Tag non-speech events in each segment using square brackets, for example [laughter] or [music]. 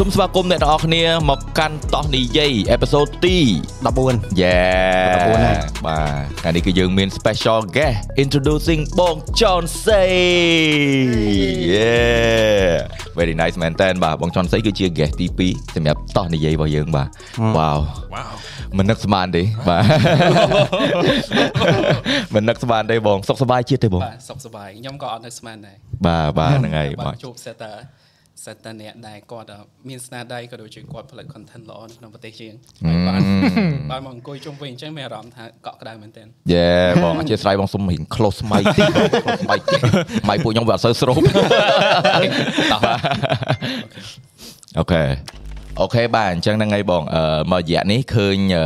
សូមស្វាគមន៍អ្នកទាំងអស់គ្នាមកកាន់តោះនិយាយអេពីសូតទី 14 យេ 19ហើយ បាទថ្ងៃនេះគឺយើងមាន special guest introducing បង John Say យេ very nice មែនតើបាទបង John Say គឺជា guest ទី2សម្រាប់តោះនិយាយរបស់យើងបាទ wow មិននឹកស្មានទេ [laughs] បាទ មិននឹកស្មានទេបងសុខសប្បាយជាតិទេបង បាទសុខសប្បាយខ្ញុំក៏អត់នឹកស្មានដែរ បាទបាទហ្នឹងហើយ បា បាទ ទជួបសេតតាសេតតាអ្នកដែលគាត់មានស្នាដៃក៏ដូចជាគាត់ផលិត content ល្អនៅក្នុងប្រទេសយើងហើយ [laughs] បានបានមកអង្គុយជុំវិញអញ្ចឹងមានអារម្មណ៍ថាកក់ក្ដៅមែនទែន យេបងអធិស្ឋានបងសុំរៀង close ម៉ៃតិច [laughs] close ម៉ៃតិចម៉ៃពួកខ្ញុំវាអត់សូវស្រោប [laughs] តោះបាទ អូខេអូខេបាទអញ្ចឹងហ្នឹងហើយបងអឺមករយៈនេះឃើញអឺ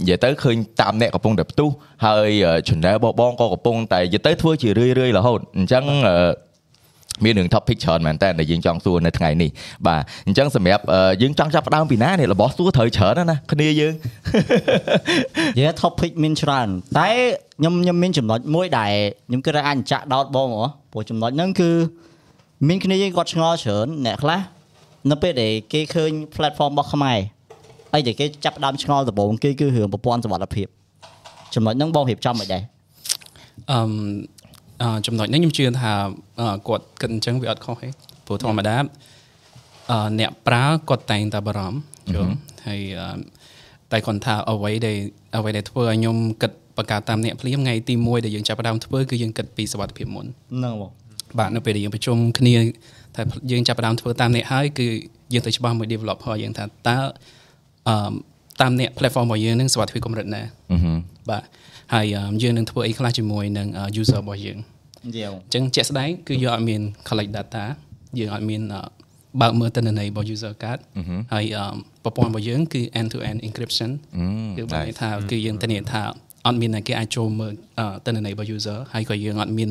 និយាយទៅឃើញតាមអ្នកកំពុងតែផ្ទុះហើយអឺ channel បងបងក៏កំពុងតែនិយាយទៅធ្វើជារឿយរឿយរហូតអញ្ចឹងអឺមានរឿង topic ច្រើនមែនតើដែលយើងចង់សួរនៅថ្ងៃនេះបាទអញ្ចឹងសម្រាប់អឺយើងចង់ចាប់ផ្ដើមពីណានេះរបស់សួរត្រូវច្រើនណាស់ណាគ្នាយើង និយាយ topic មានច្រើនតែខ្ញុំខ្ញុំមានចំណុចមួយដែលខ្ញុំគិតថាអាចចាក់ដោតបងហ៎ព្រោះចំណុចហ្នឹងគឺមានគ្នាយើងគាត់ឆ្ងល់ច្រើនអ្នកខ្លះនៅពេលដែលគេឃើញ platform របស់ខ្មែរអីដែលគេចាប់ផ្ដើមឆ្ងល់ដំបូងគេគឺរឿងប្រព័ន្ធសុវត្ថិភាពចំណុចហ្នឹងបងរៀបចំមិនដែរ អឺមអឺចំណុចនេះខ្ញុំជឿថាអឺគាត់គិតអញ្ចឹងវាអត់ខុសទេព្រោះធម្មតាអឺអ្នកប្រើគាត់តែងតែបារម្ភជួបហើយអឺតែគាត់ថាអ្វីដែលអ្វីដែលធ្វើឲ្យខ្ញុំគិតបង្កើតតាមអ្នកភ្លាមថ្ងៃទី1ដែលយើងចាប់ផ្ដើមធ្វើគឺយើងគិតពីសុវត្ថិភាពមុន ហ្នឹងបង បាទនៅពេលដែលយើងប្រជុំគ្នាតែយើងចាប់ផ្ដើមធ្វើតាមអ្នកហើយគឺយើងទៅច្បាស់មួយ developer យើងថាតើអឺមតាមអ្នក platform របស់យើងនឹងសុវត្ថិភាពកម្រិតណា អឺហឹម បាទហើយអឺមយើងនឹងធ្វើអីខ្លះជាមួយនឹងអឺ user របស់យើង និយាយ អញ្ចឹងជាក់ស្ដែងគឺយើងអត់មាន collect data យើងអត់មានអឺបើកមើលទិន្នន័យរបស់ user card ហើយអឺមប្រព័ន្ធរបស់យើងគឺ end to end encryption គឺបានន័យថាគឺយើងធានាថាអត់មានអ្នកគេអាចចូលមើលអឺទិន្នន័យរបស់ user ហើយក៏យើងអត់មាន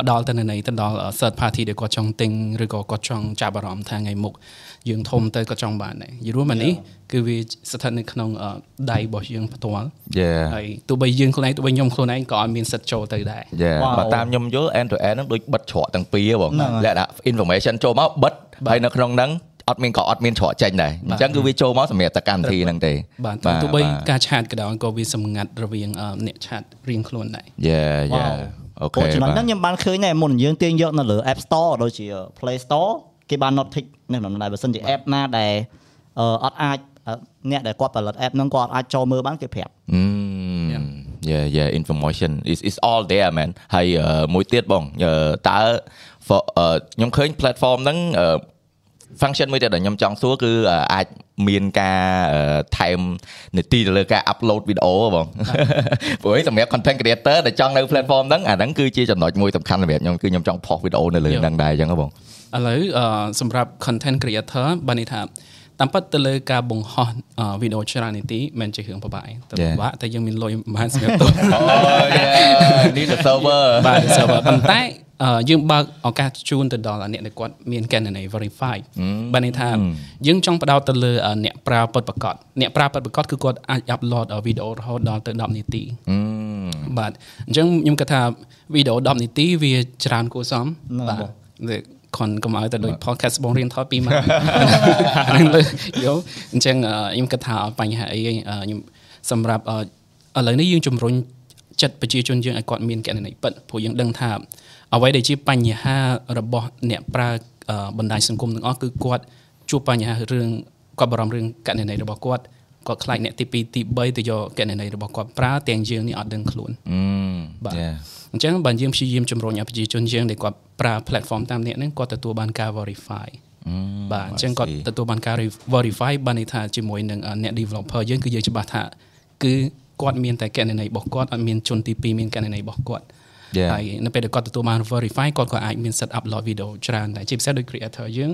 ផ្ដល់ទិន្នន័យទៅដល់អឺ third party ដែលគាត់ចង់ទិញឬក៏គាត់ចង់ចាប់អារម្មណ៍ថាថ្ងៃមុខយើងធំទៅគាត់ចង់បានដែរយល់រួមអានេះគឺវាស្ថិតនៅក្នុងអឺដៃរបស់យើងផ្ទាល់ យេ ហើយទោះបីយើងខ្លួនឯងទោះបីខ្ញុំខ្លួនឯងក៏អត់មានសិទ្ធិចូលទៅដែរ យេ Wow. បើតាមខ្ញុំយល់ end to end ហ្នឹងដូចបិទច្រកទាំងពីរហ៎បងលក្ខណៈ information ចូលមកបិទហើយនៅក្នុងហ្នឹងអត់មានក៏អត់មានច្រកចេញដែរអញ្ចឹងគឺវាចូលមកសម្រាប់តកម្មវិធីហ្នឹងទេ បាទទោះបីការឆាតក៏ដោយក៏វាសម្ងាត់រវាងអឺអ្នកឆាតរៀងខ្លួនដែរ យេយេអូខេ ចំណុច បាទ ហ្នឹងខ្ញុំបានឃើញដែរមុនយើងទាញយកនៅលើ App Store ដូចជា Play Store គេបាន not pick នៅក្នុងដែរបើសិនជា app ណាដែលអឺអត់អាចអឺអ្នកដែលគាត់ផលិត app ហ្នឹងគាត់អត់អាចចូលមើលបានគេប្រាប់ Mm, yeah yeah information is is all there man ហើយអឺមួយទៀតបងអឺតើ for- អឺខ្ញុំឃើញ platform ហ្នឹងអឺ function មួយទៀតដែលខ្ញុំចង់សួរគឺអឺអាចមានការអឺថែមនីតិទៅលើការ upload video ហ៎ [laughs] បងព្រោះឯងសម្រាប់ content creator ដែលចង់នៅ platform ហ្នឹងអាហ្នឹងគឺជាចំណុចមួយសំខាន់សម្រាប់ខ្ញុំគឺខ្ញុំចង់ post video នៅលើហ្នឹងដែរអញ្ចឹងហ៎បង ឥឡូវអឺសម្រាប់ content creator បានន័យថាតាមពិតទៅលើការបង្ហោះអឺវីដេអូច្រើននីតិមិនជារឿងពិបាកទេតែពិបាកតែយើងមានលុយ [laughs] មិនបានសម្រាប់ទៅ អូយ [laughs] នេះទៅ server បាទ server ប៉ុន្តែអឺយើងបើកឱកាសជូនទៅដល់អ្នកដែលគាត់មានកណ្ណន័យ verify បានន័យថាយើងចង់បដោតទៅលើអឺអ្នកប្រើពិតប្រាកដអ្នកប្រើពិតប្រាកដគឺគាត់អាច upload វីដេអូរហូតដល់ទៅ10នាទី បាទអញ្ចឹងខ្ញុំគិតថាវីដេអូ10នាទីវាច្រើនគួរសមបាទតែខនកុំឲ្យតែដូច podcast បងរៀនថតពី [laughs] មក ហ្នឹងលើយោអញ្ចឹងអឺខ្ញុំគិតថាអត់បញ្ហាអីទេអឺខ្ញុំសម្រាប់អឺឥឡូវនេះយើងជំរុញចិត្តប្រជាជនយើងឲ្យគាត់មានកណន័យពិតព្រោះយើងដឹងថាអ្វីដែលជាបញ្ហារបស់អ្នកប្រើអឺបណ្ដាញសង្គមទាំងអស់គឺគាត់ជួបបញ្ហារឿងគាត់បារម្ភរឿងកណន័យរបស់គាត់គាត់ខ្លាចអ្នកទី2ទី3ទៅយកកណន័យរបស់គាត់ប្រើទាំងយើងនេះអត់ដឹងខ្លួន បាទ Yeah. អញ្ចឹងបើយើងព្យាយាមជំរុញឲ្យប្រជាជនយើងដែលគាត់ប្រើ platform តាមអ្នកហ្នឹងគាត់ទទួលបានការ verify បាទអញ្ចឹងគាត់ I see. ទទួលបានការ re- verify បានន័យថាជាមួយនឹងអ่าអ្នក developer យើងគឺយើងច្បាស់ថាគឺគាត់មានតែកណន័យរបស់គាត់អត់មានជនទី2មានកណន័យរបស់គាត់ Yeah. ហើយនៅពេលដែលគាត់ទទួលបាន verify គាត់ក៏អាចមាន set upload video ច្រើនដែរជាពិសេសដោយ creator យើង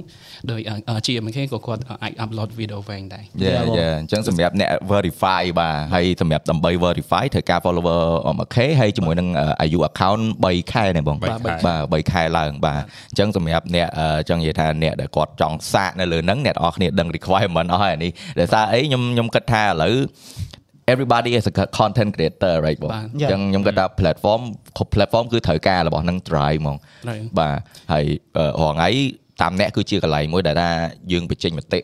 ដោយ GMK ក៏គាត់អាច upload video វែងដែរ យេ Yeah, បង យេអញ្ចឹងសម្រាប់អ្នក verify បាទហើយសម្រាប់ដើម្បី verify ត្រូវការ follower 1k ហើយជាមួយនឹងអឺអាយុ account 3ខែហ្នឹងបង បាទ បាទ3ខែឡើងបាទអញ្ចឹងសម្រាប់អ្នកអឺចង់និយាយថាអ្នកដែលគាត់ចង់សាកនៅលើហ្នឹងអ្នកនរអគ្នាដឹង requirement អស់ហើយអានេះដោយសារអីខ្ញុំខ្ញុំគិតថាឥឡូវ everybody is a content creator right បង បាទ អញ្ចឹងខ្ញុំគិតថា platform គ្រប់ platform គឺត្រូវការរបស់ហ្នឹង drive ហ្មង Drive បាទហើយអឺរហងៃ តាមអ្នកគឺជាកន្លែងមួយដែលថាយើងបញ្ចេញមតិ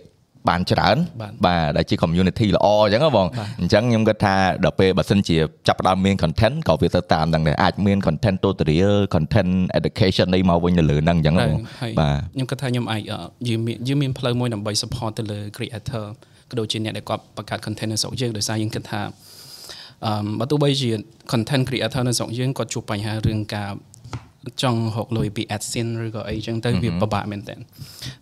បានច្រើន បាទ បាទដែលជា community ល្អអញ្ចឹងហ៎បង បាទ អញ្ចឹងខ្ញុំគិតថាដល់ពេលបើសិនជាចាប់ផ្ដើមមាន content ក៏វាទៅតាមហ្នឹងដែរអាចមាន content tutorial content education អីមកវិញនៅលើហ្នឹងអញ្ចឹងហ៎ ហើ ប យ ង ហើយ បាទ ខ្ញុំគិតថាខ្ញុំអាចអឺយើងមានយើងមានផ្លូវមួយដើម្បី support ទៅលើ creator ក៏ដូចជាអ្នកដែលគាត់បង្កើត content នៅស្រុកយើងដោយសារយើងគិតថាអឺមបើទោះបីជា content creator នៅស្រុកយើងគាត់ជួបបញ្ហារឿងការចង់រកលុយពី AdSense ឬក៏អីចឹងទៅវាពិបាកមែនតើ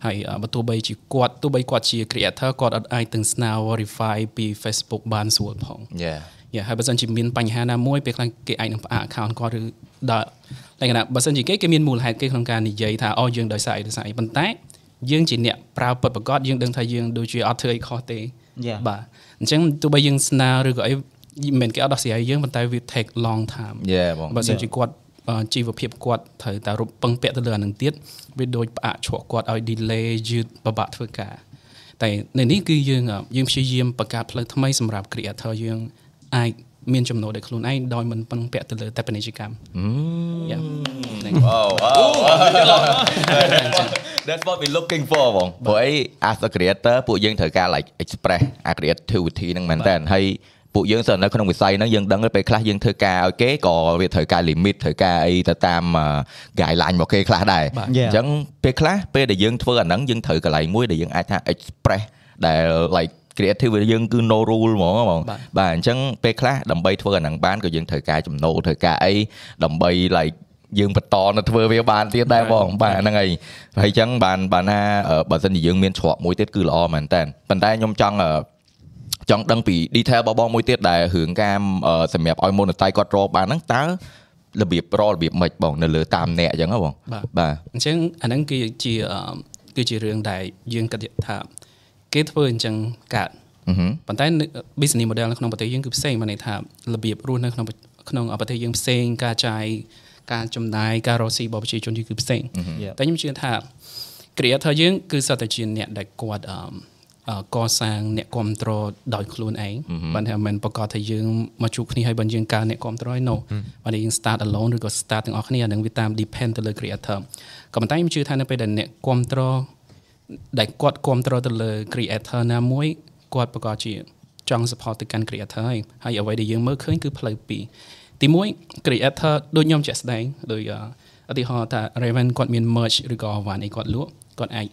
ហើយអឺបើទោះបីជាគាត់ទោះបីគាត់ជា creator គាត់អត់អាចទាំងស្នើ verify ពី Facebook បានស្រួលផង Yeah យ៉ាហើយបើសិនជាមានបញ្ហាណាមួយពេលខ្លះគេអាចនឹងផ្អាក account គាត់ឬដល់លក្ខណៈបើសិនជាគេគេមានមូលហេតុគេក្នុងការនិយាយថាអូយើងដោយសារអីដោយសារអីប៉ុន្តែយើងជាអ្នកប្រើពិតប្រកបយើងដឹងថាយើងដូចជាអត់ធ្វើអីខុសទេ Yeah. បាទអញ្ចឹងទោះបីយើងស្នើឬក៏អីមិនមែនគេអត់ដោះស្រាយយើងប៉ុន្តែវា take long time Yeah បង បើសិនជាគាត់អឺជីវភាពគាត់ត្រូវតែរំពឹងពាក់ទៅលើអានឹងទៀតវាដូចផ្អាកឈក់គាត់ឲ្យ delay យឺតពិបាកធ្វើការតែនៅនេះគឺយើងអ่ะយើងព្យាយាមបង្កើតផ្លូវថ្មីសម្រាប់ creator យើងអាចមានចំណូលដោយខ្លួនឯងដោយមិនពឹងពាក់ទៅលើតែពាណិជ្ជកម្មយ៉ា Oh, wow. That's what we looking for បងព្រោះអី as a creator ពួកយើងត្រូវការ like express a creativity ហ្នឹងមែនតើហើយពួកយើងស្ថិតនៅក្នុងវិស័យហ្នឹងយើងដឹងពេលខ្លះយើងធ្វើការឲ្យគេក៏វាត្រូវការ limit ត្រូវការអីទៅតាមអឺ guideline របស់គេខ្លះដែរ បាទ អញ្ចឹងពេលខ្លះពេលដែលយើងធ្វើអាហ្នឹងយើងត្រូវកន្លែងមួយដែលយើងអាចថា express ដែល like creative របស់យើងគឺ no rule ហ្មងហ៎បង បាទ បាទអញ្ចឹងពេលខ្លះដើម្បីធ្វើអាហ្នឹងបានក៏យើងត្រូវការចំណូលត្រូវការអីដើម្បី like យើងបន្តនៅធ្វើវាបានទៀតដែរបងបាទហ្នឹងហើយហើយអញ្ចឹងបានបានថាអឺបើសិនជាយើងមានច្រកមួយទៀតគឺល្អមែនតើប៉ុន្តែខ្ញុំចង់អឺចង់ដឹងពី detail របស់បងមួយទៀតដែលរឿងការអឺសម្រាប់ឲ្យ monetize គាត់រកបានហ្នឹងតើរបៀបរករបៀបម៉េចបងនៅលើតាមអ្នកអញ្ចឹងហ៎បង បាទ បាទ អញ្ចឹងអាហ្នឹងគឺជាអឺគឺជារឿងដែលយើងគិតថាគេធ្វើអញ្ចឹងកើត អឺហឹម ប៉ុន្តែនៅ business model នៅក្នុងប្រទេសយើងគឺផ្សេងបានន័យថារបៀបរស់នៅក្នុងប្រក្នុងប្រទេសយើងផ្សេងការចាយការចំណាយការរកស៊ីរបស់ប្រជាជនយើងគឺផ្សេង Yeah. តែខ្ញុំជឿថា creator យើងគឺសតតែជាអ្នកដែលគាត់អមអឺកសាងអ្នកគ្រប់គ្រងដោយខ្លួនឯងបានថាមិនប្រកាសថាយើងមកជួបគ្នាហើយបើយើងកើអ្នកគ្រប់គ្រង no បានយើង start alone ឬក៏ start ទាំងអស់គ្នាអានឹងវាតាម depend ទៅលើ creator ក៏ប៉ុន្តែខ្ញុំជឿថានៅពេលដែលអ្នកគ្រប់គ្រងដែលគាត់គ្រប់គ្រងទៅលើ creator ណាមួយគាត់ប្រកាសជាចង់ support ទៅកាន់ creator ហើយហើយអ្វីដែលយើងមើលឃើញគឺផ្លូវពីរទី1 creator ដូចខ្ញុំជាក់ស្ដែងដោយអឺ ឧទាហរណ៍ថា Raven គាត់មាន merch ឬក៏ Avan អីគាត់លក់គាត់អាច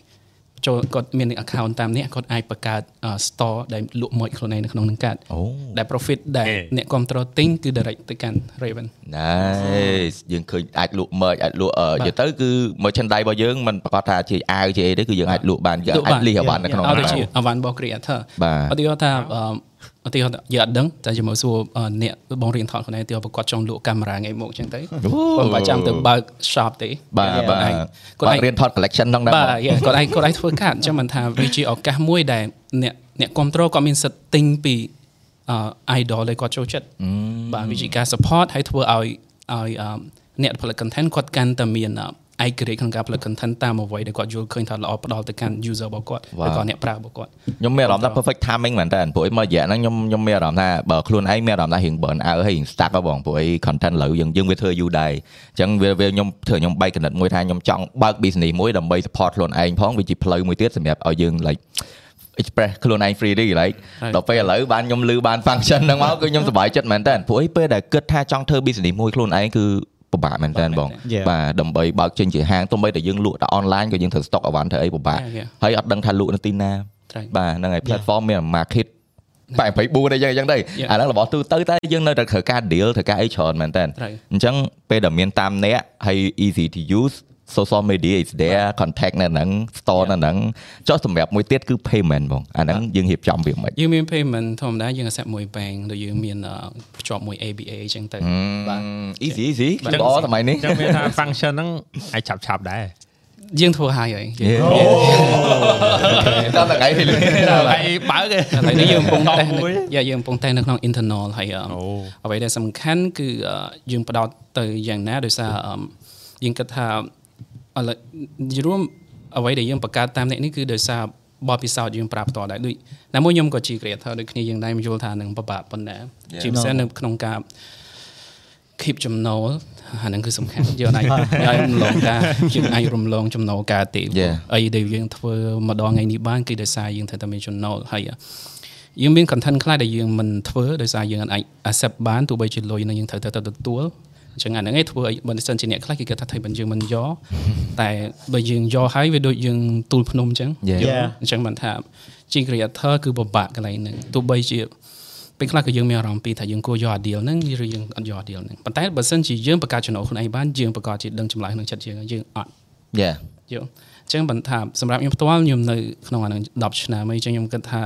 ចូលគាត់មាន account តាមនេះគាត់អាចបង្កើត uh, store ដែលលក់ merch ខ្លួនឯងនៅក្នុងនឹងកាត់ អូ ដែល profit ដែលអ្នកគ្រប់គ្រងទិញគឺ direct ទៅកាន់ Raven Nice យើងឃើញអាចលក់ merch អាចលក់អឺនិយាយទៅគឺ merchandise របស់យើងមិនប្រកាសថាជាអាវជាអីទេគឺយើងអាចលក់បានយើង លក់ អាច បាន លីសឲ្យបាននៅក្នុង អត់ ហ្នឹ ដូច ង ជា Avan របស់ creator បាទ ឧទាហរណ៍ថាអឺឧទាហរណ៍ថាយើងអត់ដឹងតែជាមួយសួរអឺអ្នកបងរៀនថតខ្លួនឯងទីប្រកាសចង់លក់កាមេរ៉ាថ្ងៃមុខអញ្ចឹងទៅ អូ បងបាច់ចាំទៅបើក shop ទេ បាទ គាត់ បាទ អាច បាទគាត់អាច រៀនថត collection ហ្នឹងដែរ បា បាទ ទ yeah គាត់អាចគាត់អាចធ្វើកាតអញ្ចឹងមិនថាវាជាឱកាសមួយដែលអ្នកអ្នកគ្រប់គ្រងគាត់មានសិទ្ធិទិញពីអឺ idol ដែលគាត់ចូលចិត្តបាទវាជាការ support ហើយធ្វើឲ្យឲ្យអឺអ្នកផលិត content គាត់កាន់តែមានអឺឯករាជ្យក្នុងការផលិត content តាមអ្វីដែលគាត់យល់ឃើញថាល្អផ្ដល់ទៅកាន់ user របស់គាត់ វ៉ាវ ឬក៏អ្នកប្រើរបស់គាត់ ខ្ញុំមានអារម្មណ៍ថា perfect timing មែនតើព្រោះឯងមករយៈហ្នឹងខ្ញុំខ្ញុំមានអារម្មណ៍ថាបើខ្លួនឯងមានអារម្មណ៍ថារៀង burn out ហើយរៀង stuck ហ៎បងព្រោះឯង content លើយើងយើងវាធ្វើយូរដែរអញ្ចឹងវាវាខ្ញុំធ្វើខ្ញុំបែកកណិតមួយថាខ្ញុំចង់បើក business មួយដើម្បី support ខ្លួនឯងផងវាជាផ្លូវមួយទៀតសម្រាប់ឲ្យយើង like express ខ្លួនឯង freely like ដល់ពេលឥឡូវបានខ្ញុំលឺ [laughs] បាន function ហ្នឹងមកគឺខ្ញុំសប្បាយចិត្តមែនតើព្រោះឯងពេលដែលគិតថាចង់ធ្វើ business មួយខ្លួនឯងគឺពិបាកមែនតើបង Yeah. បាទដើម្បីបើកចេញជាហាងទោះបីតែយើងលក់តែ online ក៏យើងត្រូវ stock អវ៉ាន់ធ្វើអីពិបាក Yeah, yeah. ហើយអត់ដឹងថាលក់នៅទីណា Right. បាទហ្នឹងហើយ platform មាន market 84អីយ៉ាងយ៉ាងដែរឥ Yeah. ឡូវរបស់ទូទៅតែយើងនៅតែត្រូវការ deal ត្រូវការអីច្រើនមែនតើ Right. អញ្ចឹងពេលដែលមានតាមអ្នកហើយ easy to use social media is there contact នៅហ្នឹង store នៅហ្នឹងចុះសម្រាប់មួយទៀតគឺ payment បងអាហ្នឹងយើងរៀបចំវាមិន យើងមាន payment ធម្មតាយើង accept មួយ bank ដូចយើងមានអឺភ្ជាប់មួយ ABA អញ្ចឹងទៅបាទ easy easy បាទ ល្អសម័យនេះ អញ្ចឹងមានថា function ហ្នឹងអាចឆាប់ឆាប់ៗដែរ យើងធ្វើហើយហើយយើង Yeah. [laughs] តាមតែថ្ងៃនេះ ហើយបើក ឥឡូវនេះយើងកំពុង [laughs] តេស្ត មួយ យ៉ាយើងកំពុងតេស្តនៅក្នុង internal ហើយអឺ អូ អ្វីដែលសំខាន់គឺអឺយើងផ្ដោតទៅយ៉ាងណាដោយសារអឺយើងគិតថាឥឡូវនិយាយរួមអ្វីដែលយើងបង្កើតតាមអ្នកនេះគឺដោយសារបបពិសោធន៍យើងប្រាប់បន្តដែរដូចណាមួយខ្ញុំក៏ជា creator ដូចគ្នាយើងដែរមិនយល់ថានឹងពិបាកប៉ុណ្ណាជាពិសេសនៅក្នុងការ keep ចំណូលអាហ្នឹងគឺសំខាន់យើងអាច ឲ្យរំលងការយើងអាចរំលងចំណូលការទេ Yeah. អីដែលយើងធ្វើម្ដងថ្ងៃនេះបានគឺដោយសារយើងត្រូវតែមានចំណូលហើយយើងមាន content ខ្លះដែលយើងមិនធ្វើដោយសារយើងអាច accept បានទោះបីជាលុយហ្នឹងយើងត្រូវតែទទួលអញ្ចឹងអាហ្នឹងឯងធ្វើឲ្យបើមិនសិនជាអ្នកខ្លះគេគិតថាថៃមិនយើងមិនយកតែបើយើងយកហើយវាដូចយើងទូលភ្នំអញ្ចឹង Yeah. យ Yeah. ល់អញ្ចឹងបានថាជា creator គឺពិបាកកន្លែងហ្នឹងទោះបីជាពេលខ្លះក៏យើងមានអារម្មណ៍ពីថាយើងគួរយក ideal ហ្នឹងឬយើងអត់យក ideal ហ្នឹងប៉ុន្តែបើសិនជាយើងបង្កើតចំណូលខ្លួនឯងបានយើងប្រកាសជាដឹងចម្លើយក្នុងចិត្តយើងហើយយើងអត់ [laughs] Yeah. យល់អញ្ចឹងបន្តថាសម្រាប់ខ្ញុំផ្ទាល់ខ្ញុំនៅក្នុងអាហ្នឹង10ឆ្នាំហើយអញ្ចឹងខ្ញុំគិតថា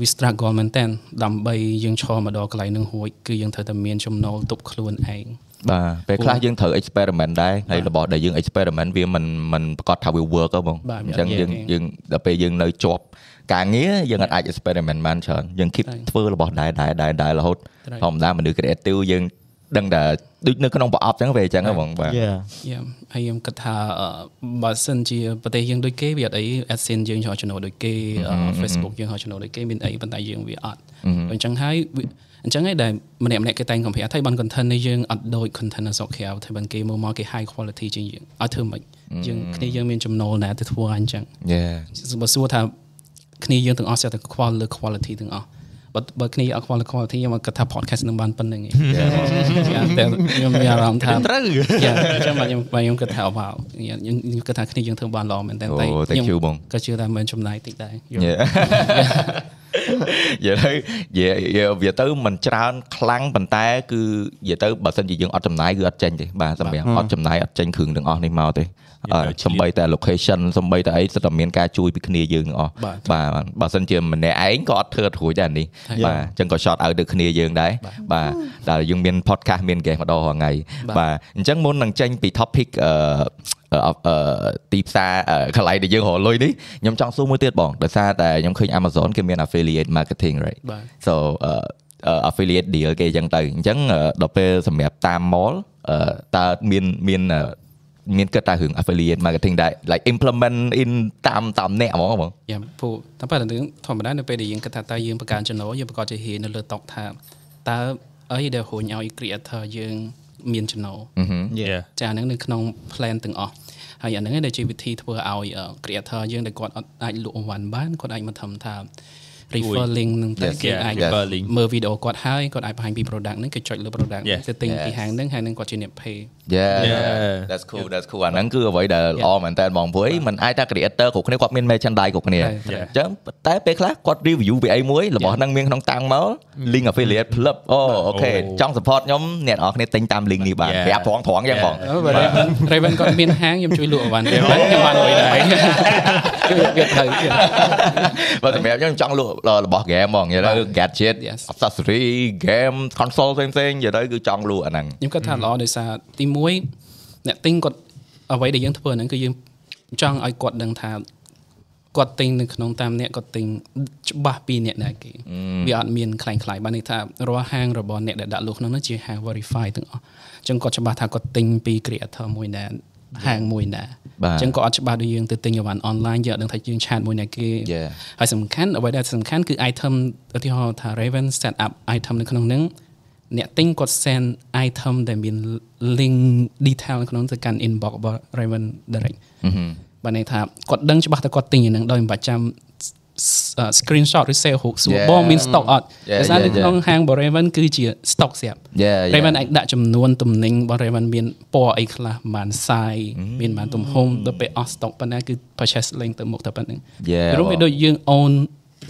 we struggle មែនតើដើម្បីយើងឈរមកដល់កន្លែងហ្នឹងរួចគឺយើងត្រូវតែមានចំណូលទប់ខ្លួនឯង បាទពេលខ្លះយើងត្រូវ experiment ដែរហើយរបស់ដែលយើង experiment វាមិនមិនប្រកាសថាវា work ទេបង បាទ អញ្ចឹង វា យើង អត់ work ទេ យើងដល់ពេលយើងនៅជាប់ការងារយើងអត់អាច experiment បានច្រើនយើង keep ត្រូវ ធ្វើរបស់ដែរដែរដែរដែររហូត ត្រូវ ធម្មតាមនុស្ស creative យើងដឹងតែដូចនៅក្នុងប្រអប់អញ្ចឹងវាអញ្ចឹងហ៎បងបាទ Yeah. យ៉ាហើយខ្ញុំគិតថាអឺបើសិនជាប្រទេសយើងដូចគេវាអត់អី AdSense យើងចូលចំណូលដូចគេអឺ Facebook យើងចូលចំណូលដូចគេមានអីប៉ុន្តែយើងវាអត់អញ្ចឹងហើយវាអញ្ចឹងហើយដែលម្នាក់ម្នាក់ៗគេតែងកំប្រាប់ថាបាន content នេះយើងអត់ដូច content របស់គេឲ្យថាបានគេមើលមកគេ high quality ជាងយើងឲ្យធ្វើម៉េចយើងគ្នាយើងមានចំណូលណាទៅធ្វើឲ្យអញ្ចឹង Yeah. បើសួរថាគ្នាយើងទាំងអស់ស្ទើរតែ qual លើ quality ទាំងអស់បើបើគ្នាអត់ qual លើ quality ខ្ញុំគិតថា podcast នឹងបានប៉ុណ្្នឹងឯងតែខ្ញុំមានអារម្មណ៍ថា ត្រូវ យ៉ាចាំបាទខ្ញុំបាទខ្ញុំគិតថាវ៉ាវខ្ញុំខ្ញុំគិតថាគ្នាយើងធ្វើបានល្អមែនតើ អូ តែ thank ខ្ញុំ you បង ក៏ជឿថាមិនចំណាយតិចដែរ Yeah. និយាយទៅនិយាយវាទៅមិនច្រើនខ្លាំងប៉ុន្តែគឺនិយាយទៅបើសិនជាយើងអត់ចំណាយគឺអត់ចេញទេបាទសម្រាប់អត់ចំណាយអត់ចេញគ្រឿងទាំងអស់នេះមកទេអឺសំបីតែ location សំបីតែអីសិតតែមានការជួយពីគ្នាយើងទាំងអស់ បាទ បាទបើសិនជាម្នាក់ឯងក៏អត់ធ្វើរួចដែរនេះបាទអញ្ចឹងក៏ short out ទៅគ្នាយើងដែរបាទតែយើងមាន podcast មាន game ម្ដងរាល់ថ្ងៃបាទអញ្ចឹងមុននឹងចេញពី topic អឺ អឺអឺទីផ្សារអឺកន្លែងដែលយើងរកលុយនេះខ្ញុំចង់សួរមួយទៀតបងដោយសារតែខ្ញុំឃើញ Amazon គេមាន affiliate marketing right បាទ so អឺអឺ affiliate deal គេអញ្ចឹងទៅអញ្ចឹងអឺដល់ពេលសម្រាប់តាម mall អឺតើមានមានអឺមានគិតតែរឿង affiliate marketing ដែរ like implement in តាមតាមអ្នកហ្មងបង យ៉ាពួកតាមពិតរឿងធម្មតានៅពេលដែលយើងគិតថាតើយើងបង្កើនចំណូលយើងប្រកាសជាហ៊ាននៅលើតុកថាតើអីដែលហួញឲ្យ creator យើងមានចំណូល Yeah. ចាហ្នឹងនៅក្នុង plan ទាំងអស់ហើយអាហ្នឹងឯងដែលជាវិធីធ្វើឲ្យ អឺ creator យើងដែលគាត់អត់អាចលក់អង្វ៉ាន់បានគាត់អាចមកធ្វើថា refer link ហ្នឹងទៅ Yes, គេ yeah, អាច refer link មើល video គាត់ហើយគាត់អាចបង្ហាញពី product ហ្នឹងគេចុចលើ product Yes. ទៅទិញពី Yes. ហាងហ្នឹងហើយហ្នឹងគាត់ជាអ្នក pay Yeah, Yeah. that's cool that's cool អាហ្នឹងគឺអ្វីដែលល្អមែនតើបងព្រោះអីមិនអាចថា creator គ្រប់គ្នាគាត់មាន merchandise គ្រប់គ្នាអ Yeah. ញ្ចឹងតែពេលខ្លះគាត់ review ពីអីមួយរបស់ហ្នឹងមានក្នុងតាំងមក link affiliate ផ្លឹបអូអូខេចង់ support ខ្ញុំអ្នកនរគ្នាទិញតាម link នេះបាន Yeah. ប្រាប់ត្រង់ត្រង់យ៉ាងបង Raven Raven គាត់មានហាងខ្ញុំជួយលក់អង្វ៉ាន់ [laughs] ខ្ញុំបានខ្ញុំបានលុយ [laughs] ដែរ [laughs] គឺវាបើសត្រូវទៀតម្រាប់ខ្ញុំចង់លក់របស់ game ហ្មងនិយាយទៅ gadget Yes. accessory game console ផ្សេងៗនិយាយទៅគឺចង់លក់អាហ្នឹង ខ្ញុំគិតថាល្អដោយសារទី1អ្នកទិញគាត់អ្វីដែលយើងធ្វើហ្នឹងគឺយើងចង់ឲ្យគាត់ដឹងថាគាត់ទិញនៅក្នុងតាមអ្នកគាត់ទិញច្បាស់ពីអ្នកណាគេវាអត់មានខ្លាំងខ្លាយបានន័យថារាល់ហាងរបស់អ្នកដែលដាក់លក់ក្នុងហ្នឹងជាហាង verify ទាំងអស់អញ្ចឹងគាត់ច្បាស់ថាគាត់ទិញពី creator មួយណាហាងមួយណា បាទ អញ្ចឹងគាត់អត់ច្បាស់ដូចយើងទៅទិញអីវ៉ាន់ online យើងអត់ដឹងថាយើងឆាតមួយណាគេ Yeah. ហើយសំខាន់អ្វីដែលសំខាន់គឺ item ឧទាហរណ៍ថា Raven set up item នៅក្នុងហ្នឹងអ្នកទិញគាត់ send item ដែលមាន link detail នៅក្នុងទៅកាន់ inbox របស់ Raven direct បានន័យថាគាត់ដឹងច្បាស់ថាគាត់ទិញអាហ្នឹងដោយមិនបាច់ចាំ s- អឺ screenshot ឬ save រូបសួរ Yeah. បងមាន stock អត់ Yeah, ដោយសារ yeah, នៅ yeah. ក្នុងហាងរបស់ Raven គឺជា stock ស្រាប់ Yeah, yeah. Raven អាចដាក់ចំនួនទំនិញរបស់ Raven មានពណ៌អីខ្លះមាន size មានបានទំហំដល់ពេលអស់ stock ប៉ុណ្ណាគឺ purchase link ទៅមុខតែប៉ុណ្្នឹង Yeah, ព្រោះវា បង ដូចយើង own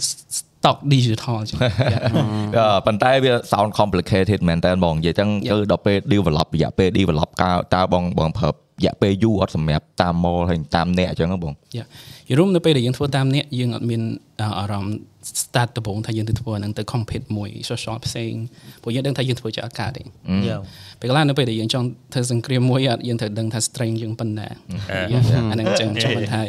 stock digital ចឹង Yeah. អឺប៉ុន្តែវា sound complicated មែនតើបងនិយាយចឹងគឺដល់ពេល develop រយៈពេល develop កៅតើបងបងប្រើរយៈពេលយូរអត់សម្រាប់តាម mall ហើយតាមអ្នកអញ្ចឹងហ៎បង យ៉ាយរុំនៅពេលដែលយើងធ្វើតាមអ្នកយើងអត់មានអ่าអារម្មណ៍ start ដំបូងថាយើងទៅធ្វើអាហ្នឹងទៅ compete មួយ social ផ្សេងព្រោះយើងដឹងថាយើងធ្វើជាឱកាសទេ Yeah. ពេលខ្លះនៅពេលដែលយើងចង់ធ្វើសង្គ្រាមមួយអត់យើងត្រូវដឹងថា strength យើងប៉ុណ្ណាអាហ្នឹងចឹងចាំមិនថា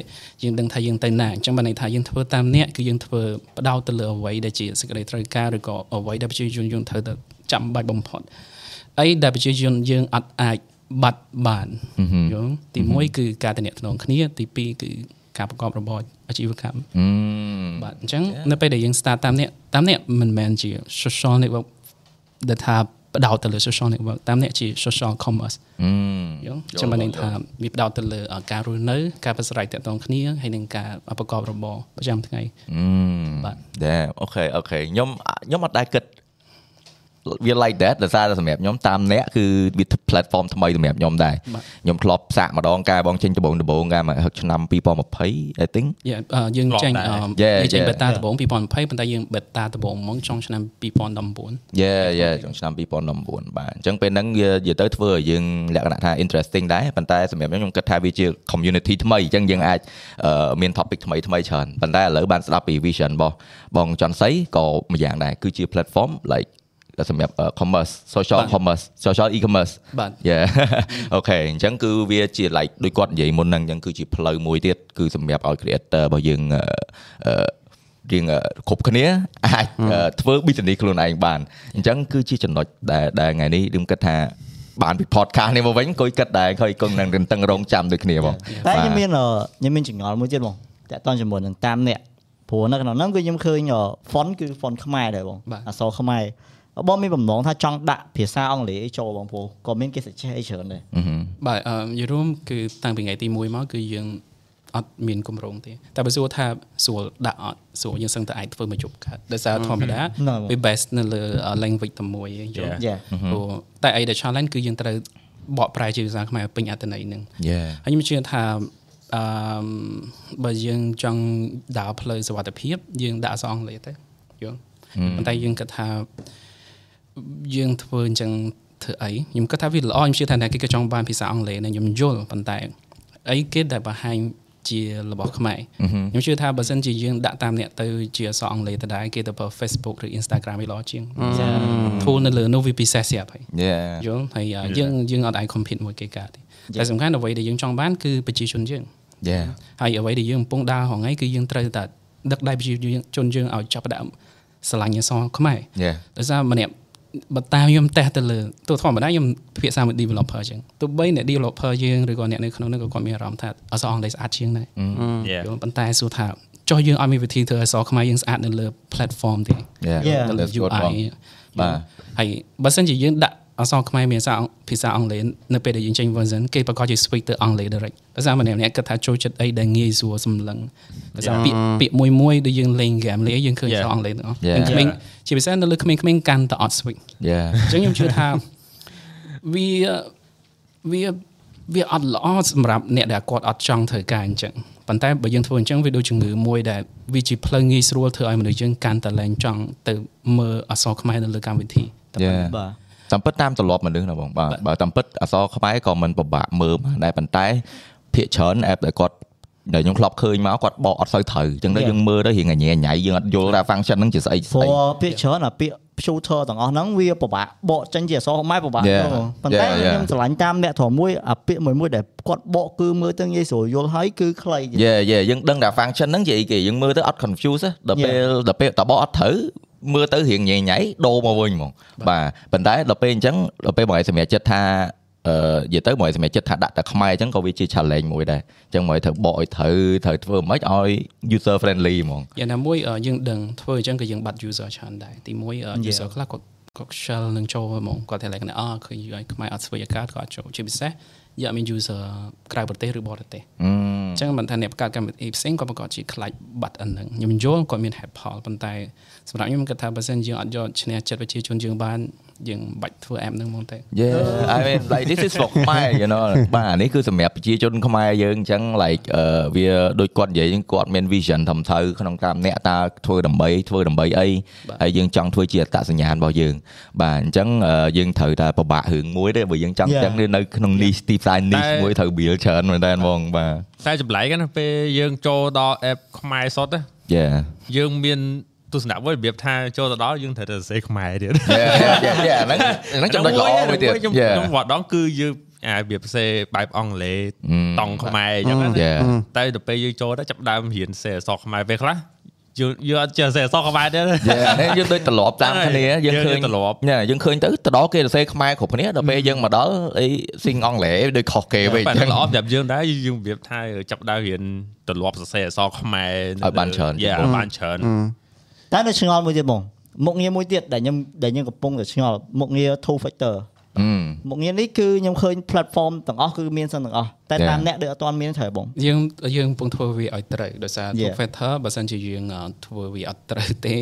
យើងដឹងថាយើងទៅណាអញ្ចឹងបើន័យថាយើងធ្វើតាមអ្នកគឺយើងធ្វើបដោតទៅលើអ្វីដែលជាសេចក្តីត្រូវការឬក៏អ្វីដែលប្រជាជនយើងត្រូវតែចាំបាច់បំផុតអីដែលប្រជាជនយើងអត់អាចបាត់បានយល់ទី1គឺការតំណងគ្នាទី2គឺការប្រកបរបរអាជីវកម្ម បាទអញ្ចឹងនៅពេលដែលយើង start តាមអ្នកតាមអ្នកមិនមែនជា social network ដែលថា ផ្ដោតទៅលើ social network តាមអ្នកជា social commerce យល់ចាំបានន័យថាវាផ្ដោតទៅលើអ่าការរស់នៅការប្រស្រ័យទាក់ទងគ្នាហើយនិងការប្រកបរបរប្រចាំថ្ងៃ បាទ ដែរអូខេអូខេខ្ញុំខ្ញុំអត់ដែរគិតវា like that ដោយសារតែសម្រាប់ខ្ញុំតាមអ្នកគឺវា platform ថ្មីសម្រាប់ខ្ញុំដែរខ្ញុំធ្លាប់សាកម្ដងកាបងចេញដំបងដំបងកាមកហឹកឆ្នាំ2020 I think យេអ่าយើង ធ្លាប់ ចេញ ដែរ អ่า Yeah, យើងចេញ yeah. beta ដំបូង2020ប៉ុន្តែយើង beta ដំបូងហ្មងចុងឆ្នាំ2019 យេយេចុងឆ្នាំ2019បាទអញ្ចឹងពេលហ្នឹងវានិយាយទៅធ្វើឲ្យយើងលក្ខណៈថា interesting ដែរប៉ុន្តែសម្រាប់ខ្ញុំខ្ញុំគិតថាវាជា community ថ្មីអញ្ចឹងយើងអាចអឺមាន topic ថ្មីថ្មីច្រើនប៉ុន្តែឥឡូវបានស្ដាប់ពី vision របស់បងចន់សីក៏ម្យ៉ាងដែរគឺជា platform like សម្រាប់អឺ commerce social បាទ commerce social e-commerce បាទ យេ [laughs] អូខេអញ្ចឹងគឺវាជា like ដូចគាត់និយាយមុនហ្នឹងអញ្ចឹងគឺជាផ្លូវមួយទៀតគឺសម្រាប់ឲ្យ creator របស់យើងអឺអឺ រៀងអឺគ្រប់គ្នាអាចអឺធ្វើ business ខ្លួនឯងបានអញ្ចឹងគឺជាចំណុចដែលដែលថ្ងៃនេះខ្ញុំគិតថាបានពី podcast នេះមកវិញអង្គុយគិតដែរឃើញគង់នឹងរឹងតឹងរងចាំដូចគ្នាបង តែ បាទ ខ្ញុំមានអឺខ្ញុំមានចងល់មួយទៀតបងតាក់ទងជាមួយនឹងតាមអ្នកព្រោះនៅក្នុងហ្នឹងគឺខ្ញុំឃើញអឺ font គឺ font ខ្មែរដែរបង បាទ អក្សរខ្មែរបងមានបំណងថាចង់ដាក់ភាសាអង់គ្លេសឲ្យចូលបងព្រោះក៏មានគេ suggest អីច្រើនដែរ បាទអឺយល់រួមគឺតាំងពីថ្ងៃទី1មកគឺយើងអត់មានគម្រោងទេតែបើសួរថាស្រួលដាក់អត់ស្រួលយើងសឹងតែអាចធ្វើមួយជប់ខាត់ដោយសារធម្មតា ហ្នឹង វា best នៅលើ uh, language តែមួយឯងយល់ Yeah. ព្រោះតែអីដែល challenge គឺយើងត្រូវបកប្រែជាភាសាខ្មែរឲ្យពេញអត្ថន័យហ្នឹង Yeah. ហើយខ្ញុំជឿថាអឺបើយើងចង់ដើរផ្លូវសុវត្ថិភាពយើងដាក់អក្សរអង់គ្លេសទៅយល់ប៉ុន្តែយើងគិតថាយើងធ្វើអញ្ចឹងធ្វើអីខ្ញុំគិតថាវាល្អខ្ញុំជឿថាអ្នកគេក៏ចង់បានភាសាអង់គ្លេសដែរខ្ញុំយល់ប៉ុន្តែអីគេដែលបង្ហាញជារបស់ខ្មែរខ្ញុំជឿថាបើសិនជាយើងដាក់តាមអ្នកទៅជាអក្សរអង់គ្លេសទៅដែរគេទៅប្រើ Facebook ឬ Instagram វាល្អជាងធូលនៅលើនោះវាពិសេសស្រាប់ហើយ Yeah. យល់ហើយអ่าយើងយើងអត់អាច compete មួយគេកើតទេតែសំខាន់អ្វីដែលយើងចង់បានគឺប្រជាជនយើង Yeah. ហើយអ្វីដែលយើងកំពុងដើររហងៃគឺយើងត្រូវតែដឹកដៃប្រជាជនយើងឲ្យចាប់ផ្ដើមស្រឡាញ់អក្សរខ្មែរ Yeah. ដោយសារម្នាក់បើតាមខ្ញុំតេស្តទៅលើទោះធម្មតាខ្ញុំភាសាមួយ developer អញ្ចឹងទោះបីអ្នក developer យើងឬក៏អ្នកនៅក្នុងនោះក៏គាត់មានអារម្មណ៍ថាអក្សរអង់គ្លេសស្អាតជាងដែរយល់ប៉ុន្តែសួរថាចុះយើងអត់មានវិធីធ្វើអក្សរខ្មែរយើងស្អាតនៅលើ platform ទេ Yeah. Yeah. ទៅលើ That's good UI បង បាទ ហើយបើសិនជាយើងដាក់អក្សរខ្មែរមានភាសាអង់ភាសាអង់គ្លេសនៅពេលដែលយើងចេញ version គេប្រកាសជា switch ទៅអង់គ្លេស direct ដោយសារម្នាក់ម្នាក់គិតថាចូលចិត្តអីដែលងាយស្រួលសម្លឹងដោយសារពាក្យពាក្យមួយមួយៗដែលយើងលេង game លេងអីយើងឃើញអក្សរ Yeah. អង់គ្លេសទាំងអស់ Yeah. ក្មេងៗជាពិសេសនៅលើក្មេងៗកាន់តែអត់ switch Yeah. អញ្ចឹងខ្ញុំជឿថាវាវាវាអត់ល្អសម្រាប់អ្នកដែលគាត់អត់ចង់ធ្វើការអញ្ចឹងប៉ុន្តែបើយើងធ្វើអញ្ចឹងវាដូចជំងឺមួយដែលវាជាផ្លូវងាយស្រួលធ្វើឲ្យមនុស្សយើងកាន់តែឡើងចង់ទៅមើលអក្សរខ្មែរនៅលើកម្មវិធីតែ Yeah. បាទ តាមពិតតាមទម្លាប់មនុស្សណាបងបាទបើតាមពិតអក្សរខ្មែរក៏មិនពិបាកមើលមកដែរប៉ុន្តែភាកច្រើន app ដែលគាត់ដែលខ្ញុំធ្លាប់ឃើញមកគាត់បកអត់សូវត្រូវអញ្ចឹងទៅ Yeah. យើងមើលទៅរៀងញ៉ៃញ៉ៃយើងអត់យល់ថា function ហ្នឹងជាស្អីស្អីព្រោះពាក្យច្រើនអាពាក្យ filter ទាំងអស់ហ្នឹងវាពិបាកបកចេញជាអក្សរខ្មែរពិបាក Yeah. បងប៉ុន្តែ Yeah, yeah. ខ្ញុំស្រឡាញ់តាមអ្នកធំមួយអាពាក្យមួយមួយដែលគាត់បកគឺមើលទៅងាយស្រួលយល់ហើយគឺខ្លីជាង យេយេយើងដឹងថា function ហ្នឹងជាអីគេយើងមើលទៅអត់ confuse ទេដល់ Yeah. ពេលដល់ពេលតបអត់ត្រូវមើលទៅរៀងញ៉ៃញ៉ៃដូរមកវិញហ្មងបាទប៉ុន្តែដល់ពេលអញ្ចឹងដល់ពេលបងឯងសម្រាប់ចិត្តថាអឺនិយាយទៅបងឯងសម្រាប់ចិត្តថាដាក់តែខ្មែរអញ្ចឹងក៏វាជា challenge មួយដែរអញ្ចឹងបងឯងត្រូវបកឲ្យត្រូវត្រូវធ្វើមិនឲ្យ user friendly ហ្មង យ៉ាងណាមួយអឺយើងដឹងធ្វើអញ្ចឹងក៏យើងបាត់ user ច្រើនដែរទីមួយអឺ Yeah. user ខ្លះគាត់គាត់ shell នឹងចូលហ្មងគាត់តែឡែកណាអឃើញ UI ខ្មែរអត់ស្វ័យកាតគាត់អត់ចូលជាពិសេសយើងអត់មាន user ក្រៅប្រទេសឬបរទេសអញ្ចឹងមិនថាអ្នកបង្កើតកម្មវិធីផ្សេងគាត់ប្រកាសជាខ្លាចបាត់អាហ្នឹងខ្ញុំយល់គាត់មាន head poll ប៉ុន្តែសម្រាប់ខ្ញុំគាត់ថាបើសិនយើងអត់យកឈ្នះចិត្តប្រជាជនយើងបានយើងមិនបាច់ធ្វើ app ហ្នឹងហ្មងទេ Yeah I mean like this is for ខ្មែរ you know [laughs] បាទអានេះគឺសម្រាប់ប្រជាជនខ្មែរយើងអញ្ចឹង like អឺវាដូចគាត់និយាយហ្នឹងគាត់មាន vision ធំទៅក្នុងតាមអ្នកតើធ្វើដើម្បីធ្វើដើម្បីអីហើយយើងចង់ធ្វើជាអត្តសញ្ញាណរបស់យើង បាទអញ្ចឹងអឺយើងត្រូវតែប្របាក់រឿងមួយទេបើយើងចង់ Yeah. ចឹងនៅក្នុង niche ទីផ្សារ niche តែ មួយត្រូវ build ច្រើនមែនតើហ្មងបាទ តែចម្លែកណាពេលយើងចូលដល់ app ខ្មែរសុទ្ធ [laughs] Yeah យើងមានទស្សនៈមួយរបៀបថាចូលទៅដល់យើងត្រូវតែសរសេរខ្មែរទៀត Yeah yeah, yeah yeah ហ្នឹងហ្នឹងចំណុចល្អមួយទៀត ខ្ញុំ Yeah ខ្ញុំវត្តដងគឺយើងអារបៀបសរសេរបែបអង់គ្លេសតង់ខ្មែរអញ្ចឹងណា Yeah តែដល់ពេលយើងចូលទៅចាប់ផ្ដើមរៀនសរសេរអក្សរខ្មែរពេលខ្លះយើងយើងអត់ចេះសរសេរអក្សរខ្មែរទេ Yeah, យើងដូចត្រឡប់តាម ហើយ គ្នាយើង យើង ឃើញ ត្រឡប់ ញ៉ែយើងឃើញទៅទៅដល់គេសរសេរខ្មែរគ្រប់គ្នាដល់ពេលយើងមកដល់អីសិងអង់គ្លេសដូចខុសគេវិញអ បាទ ញ្ចឹង ល្អសម្រាប់យើងដែរយើងរបៀបថាចាប់ផ្ដើមរៀនទម្លាប់សរសេរអក្សរខ្មែរ ឲ្យបានច្រើនជាង យ៉ា មុន បានច្រើន តែនៅឆ្ងល់មួយទៀតបង មុខងារមួយទៀតដែលខ្ញុំដែលខ្ញុំកំពុងតែឆ្ងល់មុខងារ two factor មុខងារនេះគឺខ្ញុំឃើញ platform ទាំងអស់គឺមានសិនទាំងអស់តែ Yeah. តាមអ្នកដូចអត់ទាន់មានត្រូវបង យើងយើងកំពុងធ្វើវាឲ្យត្រូវដោយសារ Yeah. two factor បើសិនជាយើងអ่าធ្វើវាអត់ត្រូវទេ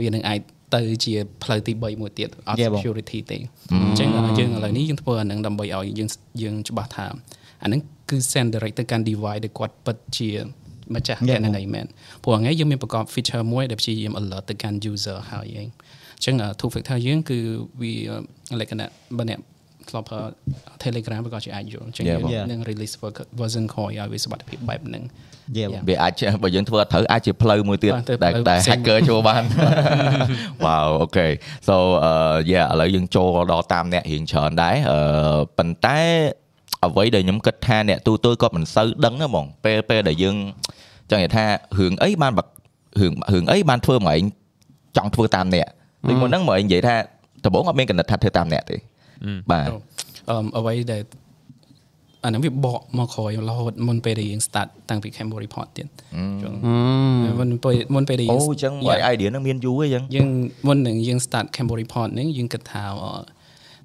វានឹងអាចទៅជាផ្លូវទី3មួយទៀតអត់ Yeah បង security ទេអញ្ចឹងយើងឥឡូវនេះយើងធ្វើអាហ្នឹងដើម្បីឲ្យយើងយើងច្បាស់ថាអាហ្នឹងគឺ send direct ទៅកាន់ device ដែលគាត់ពិតជាម្ចាស់ Yeah បង គណនីមែនព្រោះថ្ងៃយើងមានបង្កប់ feature មួយដែលព្យាយាម alert ទៅកាន់ user ហើយឯងអញ្ចឹង two factor យើងគឺវាលក្ខណៈបើអ្នកធ្លាប់ប្រើ Telegram វាក៏ជាអាចយល់អញ្ចឹង Yeah បង យើងនឹង release ver- version ក្រោយឲ្យវាសុវត្ថិភាពបែបហ្នឹង Yeah បង វាអាចជាបើយើងធ្វើអត់ត្រូវអាចជាផ្លូវមួយទៀត បាទទៅ ដែល ផ្លូវ ដែល ផ្សេង hacker ចូល [laughs] បាន [laughs] wow okay so អឺ yeah ឥឡូវយើងចូលដល់តាមអ្នករៀងច្រើនដែរអឺប៉ុន្តែអ្វីដែលខ្ញុំគិតថាអ្នកទូទៅគាត់មិនសូវដឹងណាបងពេលពេលដែលយើងចង់និយាយថារឿងអីបានបាក់រឿងរឿងអីបានធ្វើមកឯងចង់ធ្វើតាមអ្នកដូចមុនហ្នឹងមកឯងនិយាយថាដំបូងអត់មានកណិតថាធ្វើតាមអ្នកទេបាទ អឺអ្វីដែលអាហ្នឹងវាបកមកក្រោយរហូតមុនពេលដែលយើង start តាំងពី Cambodia report ទៀតចឹងមុនពេលមុនពេលដែលយើង អូអញ្ចឹងមក idea ហ្នឹងមានយូរហើយអញ្ចឹង យើងមុននឹងយើង start Cambodia report ហ្នឹងយើងគិតថាអ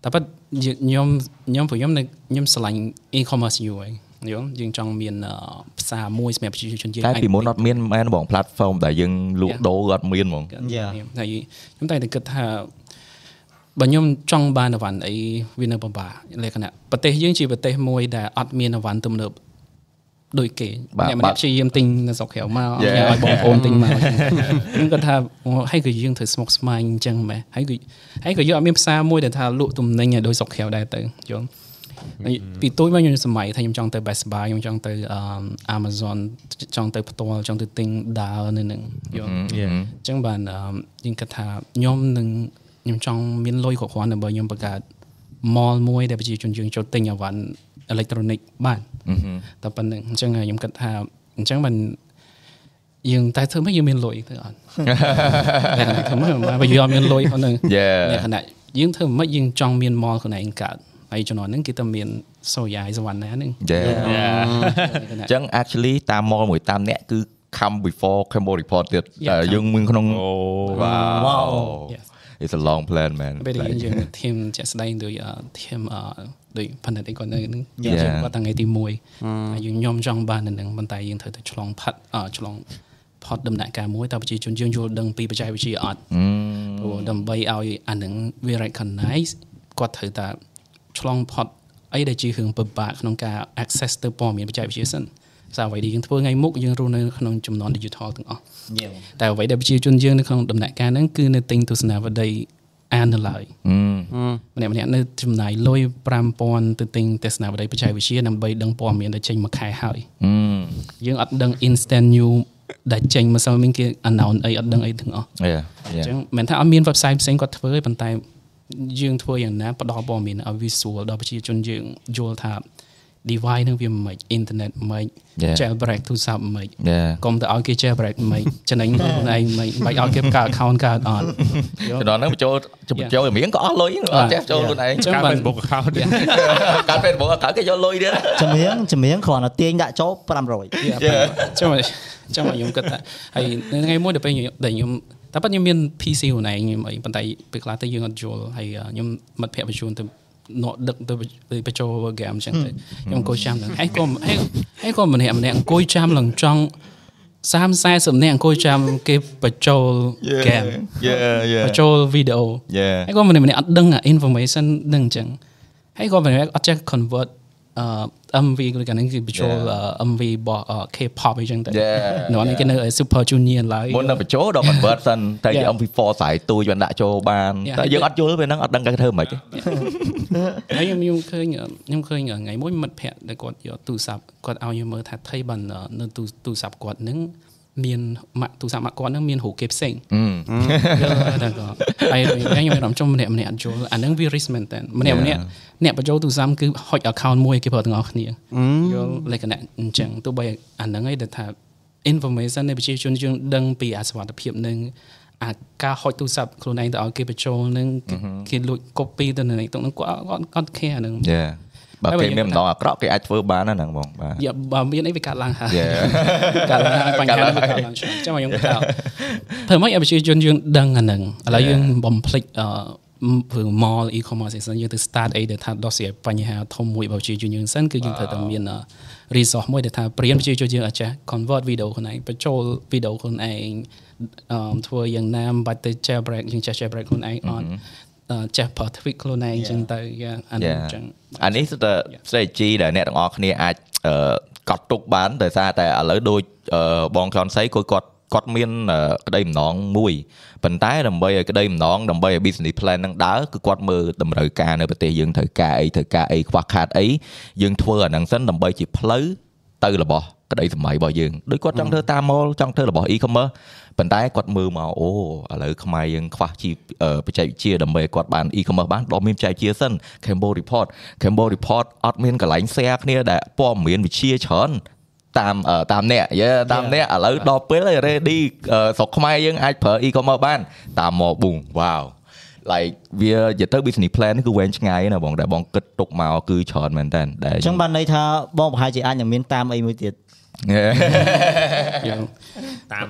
តែប៉ិតយើងខ្ញុំខ្ញុំពួកខ្ញុំនៅខ្ញុំស្រឡាញ់ e-commerce យូរហើយយល់យើងចង់មានអឺផ្សារមួយសម្រាប់ប្រជាជនយើង តែ អាច ពីមុនអត់មានមែនបង platform ដែលយើងលក់ដូរអត់មានហ្មង Yeah. ហើយខ្ញុំតែងតែគិតថាបើខ្ញុំចង់បានអីវ៉ាន់អីវានៅពិបាកលក្ខណៈប្រទេសយើងជាប្រទេសមួយដែលអត់មានអីវ៉ាន់ទំនើបដូចគេ បាទ អ្នក បាទម្នាក់ព្យាយាមទិញនៅស្រុកក្រៅមក [laughs] អ Yeah. ញ្ចឹងឲ្យបងប្អូនទិញ [laughs] មកខ្ញុំគាត់ថាអូហើយក៏យើងត្រូវស្មុកស្មាញអញ្ចឹងម៉េះហើយក៏ហើយក៏យើងអត់មានផ្សារមួយដែលថាលក់ទំនិញឲ្យដូចស្រុកក្រៅដែរទៅយល់ ពីទួយមកខ្ញុំសម័យថាខ្ញុំចង់ទៅ Best Buy ខ្ញុំចង់ទៅ um, Amazon ចង់ទៅផ្ទាល់ចង់ទៅទិញដើរនៅនឹងយល់អ Yeah. ញ្ចឹងបានអឺមយើងគិតថាខ្ញុំនឹងខ្ញុំចង់មានលុយគ្រប់គ្រាន់ដើម្បីខ្ញុំបង្កើត mall មួយដែលប្រជាជនយើងចូលទិញអីវ៉ាន់អេເລັກត្រូនិកបានតែប៉ុណ្្នឹងអញ្ចឹងហើយខ្ញុំគិតថាអញ្ចឹងបានយើងតែធ្វើម៉េចយើងមានលុយទៅអត់ តែធ្វើម៉េចមកបើយើងអត់មានលុយហ្នឹង Yeah. លក្ខណៈយើងធ្វើម៉េចយើងចង់មាន mall ខ្លួនឯងកើតហើយជំនាន់ហ្នឹងគេតែមានសូរយ៉ាយសវណ្ណាហ្នឹង Yeah. លក្ខណៈ អញ្ចឹង actually តាម mall មួយតាមអ្នកគឺ come before Cambodia report ទៀត Yeah, តែ come. យើងមានក្នុង អូ wow Yes. it's a long plan man ពេលដែល Like- យើងធីមជាក់ស្ដែងដូចអឺធីមអឺដូចផនិតអីគាត់នៅហ្នឹង Yeah. យើងគាត់តាំងថ្ងៃទី1ហើយយើងខ្ញុំចង់បាននៅហ្នឹងប៉ុន្តែយើងត្រូវតែឆ្លងផាត់អឺឆ្លងផត់ដំណាក់កាលមួយតើប្រជាជនយើងយល់ដឹងពីបច្ចេកវិទ្យាអត់ព្រោះដើម្បីឲ្យអាហ្នឹងវា recognize គាត់ត្រូវតែឆ្លងផត់អីដែលជារឿងពិបាកក្នុងការ access ទៅព័ត៌មានបច្ចេកវិទ្យាសិនសារអ្វីដែលយើងធ្វើថ្ងៃមុខយើងរស់នៅក្នុងចំនួន digital ទាំងអស់ Yeah. តែអ្វីដែលប្រជាជនយើងនៅក្នុងដំណាក់កាលហ្នឹងគឺនៅទិញទស្សនាវដ្តីអាននៅឡើយម្នាក់ម្នាក់ៗនៅចំណាយលុយ5000ទៅទិញទស្សនាវដ្តីបច្ចេកវិទ្យាដើម្បីដឹងព័ត៌មានដែលចេញមួយខែហើយយើងអត់ដឹង instant new ដែលចេញមកសូវមានគេ announce អីអត់ដឹងអីទាំងអស់ yeah អ yeah ញ្ចឹងមិនមែនថាអត់មាន website ផ្សេងគាត់ធ្វើទេប៉ុន្តែយើងធ្វើយ៉ាងណាផ្ដល់ព័ត៌មានឲ្យ visual ដល់ប្រជាជនយើងយល់ថា device ហ្នឹងវាមិន internet មិន Yeah. jailbreak ទូរស័ព្ទមិន Yeah. កុំទៅឲ្យគេ jailbreak មិនចំណេញ [laughs] ខ្លួនឯងមិនបាច់ឲ្យគេបង្កើត account កើតអត់យល់ ជំនាន់ហ្នឹងបញ្ចូលបញ្ចូលរៀងក៏អស់លុយអត់ចេះចូលខ្លួនឯង [laughs] Yeah. ការ បាន Facebook account ទៀត កាត់ Facebook អត់ត្រូវគេយកលុយទៀត ចម្រៀងចម្រៀងគ្រាន់តែទាញដាក់ចូល500 Yeah. ចាំមកចាំមកខ្ញុំគិតថាហើយនៅថ្ងៃមួយដល់ពេលខ្ញុំដែលខ្ញុំតែប៉ិតខ្ញុំមាន PC ខ្លួនឯងខ្ញុំអីប៉ុន្តែពេលខ្លះទៅយើងអត់យល់ហើយអ่าខ្ញុំមិត្តភក្តិបញ្ជូនទៅណក់ដឹកទៅបញ្ចូល game អញ្ចឹងទៅខ្ញុំអង្គុយចាំហ្នឹងហើយក៏ហើយហើយក៏ម្នាក់ម្នាក់អង្គុយចាំឡើងចង់30 40នាក់អង្គុយចាំគេបញ្ចូល game yeah yeah បញ្ចូល video Yeah. ហើយគាត់ម្នាក់ម្នាក់អត់ដឹងអា information នឹងអញ្ចឹងហើយគាត់ម្នាក់ម្នាក់អត់ចេះ convert អឺ MV គាត់កាលហ្នឹងគឺបញ្ចូល Yeah. អឺ MV របស់អឺ K-pop អញ្ចឹងទៅ Yeah. នៅអានេះគេនៅ Super Junior ឡើយ មុននឹងបញ្ចូលដល់ convert សិនតែ Yeah. MP4 ស្រ័យទូចបានដាក់ចូលបានតែ Yeah. យើងអត់យល់ពេលហ្នឹងអត់ដឹងគេធ្វើម៉េចទេ ហើយខ្ញុំខ្ញុំឃើញអឺខ្ញុំឃើញអឺថ្ងៃមួយមិត្តភក្តិដែលគាត់យកទូរស័ព្ទគាត់ឲ្យខ្ញុំមើលថាថៃបានអឺនៅទូទូរស័ព្ទគាត់ហ្នឹងមានម៉ាក់ទូរស័ព្ទម៉ាក់គាត់ហ្នឹងមានរូបគេផ្សេង [laughs] យល់តែគាត់ហើយខ្ញុំខ្ញុំរំចំម្នាក់ម្នាក់អត់យល់អាហ្នឹងវា risk មែនតើម្នាក់ម្នាក់អ្នកបញ្ចូលទូរស័ព្ទគឺហុច account មួយគេប្រើទាំងអស់គ្នាយល់លក្ខណៈអញ្ចឹងទោះបីអាហ្នឹងឯងដែលថា information នៃប្រជាជនយើងដឹងពីអសវត្ថិភាពនឹងអាការហុចទូរស័ព្ទខ្លួនឯងទៅឲ្យគេបញ្ចូលនឹងគេលួច copy ទៅនៅក្នុងហ្នឹងគាត់គាត់គាត់ care ហ្នឹង yeah បើ ហើយបើ គេ យើង មានម្ដងអាក្រក់គេអាចធ្វើបានណាហ្នឹងបងបាទ យបើមានអីវាកាត់ឡើងហើយ Yeah. [laughs] កាត់ឡើងហើយបញ្ហាហ្នឹងវាកាត់ឡើងច្រើនចាំមកយើងបន្តធ្វើម៉េចឲ្យប្រជាជនយើងដឹងអាហ្នឹងឥឡូវយើងបំភ្លេចអឺព្រោះ mall e-commerce អីសិនយើងទៅ start អីដែលថាដោះស្រាយបញ្ហាធំមួយរបស់ប្រជាជនយើងសិនគឺយើងត្រូវតែមានអឺ resource មួយដែលថាព្រៀនប្រជាជនយើងអាចចេះ convert video ខ្លួនឯងបញ្ចូល video ខ្លួនឯងអឺធ្វើយ៉ាងណាមិនបាច់ទៅ jailbreak យើងចេះ jailbreak ខ្លួនឯងអត់អឺចេះប្រើ tweak ខ្លួនឯងចឹងទៅយ៉ាងអាហ្នឹង Yeah. ចឹង អានេះគឺតែ strategy ដែលអ្នកទាំងអស់គ្នាអាចអឺកត់ទុកបានដោយសារតែឥឡូវដូចអឺបងខនសៃគាត់គាត់គាត់មានអឺក្តីបំណងមួយប៉ុន្តែដើម្បីឲ្យក្តីបំណងដើម្បីឲ្យ business plan នឹងដើរគឺគាត់មើលតម្រូវការនៅប្រទេសយើងត្រូវការអីត្រូវការអីខ្វះខាតអីយើងធ្វើអាហ្នឹងសិនដើម្បីជាផ្លូវទៅរបស់ក្តីសម័យរបស់យើងដូចគាត់ចង់ធ្វើតាម mall ចង់ធ្វើរបស់ e-commerce ប៉ុន្តែគាត់មើលមកអូឥឡូវខ្មែរយើងខ្វះជីវអឺបច្ចេកវិទ្យាដើម្បីឲ្យគាត់បាន e-commerce បានដល់មានបច្ចេកវិទ្យាសិន Cambo report Cambo report អត់មានកន្លែង share គ្នាដែលព័ត៌មានវិទ្យាច្រើនតាមអឺតាមអ្នកយេតាមអ្នកឥឡូវដល់ពេលហើយ ready អឺស្រុកខ្មែរយើងអាចប្រើ e-commerce បានតាមមក boom wow like វានិយាយទៅ business plan នេះគឺវែងឆ្ងាយណាបងដែលបងគិតទុកមកគឺច្រើនមែនតើដែល អ [laughs] ញ្ចឹងបានន័យថាបងប្រហែលជាអាចនឹងមានតាមអីមួយទៀត យេ យើង តាម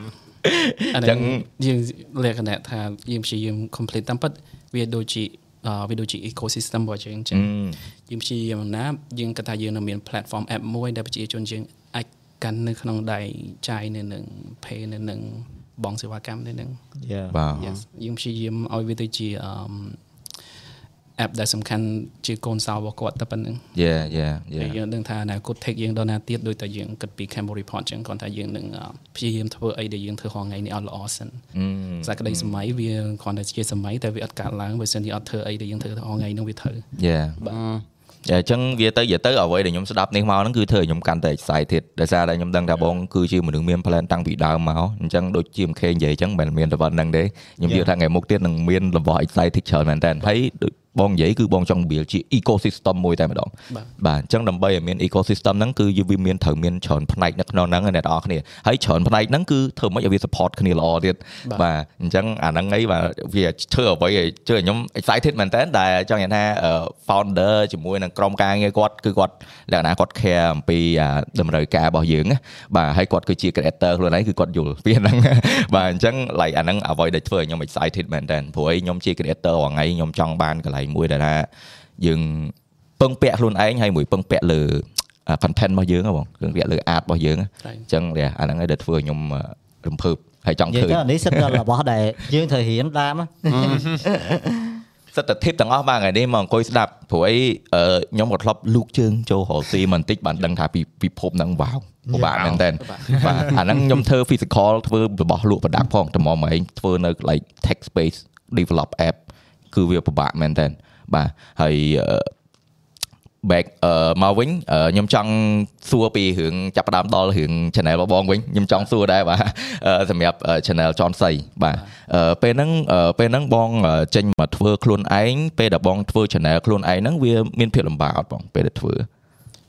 អចឹញ្ចឹ ង ងយើងលក្ខណៈថាយើងព្យាយាម complete តាមពិតវាដូចជាអឺវាដូចជា ecosystem របស់យើងអញ្ចឹងយើងព្យាយាមណាយើងគិតថាយើងនៅមាន platform app មួយដែលប្រជាជនយើងអាចកាន់នៅក្នុងដៃចាយនៅនឹង pay នៅនឹងបងសេវាកម្មនៅនឹង Yeah. បាទ Yes យើងព្យាយាមឲ្យវាទៅជាអឺម app ដែលសំខាន់ជាកូនសោររបស់គាត់តែប៉ុណ្្នឹង យេយេយេ ហើយយើងដឹងថាអនាគត take យើងដល់ណាទៀតដោយតែយើងគិតពី Cambodia report ចឹងគ្រាន់តែយើងនឹងអ่าព្យាយាមធ្វើអីដែលយើងធ្វើរាល់ថ្ងៃនេះឲ្យល្អសិនសក្តីសម័យវាគ្រាន់តែជាសម័យតែវាអត់កាត់ឡើងបើសិនជាអត់ធ្វើអីដែលយើងធ្វើរាល់ថ្ងៃហ្នឹងវាត្រូវ យ៉ាអញ្ចឹងវាទៅនិយាយទៅអ្វីដែលខ្ញុំស្ដាប់នេះមកហ្នឹងគឺធ្វើឲ្យខ្ញុំកាន់តែ excited ដោយសារតែខ្ញុំដឹងថាបងគឺជាមនុស្សមាន plan តាំងពីដើមមកអញ្ចឹងដូចជាមិនខេងនិយាយអញ្ចឹងមិនមែនមានតែប៉ុណ្្នឹងទេខ្ញុំយល់ថាថ្ងៃមុខទៀតនឹងមានរបស់ excited ច្រើនមែនតើហើយដូចបងនិយាយគឺបងចង់ build ជា ecosystem មួយតែម្ដង បាទ បាទអញ្ចឹងដើម្បីឲ្យមាន ecosystem ហ្នឹងគឺវាមានត្រូវមានច្រើនផ្នែកនៅក្នុងហ្នឹងអ្នកនរគ្នាហើយច្រើនផ្នែកហ្នឹងគឺធ្វើម៉េចឲ្យវា support គ្នាល្អទៀតបាទអញ្ចឹងអាហ្នឹងឯងបាទវាធ្វើអ្វីឲ្យធ្វើឲ្យខ្ញុំ excited មែនតើដែលចង់និយាយថាអឺ founder ជាមួយនឹងក្រុមការងារគាត់គឺគាត់លក្ខណៈគាត់ care អំពីអាតម្រូវការរបស់យើងណាបាទហើយគាត់គឺជា creator ខ្លួនឯងគឺគាត់យល់ [laughs] ពីហ្នឹង បាទអញ្ចឹង like អាហ្នឹងអ្វីដែលធ្វើឲ្យខ្ញុំ excited មែនតើព្រោះឯងខ្ញុំជា creator រាល់ថ្ងៃខ្ញុំចង់បានកន្លែងមួយដែលថាយើង ពឹងពាក់ខ្លួនឯងហើយមួយពឹងពាក់លើ content របស់យើងហ៎បងពឹងពាក់លើ art របស់យើងហ៎ ត្រូវ អញ្ចឹងវាអាហ្នឹងឯងដែលធ្វើឲ្យខ្ញុំអឺរំភើបហើយចង់ និយាយ ឃើញ ទៅអានេះសិតដល់របស់ដែលយើងត្រូវរៀនតាមណា សិទ្ធិធិបទាំងអស់បានថ្ងៃនេះមកអង្គុយស្ដាប់ព្រោះអីអឺខ្ញុំក៏ធ្លាប់លូកជើងចូលរកស៊ី [laughs] បន្តិចបានដឹងថាពីពិភពហ្នឹងវ៉ាវពិបាកមែនតើបាទអាហ្នឹងខ្ញុំធ្វើ physical ធ្វើរបស់លក់ product ផងតែមកឯងធ្វើនៅ like tech space develop app គឺវាពិបាកមែនតើបាទហើយអឺ back អឺមកវិញអឺខ្ញុំចង់សួរពីរឿងចាប់ផ្ដើមដល់រឿង channel របស់បងវិញខ្ញុំចង់សួរដែរ [laughs] បាទអឺសម្រាប់អឺ channel ចនសីបាទអឺពេលហ្នឹងអឺពេលហ្នឹងបងអឺចេញមកធ្វើខ្លួនឯងពេលដែលបងធ្វើ channel ខ្លួនឯងហ្នឹងវាមានភាពលំបាកអត់បងពេលដែលធ្វើ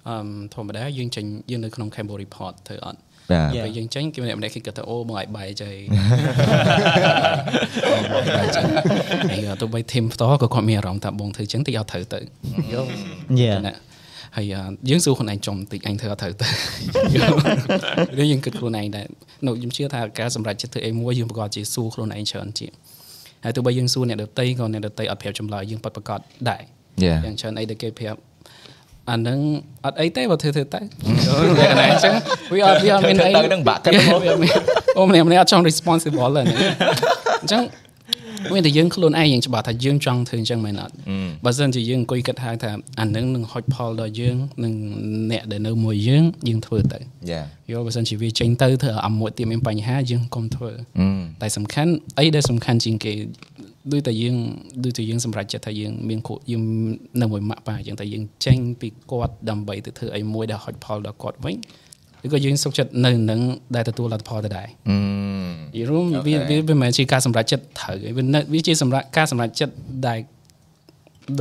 អឺមធម្មតាយើងចេញយើងនៅក្នុង Cambodia report ធ្វើអត់ បាទ ពេលយើងចេញគេម្នាក់ម្នាក់ៗគេគិតថាអូបងឲ្យបាយចៃ ហើយ [laughs] អត់ទៅបី team ផ្ទាល់ក៏គាត់មានអារម្មណ៍ថាបងធ្វើចឹងតិចអត់ត្រូវទៅ យេ ណាហើយអ่าយើងសួរខ្លួនឯងចំបន្តិច [laughs] អញធ្វើអត់ត្រូវទៅយើងយើងគិតខ្លួនឯងដែរនៅខ្ញុំជឿថាការសម្រេចចិត្តធ្វើអីមួយយើងប្រកបជាសួរខ្លួនឯងច្រើនជាងហើយទោះបីយើងសួរអ្នកដតីក៏អ្នកដតីអត់ប្រាប់ចម្លើយយើងពិតប្រកបដែរ Yeah. យ៉ាងច្រើនអីដែលគេប្រាប់អាហ្នឹងអត់អីទេបើធ្វើធ្វើតែលក្ខណៈអញ្ចឹងវាអត់វាអត់មានអី ធ្វើទៅនឹងបាក់កិន Yeah, វាអត់មានអូម្នាក់ម្នាក់អត់ចង់ responsible ឡើយហ្នឹងអញ្ចឹង មានតែយើងខ្លួនឯងយើងច្បាស់ថាយើងចង់ធ្វើអញ្ចឹងមែនអត់បើមិនជាយើងអង្គុយគិតហើយថាអានឹងនឹងហុចផលដល់យើងនឹងអ្នកដែលនៅមួយយើងយើងធ្វើទៅ យ៉ា យល់បើមិនជាវាចេញទៅធ្វើឲ្យអាមួយទៀតមានបញ្ហាយើងកុំធ្វើ អឺ តែសំខាន់អីដែលសំខាន់ជាងគេដូចតែយើងដូចតែយើងសម្រេចចិត្តថាយើងមានគ្រូយើងនៅមួយម៉ាក់ប៉ាអញ្ចឹងតែយើងចេញពីគាត់ដើម្បីទៅធ្វើអីមួយដែលហុចផលដល់គាត់វិញឬក៏យើងសុខចិត្តនៅនឹងដែលទទួលលទ្ធផលទៅដែរ អឺ យល់រួមវា Okay. វាវាមិនមែនជាការសម្រេចចិត្តត្រូវទេវានៅវាជាសម្រាប់ការសម្រេចចិត្តដែល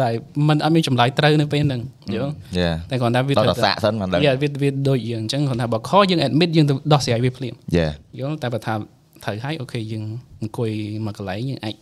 ដែលมันអត់មានចម្លើយត្រូវនៅពេលហ្នឹងយល់ Yeah. តែគ្រាន់តែវា ដល់តែសាកសិនបានដឹង Yeah, វាវាដូចយើងអញ្ចឹងគ្រាន់តែបើខយើង admit យើងទៅដោះស្រាយវាភ្លាម យ៉ា យល់តែបើថាត្រូវហើយអូខេយើងអង្គុយមកកន្លែងយើងអាច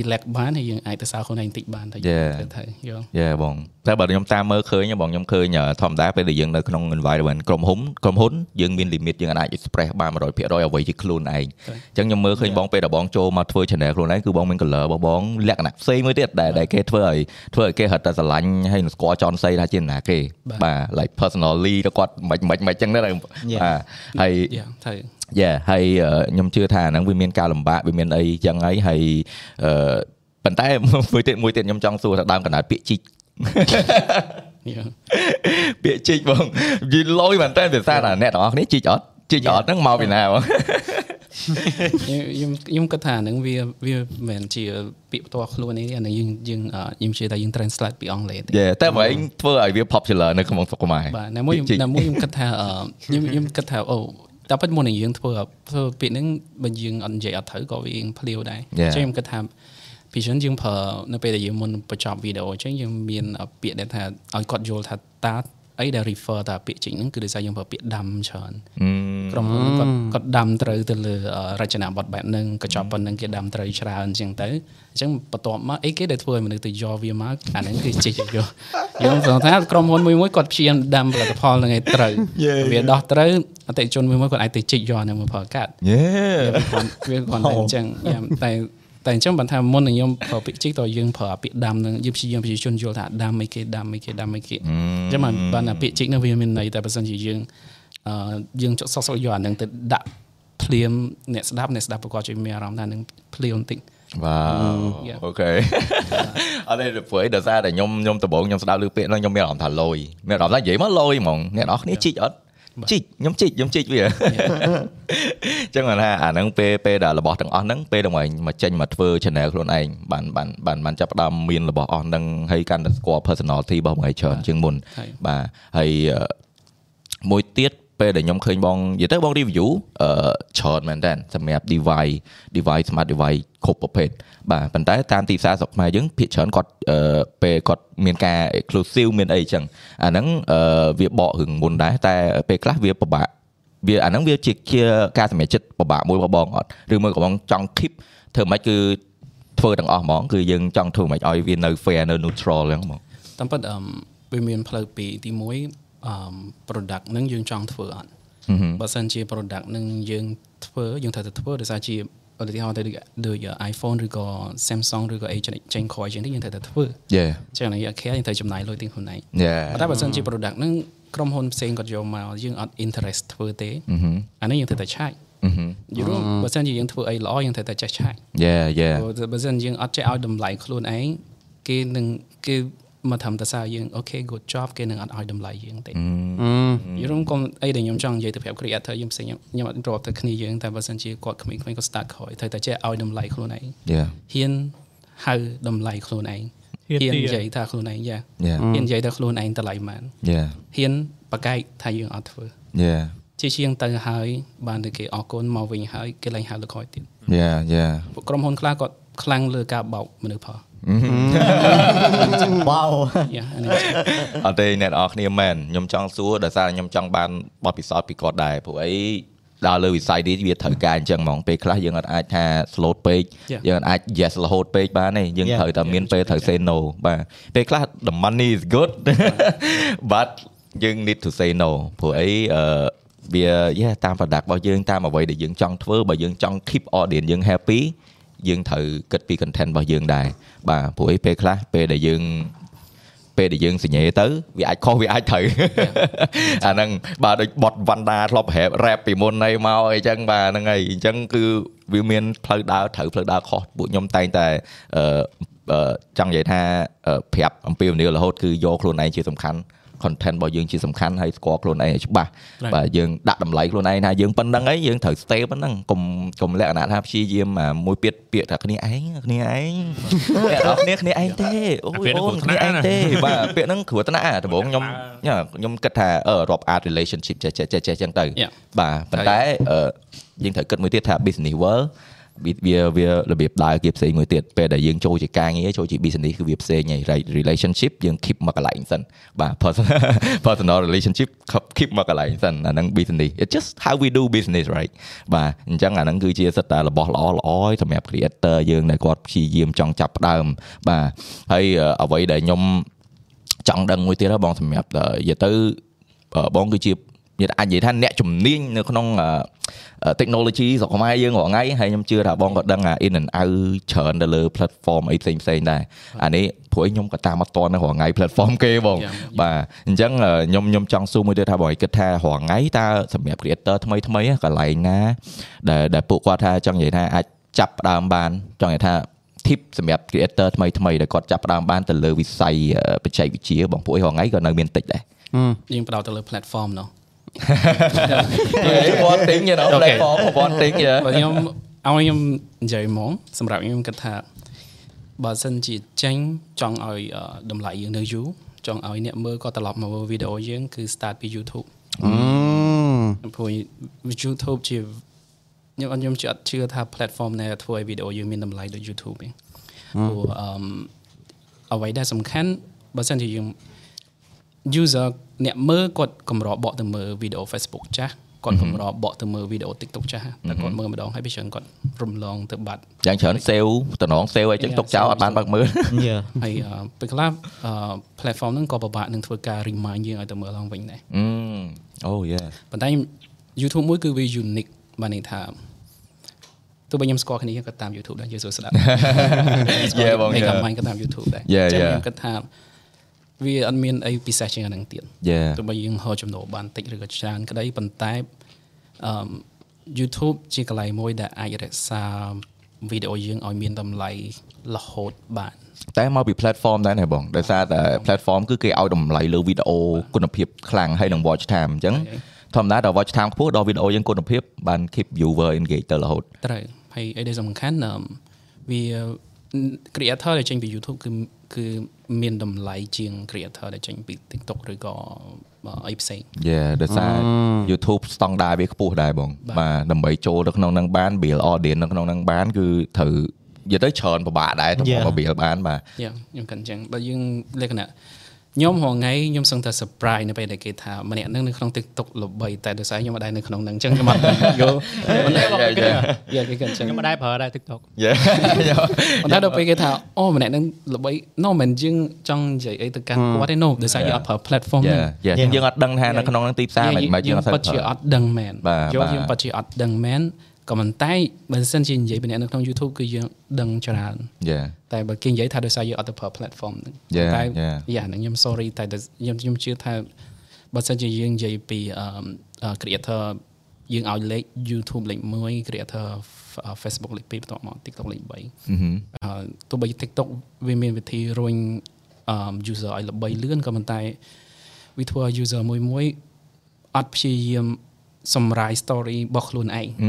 relax បានហើយយើងអាចទៅសើខ្លួនឯងបន្តិចបានតែយ Yeah. ល់ទៅយល់ យ៉ាបងតែបើខ្ញុំតាមមើលឃើញបងខ្ញុំឃើញធម្មតាពេលដែលយើងនៅក្នុង environment ក្រុមហ៊ុនក្រុមហ៊ុនយើងមាន limit យើងអាច express បាន100%អ្វីជាខ្លួនឯងអញ្ចឹងខ្ញុំមើលឃើញបងពេលដែលបងចូលមកធ្វើ channel ខ្លួនឯងគឺបងមាន color របស់បងលក្ខណៈផ្សេងមួយទៀតដែលដែលគេធ្វើឲ្យធ្វើឲ្យគេហត់តែស្រឡាញ់ហើយនឹងស្គាល់ចន់សៃថាជាអ្នកណាគេ បាទ បាទ like personally ទៅគាត់មិនមិនមិនអញ្ចឹងដែរបាទហើយ យ៉ាទៅ [laughs] យ៉ាហើយអឺខ្ញុំជឿថាអាហ្នឹងវាមានការលំបាកវាមានអីចឹងហើយហើយអឺប៉ុន្តែ [laughs] មួយទៀតមួយទៀតខ្ញុំចង់សួរថាដើមកណ្ដាលពាក្យជីក Yeah. ពាក្យជីកបង [laughs] និយាយលយមែនតើភាសាណាអ្នកទាំងអស់គ្នាជីកអត់ជីកអត់ហ្នឹងមកពីណាបង [laughs] ខ្ញុំខ្ញុំគិតថាហ្នឹងវាវាមិនមែនជាពាក្យផ្ទាល់ខ្លួនទេអាហ្នឹងយើងយើងអឺខ្ញុំជឿថាយើង translate ពីអង់គ្លេសទេ យ៉ាតែបើឯងធ្វើឲ្យវា popular នៅក្នុងស្រុកខ្មែរ បាទណាមួយ ពាក្យជីក ណាមួយខ្ញុំគិតថាអឺខ្ញុំខ្ញុំគិតថាអូតែប៉ិតមុននឹងយើងធ្វើធ្វើពាក្យហ្នឹងបើយើងអត់និយាយអត់ត្រូវក៏វាយើងភ្លាវដែរ Yeah. អញ្ចឹងខ្ញុំគិតថាពីជនយើងប្រើនៅពេលដែលយើងមុនបញ្ចប់វីដេអូអញ្ចឹងយើងមានអឺពាក្យដែលថាឲ្យគាត់យល់ថាតើអីដែល refer តាពាក្យជិញហ្នឹងគឺដោយសារយើងប្រើពាក្យដាំច្រើន ក្រុមហ៊ុនគាត់គាត់ដាំត្រូវទៅលើអឺរចនាប័ទ្មបែបហ្នឹងកញ្ចប់ប៉ុណ្្នឹងគេដាំត្រូវច្រើនអញ្ចឹងទៅអញ្ចឹងបន្ទាប់មកអីគេដែលធ្វើឲ្យមនុស្សទៅយកវាមកអាហ្នឹងគឺជិះយកយើងសង្ឃឹមថាក្រុមហ៊ុនមួយមួយៗគាត់ព្យាយាមដាំផលិតផលហ្នឹងឲ្យត្រូវវាដោះត្រូវអតិថិជនមួយមួយៗគាត់អាចទៅជិះយកអាហ្នឹងមកផលកាត់ យ៉ា វាគ្រាន់វាគ្រាន់តែអញ្ចឹងយ៉ាតែតែអញ្ចឹងបានថាមុននឹងខ្ញុំប្រើពាក្យជីកតើយើងប្រើអាពាក្យដាំនឹងយើងព្យាយាមប្រជាជនយល់ថាដាំអីគេដាំអីគេដាំអីគេអញ្ចឹងបានបានអាពាក្យជីកនោះវាមានន័យតែបើសិនជាយើងអឺយើងចុចសោះសោះយកអានឹងទៅដាក់ភ្លាមអ្នកស្ដាប់អ្នកស្ដាប់ប្រកបជួយមានអារម្មណ៍ថានឹងភ្លាមបន្តិច វ៉ាវ Yeah. អូខេ [laughs] អត់ទេព្រោះឯងដោយសារតែខ្ញុំខ្ញុំដំបូងខ្ញុំស្ដាប់ឮពាក្យហ្នឹងខ្ញុំមានអារម្មណ៍ថាលយមានអារម្មណ៍ថានិយាយមកលយហ្មងអ្នកនរគ្នាជីកអត់ជីកខ្ញុំជីកខ្ញុំជីកវា [laughs] អញ្ចឹងគាត់ថាអាហ្នឹងពេលពេលដែលរបស់ទាំងអស់ហ្នឹងពេលដល់មកមកចេញមកធ្វើ channel ខ្លួនឯងបានបានបានបានចាប់ផ្ដើមមានរបស់អស់ហ្នឹងហើយកាន់តែស្គាល់ personality របស់បងឯងច្រើនជាងមុន ហើយ បាទហើយអឺមួយទៀតពេលដែលខ្ញុំឃើញបងនិយាយទៅបង review អឺច្រើនមែនតើសម្រាប់ device device smart device គ្រប់ប្រភេទបាទប៉ុន្តែតាមទីផ្សារស្រុកខ្មែរយើងភាគច្រើនគាត់អឺពេលគាត់មានការ exclusive មានអីអញ្ចឹងអាហ្នឹងអឺវាបករឿងមុនដែរតែពេលខ្លះវាពិបាក វាអាហ្នឹងវាជាជាការសម្រេចចិត្តពិបាកមួយរបស់បងអត់ឬមួយក៏បងចង់ keep ធ្វើមិនគឺធ្វើទាំងអស់ហ្មងគឺយើងចង់ធ្វើមិនឲ្យវានៅ fair នៅ neutral ហ្នឹងហ្មង តាមពិតអឺមវាមានផ្លូវពីរទី1អឺម product ហ្នឹងយើងចង់ធ្វើអត់បើសិនជា product ហ្នឹងយើងធ្វើយើងត្រូវតែធ្វើដោយសារជាឧទាហរណ៍ទៅដូចដូច iPhone ឬក៏ Samsung ឬក៏អីចេញក្រោយជាងនេះយើងត្រូវតែធ្វើ យេ អញ្ចឹងអានេះ care យើងត្រូវចំណាយលុយទាំងខ្លួនឯង យេ ប៉ុន្តែបើសិនជា product ហ្នឹងក្រុមហ៊ុនផ្សេងគាត់យកមកយើងអត់ interest ធ្វើទេអានេះយើងត្រូវតែឆែកយល់បើសិនជាយើងធ្វើអីល្អយើងត្រូវតែចេះឆែក Yeah yeah ព្រោះបើសិនយើងអត់ចេះឲ្យតម្លៃខ្លួនឯងគេនឹងគេមកធ្វើតែសារយើងអូខេ good job គេនឹងអត់ឲ្យតម្លៃយើងទេយល់គុំអីដែលខ្ញុំចង់និយាយទៅប្រាប់ creator យើងផ្សេងខ្ញុំខ្ញុំអត់រាប់ទៅគ្នាយើងតែបើសិនជាគាត់ក្មេងៗគាត់ start ក្រោយត្រូវតែចេះឲ្យតម្លៃខ្លួនឯង yeah ហ៊ានហៅតម្លៃខ្លួនឯង ហ៊ានទា និយាយថាខ្លួនឯងយ៉ា Yeah. ហ៊ាននិយាយថាខ្លួនឯងតម្លៃមិន yeah ហ៊ានបកែកថាយើងអត់ធ្វើ yeah ជាជាងទៅហើយបានតែគេអរគុណមកវិញហើយគេឡើងហៅលើក្រោយទៀត yeah yeah ពួកក្រុមហ៊ុនខ្លះគាត់ខ្លាំងលើការបោកមនុស្សផង បោ យ៉ាអានេះ [laughs] អត់ទេអ្នកនរគ្នាមែនខ្ញុំចង់សួរដោយសារខ្ញុំចង់បានបទពិសោធន៍ពីគាត់ដែរព្រោះអីដល់លើវិស័យនេះវាត្រូវការអញ្ចឹងហ្មងពេលខ្លះយើងអត់អាចថា slot ពេកយើងអត់អាច yes រហូតពេកបានទេយើង Yeah. ត្រូវតែមានពេលត្រូវ say no បាទពេលខ្លះ the money is good [laughs] but យើង need to say no ព្រោះអីអឺវា yeah តាម product របស់យើងតាមអ្វីដែលយើងចង់ធ្វើបើយើងចង់ keep audience យើង happy យើងត្រូវគិតពី content របស់យើងដែរបាទព្រោះអីពេលខ្លះពេលដែលយើង ពេលដែលយើងសញ្ញេទៅវាអាចខុសវាអាចត្រូវ អាហ្នឹង [laughs] បាទដូចបត់វ៉ាន់ដាធ្លាប់រ៉េបរ៉េបពីមុនហ្នឹងមកអីចឹងបាទហ្នឹងហើយអញ្ចឹងគឺវាមានផ្លូវដើរត្រូវផ្លូវដើរខុសពួកខ្ញុំតែងតែអឺអឺចង់និយាយថាអឺប្រាប់អំពីវនីរហូតគឺយកខ្លួនឯងជាសំខាន់ content របស់យើងជាសំខាន់ហើយស្គាល់ខ្លួនឯងឲ្យច្បាស់បាទយើងដាក់តម្លៃខ្លួនឯងថាយើងប៉ុណ្្នឹងហើយយើងត្រូវ stay ប៉ុណ្្នឹងកុំកុំលក្ខណៈថាព្យាយាមអាមួយទៀតពាក្យថាគ្នាឯងគ្នាឯង [laughs] អ្នកនរគ្នាគ្នាឯងទេអូ ពា យ ក្យហ្នឹអូនងគ្រោះគ្នាឯងថ្នាក់ណា ទេ ទេ [laughs] បាទពាក្យហ្នឹងគ្រោះថ្នាក់អាដំបូងខ្ញុំខ្ញុំគិតថាអឺរាប់ art relationship ចេះចេះចេះចឹងទៅ យ៉ា បាទប៉ុន្តែអឺយើងត្រូវគិតមួយទៀតថា business world វាវាវារបៀបដើរគេផ្សេងមួយទៀតពេលដែលយើងចូលជាការងារចូលជា business គឺវាផ្សេងហើយ right relationship យើង keep មកកន្លែងសិនបាទ personal [laughs] personal relationship keep មកកន្លែងសិនអាហ្នឹង business it just how we do business right បាទអញ្ចឹងអាហ្នឹងគឺជាសិតតែរបស់ល្អល្អហើយសម្រាប់ creator យើងដែលគាត់ព្យាយាមចង់ចាប់ផ្ដើមបាទហើយអឺអ្វីដែលខ្ញុំ ចង់ដឹងមួយទៀតហ៎បងសម្រាប់និយាយទៅអឺបងគឺជានិយាយអាចនិយាយថាអ្នកជំនាញនៅក្នុងអឺ technology ស្រុកខ្មែរយើងរាល់ថ្ងៃហើយខ្ញុំជឿថាបងក៏ដឹងអា in and out ច្រើនទៅលើ platform អីផ្សេងផ្សេងដែរអានេះព្រោះឯងខ្ញុំក៏តាមអត់តាន់នៅរាល់ថ្ងៃ platform គេបង Yeah. បាទអញ្ចឹងអឺខ្ញុំខ្ញុំចង់សួរមួយទៀតថាបងឯងគិតថារាល់ថ្ងៃតើសម្រាប់ creator ថ្មីថ្មីហ៎កន្លែងណាដែលដែលពួកគាត់ថាចង់និយាយថាអាចចាប់ផ្ដើមបានចង់និយាយថា tip សម្រាប់ creator ថ្មីថ្មីដែលគាត់ចាប់ផ្ដើមបានទៅលើវិស័យអឺបច្ចេកវិទ្យាបងពួកឯងរាល់ថ្ងៃក៏នៅមានតិចដែរ យើងផ្ដោតទៅលើ platform នោះ Yeah, you want thing you know Okay. platform of one thing yeah បើខ្ញុំឲ្យខ្ញុំនិយាយហ្មងសម្រាប់ខ្ញុំគិតថាបើសិនជាចាញ់ចង់ឲ្យអឺតម្លៃយើងនៅយូរចង់ឲ្យអ្នកមើលគាត់ត្រឡប់មកមើលវីដេអូយើងគឺ start ពី YouTube ព្រោះ YouTube ជាខ្ញុំខ្ញុំជឿអត់ជឿថា platform ណាធ្វើឲ្យវីដេអូយើងមានតម្លៃដូច YouTube ទេព្រោះអឺមអ្វីដែលសំខាន់បើសិនជាយើង user អ្នកមើលគាត់កម្របកទៅមើលវីដេអូ Facebook ចាស់គាត់កម្របកទៅមើលវីដេអូ TikTok ចាស់តែគាត់មើលម្ដងហើយពីច្រើនគាត់រំលងទៅបាត់ យ៉ាងច្រើន sale តំណង sale អីចឹង Yeah, ຕົកចោលអត់បានបើកមើល យេ ហើយអឺពេលខ្លះអឺ platform ហ្នឹងក៏ពិបាកនឹងធ្វើការ remind យើងឲ្យទៅមើលឡើងវិញដែរ oh yeah ប៉ុន្តែ YouTube មួយគឺវា unique បានន័យថាទោះបីខ្ញុំស្គាល់គ្នាក៏តាម YouTube ដែរយើងសួរស្ដាប់ [laughs] Yeah, បង yeah. កាម៉ាញក៏តាម YouTube ដែរ Yeah, អញ្ចឹង yeah. ខ្ញុំគិតថាវាអត់មានអីពិសេសជាងអាហ្នឹងទៀត Yeah. ទោះបីយើងហៅចំណូលបានតិចឬក៏ច្រើនក្តីប៉ុន្តែអឺម YouTube ជាកន្លែងមួយដែលអាចរក្សាវីដេអូយើងឲ្យមានតម្លៃរហូតបាន តែមកពី platform ដែរណាបងដោយសារតែ platform គឺគេឲ្យតម្លៃលើវីដេអូគុណភាពខ្លាំងហើយនឹង watch time អញ្ចឹងធម្មតាដល់ watch time ខ្ពស់ដល់វីដេអូយើងគុណភាពបាន keep viewer engaged ទៅរហូត ត្រូវហើយអីដែលសំខាន់អឺមវា creator ដែលចេញពី YouTube គឺគឺមានតម្លៃជាង creator ដែលចេញពី TikTok ឬក៏អីផ្សេង Yeah ដោយសារ YouTube ស្តង់ដារវាខ្ពស់ដែរបងបាទដើម្បីចូលទៅក្នុងហ្នឹងបាន build audience នៅក្នុងហ្នឹងបានគឺត្រូវនិយាយទៅច្រើនពិបាកដែរទៅមក build បានបាទ យ៉ាងខ្ញុំកាន់ចឹងបើយើងលក្ខណៈខ្ញុំរហងៃខ្ញុំសឹងតែ surprise នៅពេលដែលគេថាម្នាក់ហ្នឹងនៅក្នុង TikTok ល្បីតែដោយសារខ្ញុំមិនដែរនៅក្នុងហ្នឹងចឹងខ្ញុំ [laughs] អត់យល់ Yeah, yeah. យ៉ាងគេកាន់ចឹង ខ្ញុំមិនដែរប្រើដែរ TikTok [laughs] Yeah. [laughs] Dạ. ប៉ុន្តែដល់ពេលគេថាអូម្នាក់ហ្នឹងល្បី no មិនយើងចង់និយាយអីទៅកាន់គាត់ទេ no ដោយសារយើងអត់ប្រើ platform ហ្នឹង Yeah. Yeah. យើងអត់ដឹងថានៅក្នុងហ្នឹងទីផ្សារ Dạ, មិនមិនយើងអត់ ពិតជា ស្គាល់ អត់ដឹងមែន បាទ យ បា ល់ ទ យើងពិតជាអត់ដឹងមែនក៏ប៉ុន្តែបើសិនជានិយាយពីអ្នកនៅក្នុង YouTube គឺយើងដឹងច្រើន Yeah. តែបើគេនិយាយថាដោយសារយើងអត់ទៅប្រើ platform ហ្នឹង Yeah, តែ yeah. យ៉ាហ្នឹងខ្ញុំ sorry តែដូចខ្ញុំខ្ញុំជឿថាបើសិនជាយើងនិយាយពីអឺមអឺ creator យើងឲ្យលេខ YouTube លេខ1 creator ហ្វអឺ Facebook លេខ2បន្ទាប់មក TikTok លេខ3អឺទោះបី TikTok វាមានវិធីរុញអឺម user ឲ្យល្បីលឿនក៏ប៉ុន្តែវាធ្វើឲ្យ user មួយមួយៗអត់ព្យាយាមសម្រាយ story របស់ខ្លួនឯង Yeah.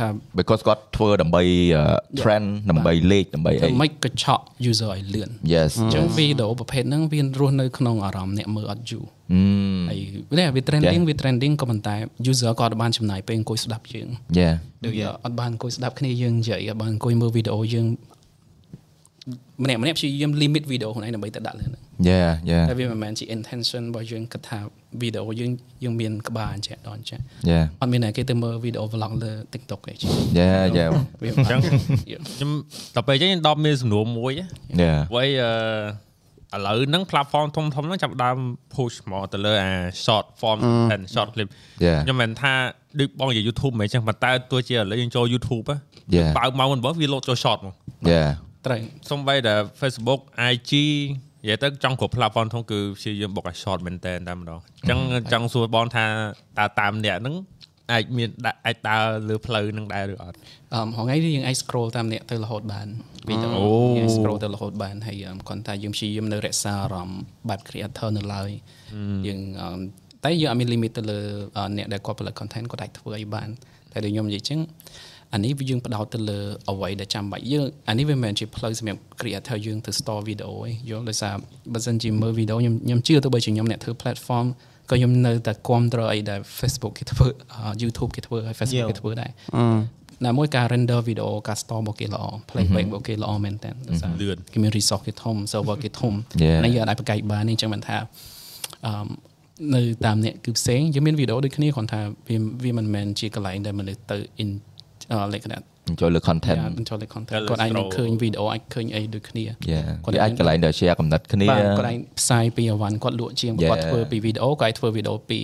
ថា Ừ. Dạ. because គាត់ធ្វើដើម្បីអឺ ờ, trend ដើម្បីលេខដើម្បីអី ធ្វើម៉េចក៏ឆក់ user ឲ្យលឿន Yes. អញ្ចឹងវីដេអូប្រភេទហ្នឹងវារស់នៅក្នុងអារម្មណ៍អ្នកមើលអត់យូរ Ừ. ហើយវានេះវា trending វា trending ក៏ប៉ុន្តែ user ក៏អត់បានចំណាយពេលអង្គុយស្ដាប់យើង Yeah. ដូចអត់បានអង្គុយស្ដាប់គ្នាយើងនិយាយអត់បានអង្គុយមើលវីដេអូយើងម្នាក់ម្នាក់ព្យាយាម limit វីដេអូខ្លួនឯងដើម្បីទៅដាក់លើហ្នឹង Yeah. Yeah. តែវាមិនមែនជា intention របស់យើងគិតថាវីដេអូយើងយើងមានក្បាលអញ្ចឹងដល់អញ្ចឹង Yeah. អត់មានអ្នកគេទៅមើលវីដេអូ vlog លើ TikTok ទេ Yeah. Dạ, Yeah. [laughs] វា អញ្ចឹង ខ្ញុំដល់ពេលអញ្ចឹងខ្ញុំដប់មានសំណួរមួយហ៎ Yeah. វ៉ៃអឺឥឡូវហ្នឹង platform ធំធំហ្នឹងចាប់ផ្ដើម push មកទៅលើអា short form and short clip Yeah. ខ្ញុំមិនថាដូចបងនិយាយ YouTube ហ្មងអញ្ចឹងប៉ុន្តែទោះជាឥឡូវយើងចូល YouTube ហ៎ Yeah. បើកមកមិនបើវាលោតចូល short មក Yeah. ត្រូវ សំបីតែ Facebook IG និយាយទៅចង់គ្រប់ platform ធំគឺព្យាយាមបុកឲ្យ short មែនតើតែម្ដងអញ្ចឹងចង់សួរបងថាតើតាមអ្នកហ្នឹងអាចមានដាក់អាចដើរលើផ្លូវហ្នឹងដែរឬអត់ អមហងៃនេះយើងអាច scroll តាមអ្នកទៅរហូតបានវីដេអូយើងអាច scroll ទៅរហូតបានហើយអមគ្រាន់តែយើងព្យាយាមនៅរក្សាអារម្មណ៍បែប creator នៅឡើយយើងអមតែយើងអត់មាន limit ទៅលើអអ្នកដែលគាត់ផលិត content គាត់អាចធ្វើអីបានតែដូចខ្ញុំនិយាយចឹងអានេះវាយើងផ្ដោតទៅលើអ្វីដែលចាំបាច់យើងអានេះវាមិនមែនជាផ្លូវសម្រាប់ creator យើងទៅ store video ឯងយល់ដោយសារបើសិនជាមើល video ខ្ញុំខ្ញុំជឿទៅបីជាខ្ញុំអ្នកធ្វើ platform ក៏ខ្ញុំនៅតែគ្រប់គ្រងអីដែល Facebook គេធ្វើអឺ YouTube គេធ្វើហើយ Facebook គេធ្វើដែរ ណាមួយការ render video ការ store របស់គេល្អ playback របស់គេល្អមែនតើដោយសារ លឿន គេមាន resource គេធំ server គេធំ Yeah. ហើយយើងអាចបង្កើតបាននេះអញ្ចឹងមិនថាអឺមនៅតាមអ្នកគឺផ្សេងយើងមានវីដេអូដូចគ្នាគ្រាន់ថាវាវាមិនមែនជាកន្លែងដែលមនុស្សទៅ in អឺលក្ខណៈ ចូលលើ content យ៉ា control content គាត់តែលើអាចនឹង ស្រូវ ឃើញវីដេអូអាចឃើញអីដូចគ្នា យ៉ា គាត់ វាអាចកន្លែងដែល share កំណត់គ្នា បាទគាត់អាចផ្សាយពីអវ៉ាន់គាត់លក់ជាង Yeah. គាត់ធ្វើពីវីដេអូគាត់អាចធ្វើវីដេអូពី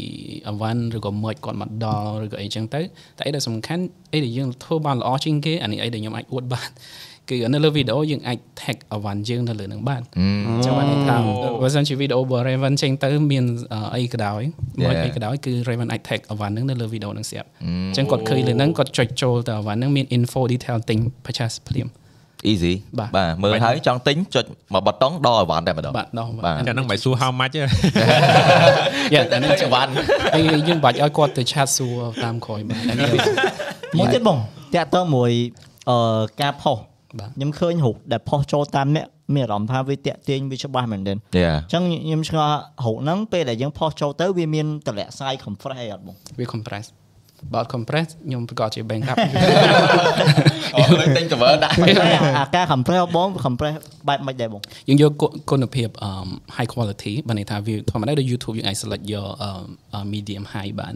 អវ៉ាន់ឬក៏មើចគាត់មកដល់ឬក៏អីចឹងទៅតែអីដែលសំខាន់អីដែលយើងធ្វើបានល្អជាងគេអានេះអីដែលខ្ញុំអាចអួតបាន [laughs] គឺនៅលើវីដេអូយើងអាច tag អវ៉ាន់យើងនៅលើនឹងបានអញ្ចឹងបានន័យថាបើសិនជាវីដេអូរបស់ Raven ចេញទៅមានអឺអីក៏ដោយមើច Yeah. អីក៏ដោយគឺ Raven អាច tag អវ៉ាន់ហ្នឹងនៅលើវីដេអូហ្នឹងស្រាប់អញ្ចឹងគាត់ឃើញលើហ្នឹងគាត់ចុចចូលទៅអវ៉ាន់ហ្នឹងមាន info detail thing 50ភ្លាម easy បាទ បាទមើលហើយចង់ទិញចុចមកប៊ុតុងដល់ឲ្យវ៉ាន់តែម្ដង បាទដល់វ៉ាន់ បាទ ចាហ្នឹងមិនសួរ how much ទេ យ៉ា [laughs] តែនេះច ចង្វា ង្វា ន់ ន់ហើយយើងបាច់ឲ្យគាត់ទៅឆាតសួរតាមក្រោយបាទ មួយទៀតបងតាក់ទងមួយអឺការផុស បាទ ខ្ញុំឃើញរូបដែលផុសចូលតាមអ្នកមានអារម្មណ៍ថាវាតាក់ទាញវាច្បាស់មែនទែន Yeah អញ្ចឹងខ្ញុំឆ្ងល់រូបហ្នឹងពេលដែលយើងផុសចូលទៅវាមានតម្លាក់ស្រាយ compress អីអត់បង វា compress បើអត់ compress ខ្ញុំប្រកាសជា bank [laughs] up អូលើទិញ cover ដាក់ ប៉ុន្តែអាអាការ compress របស់បង compress បែបមិនដែរបង យើងយកគុគុណភាពអឺម high quality បើន័យថាវាធម្មតាដូច YouTube យើងអាច select យកអឺមអឺ medium high បាន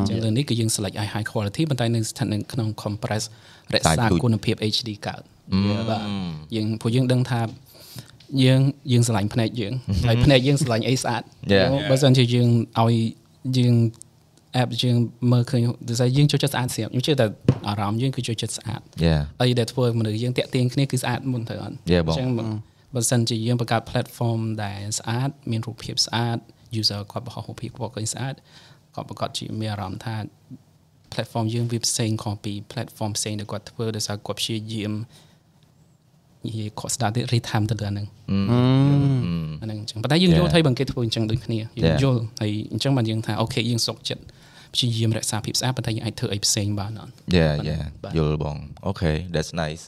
អញ្ចឹងលើនេះគឺយើង select ឲ្យ high quality ប៉ុន្តែនៅស្ថិតនៅក្នុង compress រក្សា តែទូច គុណភាព HD កើតបាទយើងព្រោះយើងដឹងថាយើងយើងស្រឡាញ់ភ្នែកយើងហើយភ្នែកយើងស្រឡាញ់អីស្អាត Yeah. បើសិនជាយើងឲ្យយើង app យើងមើលឃើញដូចថាយើងចូលចិត្តស្អាតស្រាប់ខ្ញុំជឿតែអារម្មណ៍យើងគឺចូលចិត្តស្អាត Yeah. អីដែលធ្វើឲ្យមនុស្សយើងតាក់ទាញគ្នាគឺស្អាតមុនទៅអត់ Yeah បង ងបើសិនជាយើងបង្កើត platform ដែលស្អាត មានរូបភាពស្អាត user គាត់បង្ហោះរូបភាពគាត់ឃើញស្អាតគាត់ប្រកាសជាមានអារម្មណ៍ថា platform យើងវាផ្សេងខុសពី platform ផ្សេងដែលគាត់ធ្វើដោយសារគាត់ព្យាយាមនិយាយគាត់ស្ដាប់ទៅ retam ទៅលើហ្នឹងអាហ្នឹងអញ្ចឹងប៉ុន្តែយើង Yeah. យល់ថាបើគេធ្វើអញ្ចឹងដូចគ្នាយើ Yeah. ងយល់ហើយអញ្ចឹងបានយើងថាអូខេយើងសុខចិត្តព្យាយាមរក្សាភាពស្អាតប៉ុន្តែយើងអាចធ្វើអីផ្សេងបានអត់ យ៉ាយ៉ា បាទ យល់បងអូខេ that's nice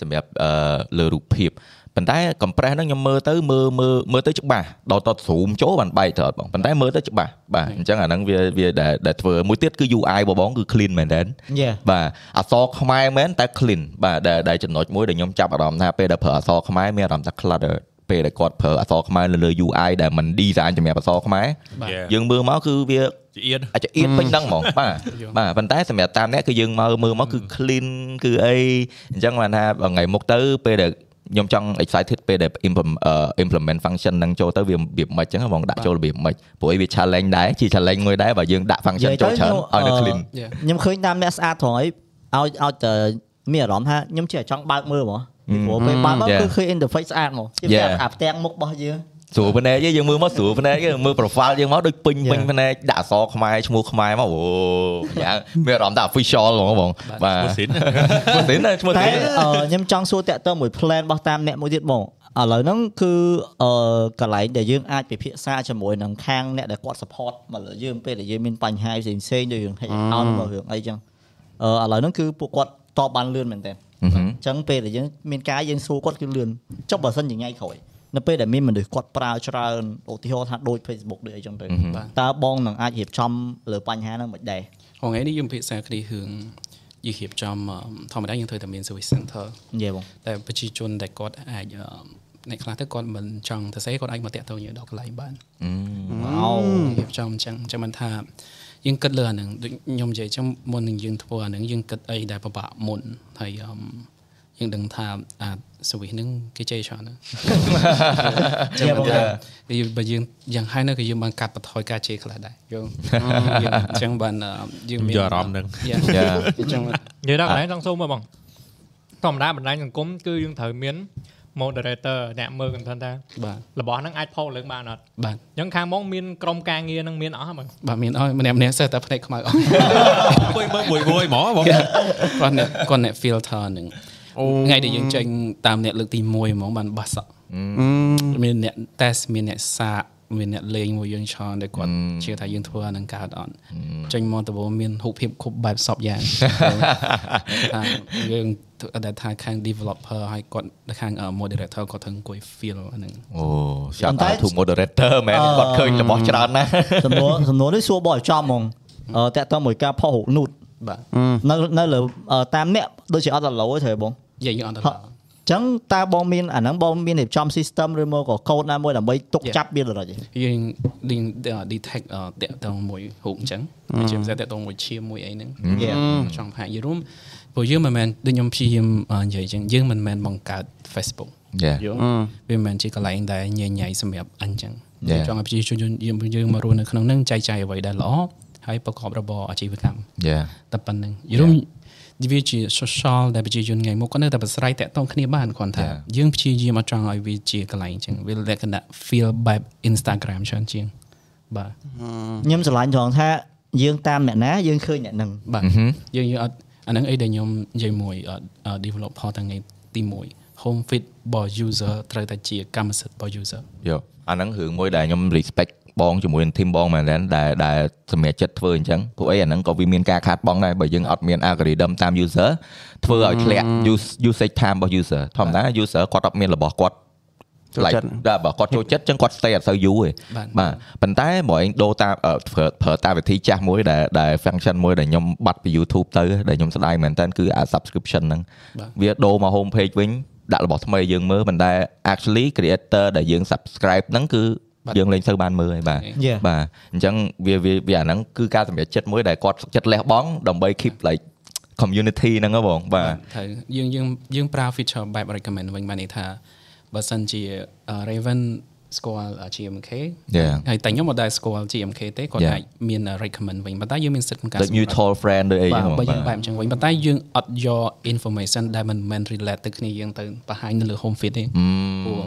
សម្រាប់អឺលើរូបភាពប៉ុន្តែ compress ហ្នឹងខ្ញុំមើលទៅមើលមើលមើលទៅច្បាស់ដល់តត zoom ចូលបានបែកទៅអត់បងប៉ុន្តែមើលទៅច្បាស់បាទអញ្ចឹងអាហ្នឹងវាវាដែលដែលធ្វើមួយទៀតគឺ UI របស់បងគឺ clean មែនតើ Yeah បាទអក្សរខ្មែរមែនតែ clean បាទដែលដែលចំណុចមួយដែលខ្ញុំចាប់អារម្មណ៍ថាពេលដែលប្រើអក្សរខ្មែរមានអារម្មណ៍ថា clutter ពេលដែលគាត់ប្រើអក្សរខ្មែរនៅលើ UI ដែលมัน design សម្រាប់អក្សរខ្មែរ Yeah. យើងមើលមកគឺវា ចៀន អាចចអៀនពេញដឹងហ្មង បាទបាទប៉ុន្តែសម្រាប់តាមអ្នកគឺយើងមើលមើលមកគឺ clean គឺអីអញ្ចឹងបានថាថ្ងៃមុខទៅពេលដែលខ្ញុំចង់ excited ពេលដែល implement អឺ implement function ហ្នឹងចូលទៅវារបៀបមិនអញ្ចឹងហ៎ហ្មងដាក់ចូលរបៀបមិនព្រោះឯងវា challenge ដែរជា challenge មួយដែរបើយើងដាក់ function ចូលច្រើនឲ្យនៅ clean និ Yeah. យាយទៅខ្ញុំអឺខ្ញុំឃើញតាមអ្នកស្អាតត្រង់អីឲ្យឲ្យតែមានអារម្មណ៍ថាខ្ញុំជិះចង់បើកមើលហ្មងពីព្រោះពេលបើកមក Yeah. គឺឃើញ interface ស្អាតហ្មងជា Yeah. អាផ្ទាំងមុខរបស់យើង ស្រួលភ្នែកទេយើងមើលមកស្រួលភ្នែកទេមើល profile យើងមកដូចពេញ Yeah. ពេញភ្នែកដាក់អក្សរខ្មែរឈ្មោះខ្មែរមកអូយ៉ាងមានអារម្មណ៍ថា official ហ្មងបង Dạ. បាទឈ្មោះ [laughs] Sin ស៊ីនឈ្មោះ តែ ស៊ីន អឺខ្ញុំចង់សួរតាក់ទងមួយ plan របស់តាមអ្នកមួយទៀតបងឥឡូវហ្នឹងគឺអឺកន្លែងដែលយើងអាចពិភាក្សាជាមួយនឹងខាងអ្នកដែលគាត់ support មកលើយើងពេលដែលយើងមានបញ្ហាផ្សេងផ្សេងៗដូចរឿង hate out មករឿងអីចឹងអឺឥឡូវហ្នឹងគឺពួកគាត់តបបានលឿនមែនតើ អឺហឹម អញ្ចឹងពេលដែលយើងមានការយើងសួរគាត់គឺលឿនចុះបើសិនជាថ្ងៃក្រោយនៅពេលដែលមានមនុស្សគាត់ប្រើច្រើនឧទាហរណ៍ថាដូច Facebook ដូចអីចឹងទៅតើបងនឹងអាចរៀបចំលើបញ្ហាហ្នឹងមិនដែរ ហងៃនេះយើងពិភាក្សាគ្នារឿងយើងរៀបចំអឺមធម្មតាយើងត្រូវតែមាន service center និយាយបង តែប្រជាជនដែលគាត់អាចអឺមអ្នកខ្លះទៅគាត់មិនចង់ទៅសេគាត់អាចមកតាក់ទងយើងដល់កន្លែងបានអូរៀបចំអញ្ចឹងអញ្ចឹងមិនថាយើងគិតលើអាហ្នឹងដូចខ្ញុំនិយាយអញ្ចឹងមុននឹងយើងធ្វើអាហ្នឹងយើងគិតអីដែលពិបាកមុនហើយអឺមយើងដឹងថាអា service ហ្នឹងគេចេះច្រើនណាស់ ចាំបង Dạ. ថានិយាយបើយើងយ៉ាងហើយណាក៏យើងបានកាត់បន្ថយការជេរខ្លះ [laughs] ដែរយើងយើងអញ្ចឹងបានអឺយើងមាន យកអារម្មណ៍ហ្នឹង [laughs] យ៉ាអ Yeah. ញ្ចឹង និយាយដល់កន្លែងចង់សួរមើលបងធម្មតាបណ្ដាញសង្គមគឺយើងត្រូវមាន moderator អ្នកមើល content ថា បាទ របស់ហ្នឹងអាចផុសឡើងបានអត់ បាទ អញ្ចឹងខាងមកមានក្រុមការងារហ្នឹងមានអស់ហ៎បង បាទមានអស់ម្នាក់ម្នាក់សេះតែភ្នែកខ្មៅ [laughs] អស់ អង្គុយមើលមួយមួយហ្មងបង គាត់អ្នកគាត់អ្នក filter ហ្នឹងថ្ងៃដែលយើងចេញតាមអ្នកលើកទី1ហ្មងបានបាសសក់មានអ្នក test មានអ្នកសាកមានអ្នកលេងមួយយើងច្រើនដែលគាត់ជឿថាយើងធ្វើអានឹងកើតអត់ចេញមកតើមានរូបភាពគ្រប់បែបសពយ៉ាង [laughs] ថាយើងដែលថាខាង developer ហើយគាត់ខាង moderator គាត់ត្រូវអង្គុយ feel អាហ្នឹង អូចាំតែប៉ុន្តែ to moderator មែន អឺ គាត់ឃើញរបស់ច្រើនណាស់ សំណួរសំណួរនេះសួរបងឲ្យចំហ្មងអឺតាក់ទងមួយការផុសរូបនូត បាទ នៅនៅលើអឺតាមអ្នកដូចជាអត់ដល់ low ទេបង និយាយយើងអត់ទៅដអល់ញ្ចឹងតើបងមានអាហ្នឹងបងមានរៀបចំ system ឬមកក៏កូដណាមួយដើម្បីទុក Yeah. ចាប់មានរត់ទេ យើង link- អឺ detect អឺតាក់ទងមួយរូបអញ្ចឹងហើយជាពិសេសតាក់ទងមួយឈាមមួយអីហ្នឹង យេ ចង់ផាកយីរួមព្រោះយើងមិនមែនដូចខ្ញុំព្យាយាមអឺនិយាយអញ្ចឹងយើងមិនមែនបង្កើត Facebook យេ យល់វាមិនមែនជាកន្លែងដែលញញៃសម្រាប់អញ្ចឹង Yeah. ចង់ឲ្យប្រជាជនយើងយើងមករស់នៅក្នុងហ្នឹងចែកចាយអ្វីដែលល្អហើយប្រកបរបរអាជីវកម្ម យេ តែប៉ុណ្្នឹងយល់រួមវាជា social ដែលប្រជាជនថ្ងៃមុខក៏នៅតែប្រស្រ័យតាក់ទងគ្នាបានគ្រាន់ថា Yeah. យើងព្យាយាមអត់ចង់ឲ្យវាជាកន្លែងអញ្ចឹងវាលក្ខណៈ feel បែប Instagram ច្រើនជាងបាទ ខ្ញុំស្រឡាញ់ត្រង់ថាយើងតាមអ្នកណាយើងឃើញអ្នកហ្នឹង បាទយើងយើងអត់អាហ្នឹងអីដែលខ្ញុំនិយាយមួយអត់អត់ developer តាំងថ្ងៃទី1 home feed របស់ user ត្រូវតែជាកម្មសិទ្ធិរបស់ user យកអាហ្នឹងរឿងមួយដែលខ្ញុំ respect បងជាមួយនឹង team បងមែនទែនដែលដែលសម្រាប់ចិត្តធ្វើអញ្ចឹងពួកអីអាហ្នឹងក៏វាមានការខាតបង់ដែរបើយើងអត់មាន algorithm តាម user ធ្វើឲ្យធ្លាក់ use- usage time របស់ user ធម្មតា user គាត់អត់មានរបស់គាត់ ចូលចិត្ត like ដែរបើគាត់ចូលចិត្តចឹងគាត់ stay អត់សូវយូរទេ បាទ បាទប៉ុន្តែបើឯងដូរតាមអឺប្រើប្រើតាមវិធីចាស់មួយដែលដែល function មួយដែលខ្ញុំបាត់ពី YouTube ទៅដែលខ្ញុំស្ដាយមែនតើគឺអា subscription ហ្នឹងវាដូរមក home page វិញដាក់របស់ថ្មីយើងមើលប៉ុន្តែ actually creator ដែលយើង subscribe ហ្នឹងគឺយើងលេងទៅបានមើលហើយបាទ យេ បាទអញ្ចឹងវាវាវាអាហ្នឹងគឺការសម្រេចចិត្តមួយដែលគាត់ចិត្តលះបង់ដើម្បី keep like community ហ្នឹងហ៎បងបាទ ត្រូវយើងយើងយើងប្រើ feature បែប recommend វិញបានន័យថាបើសិនជាអឺ Raven ស្គាល់អឺ GMK យ៉ា ហើយតែខ្ញុំអត់ដែលស្គាល់ GMK ទេគាត់អាចមាន recommend វិញប៉ុន្តែយើងមានសិទ្ធិក្នុងការ ដូច mutual friend ដូចអី បា ចឹ ទ ងបង បើយើង បាទ បែបអញ្ចឹងវិញប៉ុន្តែយើងអត់យក information ដែលមិនមែន relate ទៅគ្នាយើងទៅបង្ហាញនៅលើ home feed ទេព្រោះ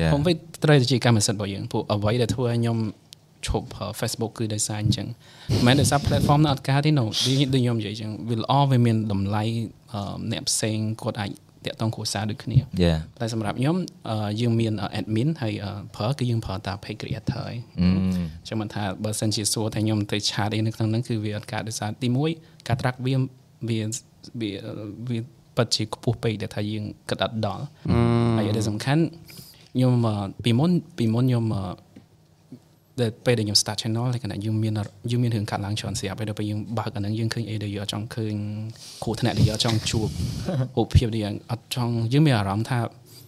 yeah. home feed ត្រូវតែជាកម្មសិទ្ធិរបស់យើងព្រោះអ្វីដែលធ្វើឲ្យខ្ញុំឈប់ប្រើ Facebook គឺដោយសារអញ្ចឹងមិនមែនដោយសារ platform នោះអត់ការទេ no ដូចដូចខ្ញុំនិយាយអញ្ចឹងវាល្អវាមានតម្លៃអឺអ្នកផ្សេងគាត់អាចតាក់ទងគ្រួសារដូចគ្នា Yeah. តែសម្រាប់ខ្ញុំអឺយើងមានអឺ admin ហើយអឺប្រើគឺយើងប្រើតា page creator ហើយចាំមិនថាបើសិនជាសួរថាខ្ញុំទៅឆាតអីនៅក្នុងហ្នឹងគឺវាអត់ការដោយសារទី1ការ track វាវាវាវាប៉ັດជាខ្ពស់ពេកដែលថាយើងគិតអត់ដល់ហើយដែលសំខាន់ខ្ញុំអឺពីមុនពីមុនខ្ញុំអឺ ដែលពេលដែលខ្ញុំ start channel លក្ខណៈយើងមានយើងមានរឿងកាត់ឡើងច្រើនស្រាប់ហើយដល់ពេលយើងបើកអាហ្នឹងយើងឃើញអីដែលយើងអត់ចង់ឃើញគ្រូថ្នាក់ដែលយើងអត់ចង់ជួប រូបភាពដែលយើងអត់ចង់យើងមានអារម្មណ៍ថា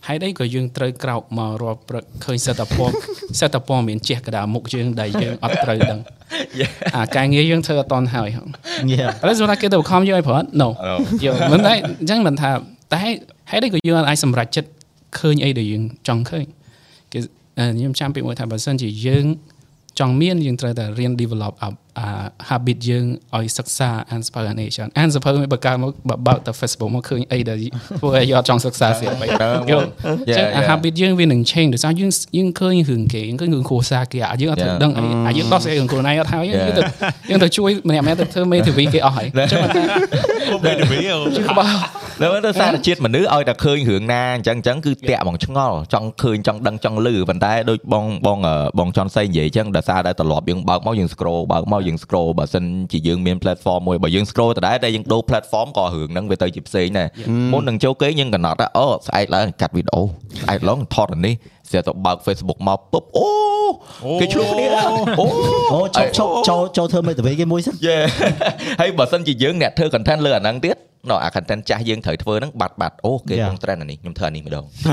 ហេតុអីក៏យើងត្រូវក្រោកមករាល់ព្រឹកឃើញសិតពណ៌ សិតពណ៌មានជះកណ្ដាលមុខយើងដែលយើងអត់ត្រូវដឹងអាការងារយើងធ្វើអត់តន់ហើយហ៎ Yeah. ឥឡូវសម្រាប់គេទៅបង្ខំយើងឲ្យប្រើ No យកមិនដែរអញ្ចឹងមិនថាតែហេតុអីក៏យើងអាចសម្រេចចិត្តឃើញអីដែលយើងចង់ឃើញគេអឺខ្ញុំចាំពីមួយថាបើសិនជាយើងចង់មានយើងត្រូវតែរៀន develop up អា habit យើងឲ្យសិក្សា inspiration អានសៀវភៅមិនបើកើតមកបើបើកទៅ Facebook មកឃើញអីដែលធ្វើឲ្យយើងអត់ចង់សិក្សាស្រាប់អី ត្រូវហ្មង យល់អញ្ចឹង Yeah, អា yeah. habit យើងវានឹង change ដោយសារយើងយើងឃើញរឿងគេយើងឃើញរឿងគ្រួសារគេអាយើងអត់ Yeah. ដឹងអីអាយើងដោះស្អីរឿងខ្លួនឯងអត់ហើយយើងទៅយើងទៅជួយម្នាក់ម្នាក់ទៅធ្វើ MTV គេអស់ហើយ ពេលទៅវា នៅទៅសារជាតិមនុស្សឲ្យតែឃើញរឿងណាអញ្ចឹងអញ្ចឹងគឺតាក់បងឆ្ងល់ចង់ឃើញចង់ដឹងចង់លឺប៉ុន្តែដូចបងបងអឺបងចន់សៃនិយាយអញ្ចឹងដោយសារតែទម្លាប់យើងបើកមកយើង scroll បើកមកយើង scroll បើសិនជាយើងមាន platform មួយបើយើង scroll ទៅដែរតែយើងដូរ platform ក៏រឿងហ្នឹងវាទៅជាផ្សេងដែរមុននឹងចូលគេងយើងកំណត់ថាអូស្អែកឡើងកាត់វីដេអូស្អែកឡើងថតអានេះស្អែកទៅបើក Facebook មកពុបអូគេឆ្លោះគ្នាអូ [laughs] អូឈប់ឈប់ចូលចូលធ្វើមេតាវីគេមួយសិន យេ [laughs] ហើយបើសិនជាយើងអ្នកធ្វើ content លើអាហ្នឹងទៀតណោះអា content ចាស់យើងត្រូវធ្វើហ្នឹងបាត់បាត់អូគេក្នុង trend អានេះខ្ញុំធ្វើអានេះ [laughs] ម្ដង ចា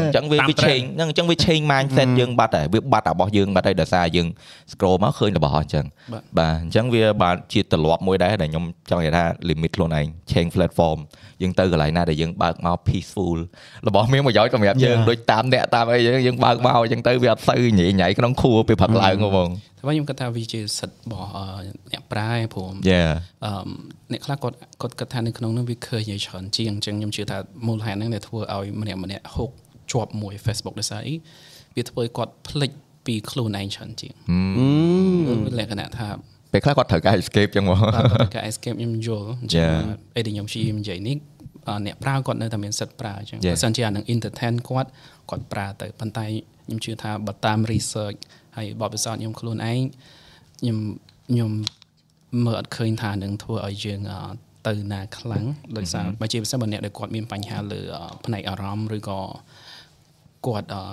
អញ្ចឹងវាវា change ហ្នឹងអញ្ចឹងវា change mindset យើងបាត់ហើយវាបាត់របស់យើងបាត់ហើយដោយសារយើង scroll មកឃើញរបស់អស់អញ្ចឹង បាទ បាទអញ្ចឹងវាបានជាទម្លាប់មួយដែរដែលខ្ញុំចង់និយាយថា limit ខ្លួនឯង change platform យើងទៅកន្លែងណាដែលយើងបើកមក peaceful របស់មានប្រយោជន៍សម្រាប់យើងដូចតាមអ្នកតាមអីយើងយើងបើកមកអញ្ចឹងទៅវាអត់សូវញ៉ៃញ៉ៃក្នុងខួរពេលផឹកឡើងហ្មង តែខ្ញុំគិតថាវាជាសិទ្ធិរបស់អឺអ្នកប្រាយព្រម យេ អឺមអ្នកខ្លះគាត់គាត់គិតថានៅក្នុងនោះវាឃើញឲ្យច្រើនជាងអញ្ចឹងខ្ញុំជឿថាមូលហេតុហ្នឹងដែលធ្វើឲ្យម្នាក់ម្នាក់ហុកជាប់មួយ Facebook ដោយសារអីវាធ្វើឲ្យគាត់ភ្លេចពីខ្លួនឯងច្រើនជាងវាលក្ខណៈថា ពេលខ្លះគាត់ត្រូវការ escape ចឹងមក បាទការ escape ខ្ញុំយល់អញ្ចឹង Yeah. អីដែលខ្ញុំព្យាយាមនិយាយនេះអ่าអ្នកប្រើគាត់នៅតែមានសិទ្ធិប្រើអញ្ចឹង Yeah. បើសិនជាអានឹង entertain គាត់គាត់ប្រើទៅប៉ុន្តែខ្ញុំជឿថាបើតាម research ហើយបទពិសោធន៍ខ្ញុំខ្លួនឯងខ្ញុំខ្ញុំមើលអត់ឃើញថានឹងធ្វើឲ្យយើងអ่าទៅណាខ្លាំងដោយសារបើជាពិសេសបើអ្នកដែលគាត់មានបញ្ហាលើអ่าផ្នែកអារម្មណ៍ឬក៏គាត់អ่า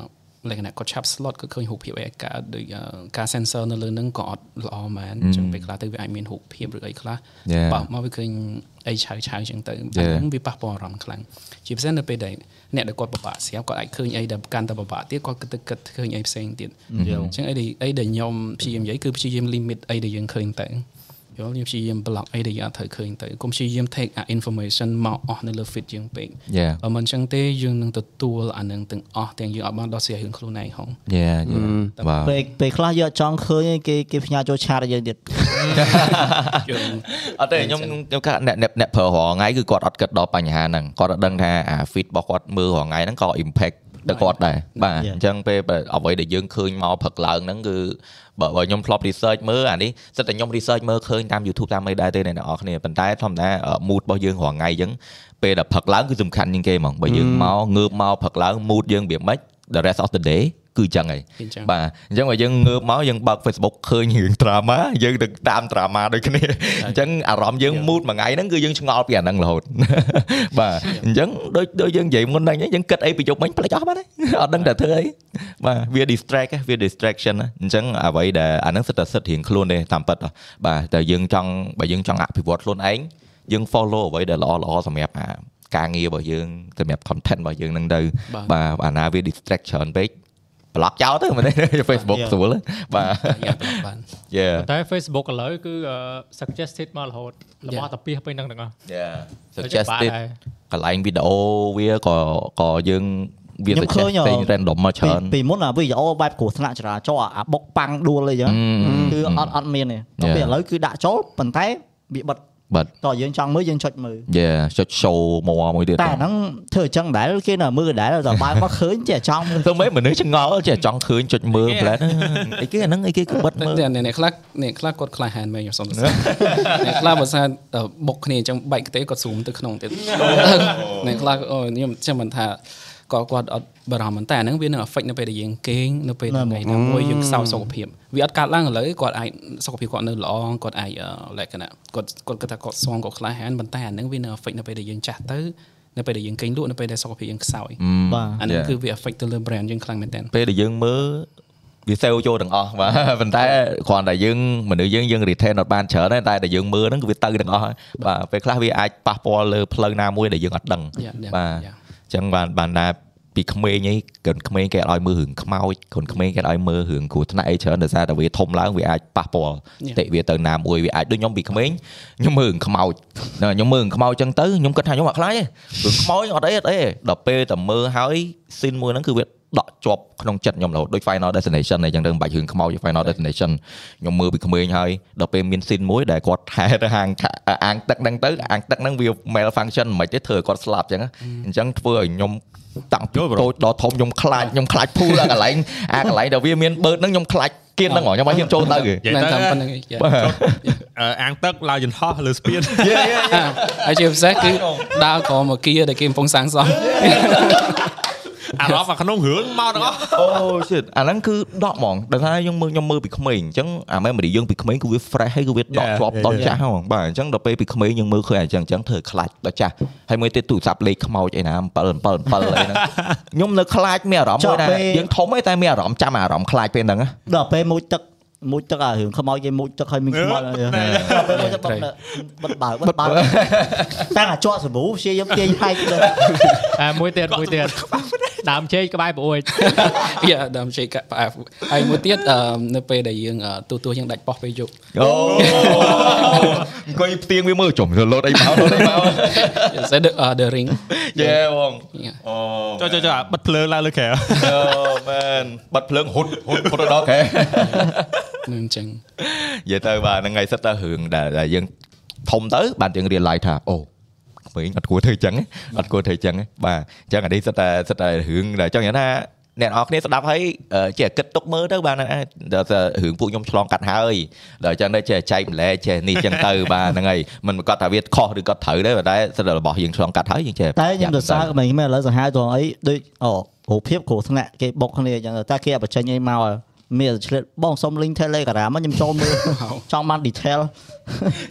លក្ខណៈគាត់ឆាប់ slot គាត់ឃើញរូបភាពអីកើតដូចអឺការ sensor នៅលើហ្នឹងក៏អត់ល្អមែនអញ្ចឹងពេលខ្លះទៅវាអាចមានរូបភាពឬអីខ្លះ Yeah. បើមកវាឃើញអីឆៅឆៅអញ្ចឹងទៅអា Yeah. ហ្នឹងវាប៉ះពាល់អារម្មណ៍ខ្លាំងជាពិសេសនៅពេលដែលអ្នកដែលគាត់ពិបាកស្រាប់គាត់អាចឃើញអីដែលកាន់តែពិបាកទៀតគាត់គិតទៅគិតឃើញអីផ្សេងទៀតអញ្ចឹងអីដែលអីដែលខ្ញុំព្យាយាមនិយាយគឺព្យាយាម limit អីដែលយើងឃើញទៅយល់ខ្ញុំព្យាយាម block អីដែលយើងអត់ត្រូវឃើញទៅកុំព្យាយាម take អា information មកអស់នៅលើ feed យើងពេក Yeah. បើមិនអញ្ចឹងទេយើងនឹងទទួលអានឹងទាំងអស់ទាំងយើងអត់បានដោះស្រាយរឿងខ្លួនឯងហង យ៉ាយ៉ាបាទ ពេលពេលខ្លះយើងអត់ចង់ឃើញឯងគេគេផ្ញើចូលឆាតឲ្យយើងទៀត អត់ទេខ្ញុំខ្ញុំកាអ្នកអ្នកអ្នកប្រើរាល់ថ្ងៃគឺគាត់អត់គិតដល់បញ្ហាហ្នឹងគាត់អត់ដឹងថាអា feed របស់គាត់មើលរាល់ថ្ងៃហ្នឹងក៏ impact ដល់គាត់ដែរបាទអ Yeah. ញ្ចឹងពេលបើអ្វីដែលយើងឃើញមកផឹកឡើងហ្នឹងគឺបើបើខ្ញុំធ្លាប់ research មើលអានេះសិតតែខ្ញុំ research មើលឃើញតាម YouTube តាមអីដែរទេអ្នកនរអស់គ្នាប៉ុន្តែធម្មតាអឺ mood របស់យើងរាល់ថ្ងៃអញ្ចឹងពេលដែលផឹកឡើងគឺសំខាន់ជាងគេហ្មងបើយើងមកងើបមកផឹកឡើង mood យើងវាមិន the rest of the day គឺអញ្ចឹងឯង [laughs] អញ្ចឹង បាទអញ្ចឹងបើយើងងើបមកយើងបើក Facebook ឃើញរឿង drama យើងទៅតាម drama ដូចគ្នាអញ្ចឹងអារម្មណ៍យើង mood មួយថ្ងៃហ្នឹងគឺយើងឆ្ងល់ពីអាហ្នឹងរ [laughs] ហូត បាទអញ្ចឹងដូចដូចយើងនិយាយមុនហ្នឹងអញ្ចឹងយើងគិតអីពីយប់មិញផ្លេចអ [laughs] ស់បាត់ហើយ អត់ដឹងតែធ្វើអីបាទវា distract ហ៎វា distraction ហ៎អញ្ចឹងអ្វីដែលអាហ្នឹងសិតតែសិតរៀងខ្លួនទេតាមពិតហ៎បាទតែយើងចង់បើយើងចង់អភិវឌ្ឍខ្លួនឯងយើង follow អ្វីដែលល្អល្អសម្រាប់អាការងាររបស់យើងសម្រាប់ content របស់យើងហ្នឹងទៅ បាទ បាទអាណាវា distract ច្រើនពេក block ចោលទៅមែនទេ [laughs] Facebook ស្រួលហ៎បាទ យ៉ាប់បាន yeah តែ Facebook ឥឡូវគឺអឺ suggested មករហូតរបស់តាពីសពេញហ្នឹងទាំងអស់ yeah ដូចជា suggested បាក់ហើ កន្លែងវីដេអូវាក៏ក៏យើងវា ខ្ញុំឃើ suggest ញ ផ្សេង អឺ random មក ពី ច្រើន ពីមុនអាវីដេអូបែបគ្រោះថ្នាក់ចរាចរណ៍អាអាបុកប៉ាំងដួលអីចឹង ម គឺ ម អត់អត់មានទេតែ Yeah. ពេលឥឡូវគឺដាក់ចូលប៉ុន្តែវាបិទ បាទ តោះយើងចង់មើលយើងចុចមើល yeah ចុច show មកមួយទៀត តែអាហ្នឹងធ្វើអញ្ចឹងដែរគេនៅមើលដែរតែបើមកឃើញចេះចង់មើល ទៅមិនមនុស្សឆ្ងល់ចេះចង់ឃើញចុចមើល plan អីគេអាហ្នឹងអីគេក៏បិទមើល តែអ្នកអ្នកខ្លះអ្នកខ្លះគាត់ខ្លាចហានមែនខ្ញុំសុំទស្សន អ្នកខ្លះបើថាបុកគ្នាអញ្ចឹងបែកខ្ទេគាត់ស៊ូមទៅក្នុងទៀតអ្នកខ្លះអូខ្ញុំចាំមិនថាគាត់គាត់អត់បារម្ភមិនតែអាហ្នឹងវានឹង affect នៅពេលដែលយើងគេងនៅពេលថ្ងៃណាមួយយើងខ្សោយសុខភាពវាអត់កើតឡើងឥឡូវគាត់អាចសុខភាពគាត់នៅល្អគាត់អាចអឺលក្ខណៈគាត់គាត់គិតថាគាត់ស៊ាំគាត់ខ្លាចហានប៉ុន្តែអាហ្នឹងវានឹង affect នៅពេលដែលយើងចាស់ទៅនៅពេលដែលយើងគេងលក់នៅពេលដែលសុខភាពយើងខ្សោយ បាទ អាហ្នឹង Yeah. គឺវា affect ទៅលើ brand យើងខ្លាំងមែនតើ ពេលដែលយើងមើលវាសេវចូលទាំងអស់ [laughs] បាទប៉ុន្តែគ្រាន់តែយើងមនុស្សយើងយើង retain អត់បានច្រើនទេតែដែលយើងមើលហ្នឹងគឺវាទៅទាំងអស់ហើយបាទពេលខ្លះវាអាចប៉ះពាល់លើផ្លូវណាមួយដែលយើងអត់ដឹង Yeah, yeah, បាទអ yeah. ញ្ចឹងបានបានដែរពីក្មេងឯងកូនក្មេងគេអត់ឲ្យមើលរឿងខ្មោចកូនក្មេងគេអត់ឲ្យមើលរឿងគ្រោះថ្នាក់អីច្រើនដោយសារតែវាធំឡើងវាអាចប៉ះពាល់ Yeah. តិវាទៅណាមួយវាអាចដូចខ្ញុំពីក្មេងខ្ញុំមើលរឿងខ្មោចណាខ្ញុំមើលរឿងខ្មោចចឹងទៅខ្ញុំគិតថាខ្ញុំអត់ខ្លាចទេរឿងខ្មោចអត់អីអត់អីដល់ពេលតែមើលហើយស៊ីនមួយហ្នឹងគឺវាដក់ជាប់ក្នុងចិត្តខ្ញុំរហូតដូច Final Destination អីចឹងទៅមិនបាច់រឿងខ្មោចទេ Final Destination ខ្ញុំមើលពីក្មេងហើយដល់ពេលមានស៊ីនមួយដែលគាត់ថែទៅហាងខអាងទឹកហ្នឹងទៅអាងទឹកហ្នឹងវា mail function មិនខ្មិចទេធ្វើឲ្យគាត់ស្លាប់ចឹងណាអញ្ចឹងធ្វើឲ្យខ្ញុំតាំងពីតូចដល់ធំខ្ញុំខ្លាចខ្ញុំខ្លាចភូលអាកន្លែងអាកន្លែងដែលវាមានបឺតហ្នឹងខ្ញុំខ្លាចគៀនហ្នឹងហ៎ខ្ញុំអត់ហ៊ានចូលទៅទេ និយាយ មែន ទៅ តាមប៉ុណ្្នឹងយ៉ា [laughs] អឺអាងទឹកឡើយយន្តហោះលើស្ពាន ហើយជាពិសេសគឺដើរក្រោមអគារដែលគេកំពុងសាងសង់ អារម្មណ៍អាក្នុងរឿងមកទាំងអស់ អូ shit អាហ្នឹងគឺដកហ្មងដល់ថាយើងមើលខ្ញុំមើលពីក្មេងអញ្ចឹងអា memory យើងពីក្មេងគឺវា fresh ហើយគឺវាដកជាប់ដល់ចាស់ហ្មងបាទអញ្ចឹងដល់ពេលពីក្មេងយើងមើលឃើញអាអញ្ចឹងអញ្ចឹងធ្វើឲ្យខ្លាចដល់ចាស់ហើយមួយទៀតទូរស័ព្ទលេខខ្មោចអីណា7 7 7អីហ្នឹងខ្ញុំនៅខ្លាចមានអារម្មណ៍មួយណា ចុះពេល យើងធំហើយតែមានអារម្មណ៍ចាំអារម្មណ៍ខ្លាចពេលហ្នឹងណា ដល់ពេលមួយទឹកមួយទឹកអារឿងខ្មោចគេមួយទឹកឲ្យមានខ្មោចអីហ្នឹងដល់ពេលមួយទឹកបិទបិទបើបិទបើ [laughs] តាំងអាជក់សាប៊ូព្យាយាមទាញហែកទៅ តែមួយទៀតមួយទៀតដើមជែកក្បែរប្រួយ យ៉ាដើមជែកកាក់ផ្អែបហើយមួយទៀតអឺនៅពេលដែលយើងអឺទូទួលយើងដាច់ប៉ោះពេលយប់ អូ [laughs] អង្គុយផ្ទៀងវាមើលចំទៅលោតអីមកលោតអីមក Yes, the uh, the ring យេបង យ៉ា អូ ចុះចុះចុះអា [laughs] បិទភ្លើងឡើងលើក្រៅ អូមែនបាត់ភ្លើងហ៊ុតហ៊ុតហ៊ុតទៅដល់គេ នឹងអញ្ចឹង និយាយទៅបាទហ្នឹងហើយសិតទៅរឿងដែលដែលយើងធំទៅបានយើងរៀនឡាយថាអូក្មេងអត់គួរធ្វើអញ្ចឹងទេអត់គួរធ្វើអញ្ចឹងទេបាទអញ្ចឹងអានេះសិតតែសិតតែរឿងដែលចង់និយាយថាអ្នកនរអគ្នាស្ដាប់ហើយអឺចេះគិតទុកមើលទៅបាទហ្នឹងហើយដល់តែរឿងពួកខ្ញុំឆ្លងកាត់ហើយដល់អញ្ចឹងទៅចេះចែកម្លែចេះនេះអញ្ចឹងទៅ បាទហ្នឹងហើយមិនប្រកាសថាវាខុសឬក៏ត្រូវទេប៉ុន្តែសិតតែរបស់យើងឆ្លងកាត់ហើយយើងចេះ តែខ្ញុំ ប្រយ័ទៅត្ន សារក្មេងៗឥឡូវសង្ហាយត្រង់អីដូចអូរូបភាពគ្រោះថ្នាក់គេបុកគ្នាអញ្ចឹងទៅតែគេអត់បញ្ចេញអីមក មានឆ្លៀតបងសុំ link Telegram មកខ្ញុំចូលមើល ចង់បាន detail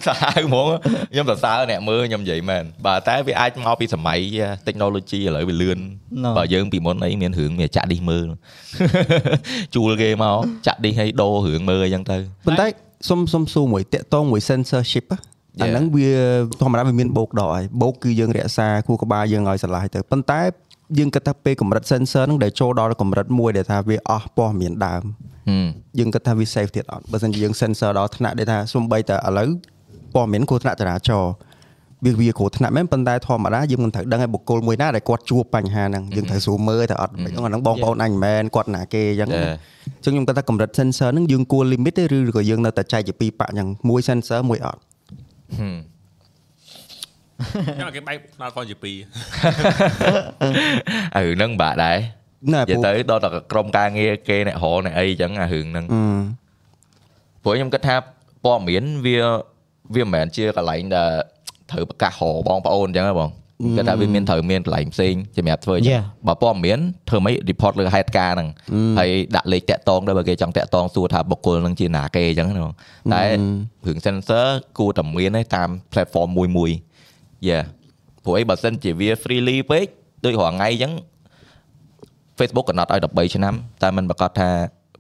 សាហាវហ្មងខ្ញុំសរសើរអ្នកមើលខ្ញុំនិយាយមែនបាទតែវាអាចមកពីសម័យ à, technology ឥឡូវវាលឿន No. បើយើងពីមុនអីមានរឿងមានចាក់ឌីស [laughs] មើល ជួលគេមកចាក់ឌីសឲ្យដោរឿងមើលអីចឹងទៅ ប៉ុន្តែសុំសុំសួរមួយតាក់តងមួយ censorship ហ៎អាហ្នឹងវាធម្មតាវាមានបោកដកហើយបោកគឺយើងរក្សាខួរក្បាលយើងឲ្យស្រឡះទៅប៉ុន្តែយើងគិតថាពេលកម្រិត sensor ហ្នឹងដែលចូលដល់កម្រិតមួយដែលថាវាអស់ពណ៌មានដើម ហឹម យើងគិតថាវា safe ទៀតអត់បើមិនជាយើង sensor ដល់ថ្នាក់ដែលថាសំបីតែឥឡូវពណ៌មានគ្រោះថ្នាក់ចរាចរណ៍វាវាគ្រោះថ្នាក់មែនប៉ុន្តែធម្មតាយើងមិនត្រូវដឹងឲ្យបុគ្គលមួយណាដែលគាត់ជួបបញ្ហាហ្នឹងយើងត្រូវស៊ូមើលតែអត់មិនហ្នឹងអាហ្នឹងបងប្អូនអញមិនមែនគាត់ណាគេអញ្ចឹង Yeah. ចឹងខ្ញុំគាត់ថាកម្រិត sensor ហ្នឹងយើងគួរ limit ទេឬក៏យើងនៅតែចែកជាពីរប៉ាក់ចឹងមួយ sensor មួយអត់ ហឹម ចឹងឲ្យគេបែក platform ជាពីរ អារឿងហ្នឹងបាក់ដែរ ណា និយា ពូ យទៅដល់តែក្រុមការងារគេអ្នករអ្នកអីចឹងអារឿងហ្នឹង អឺ ព្រោះខ្ញុំគិតថាព័ត៌មានវាវាមិនមែនជាកន្លែងដែលត្រូវប្រកាសហៅបងប្អូនអញ្ចឹងហ៎បងគេថាវាមានត្រូវមានកន្លែងផ្សេងសម្រាប់ធ្វើអញ្ចឹង Yeah. បើព័ត៌មានធ្វើម៉េច report លើហេតុការណ៍ហ្នឹងហើយដាក់លេខតាក់តងដែរបើគេចង់តាក់តងសួរថាបុគ្គលហ្នឹងជាណាគេអញ្ចឹងណាបងតែរឿង sensor គួរតែមានឯតាម platform មួយមួយ Yeah ព្រោះអីបើសិនជាវា freely ពេកដូចរាល់ថ្ងៃអញ្ចឹង Facebook កំណត់ឲ្យ13ឆ្នាំតែมันប្រកាសថា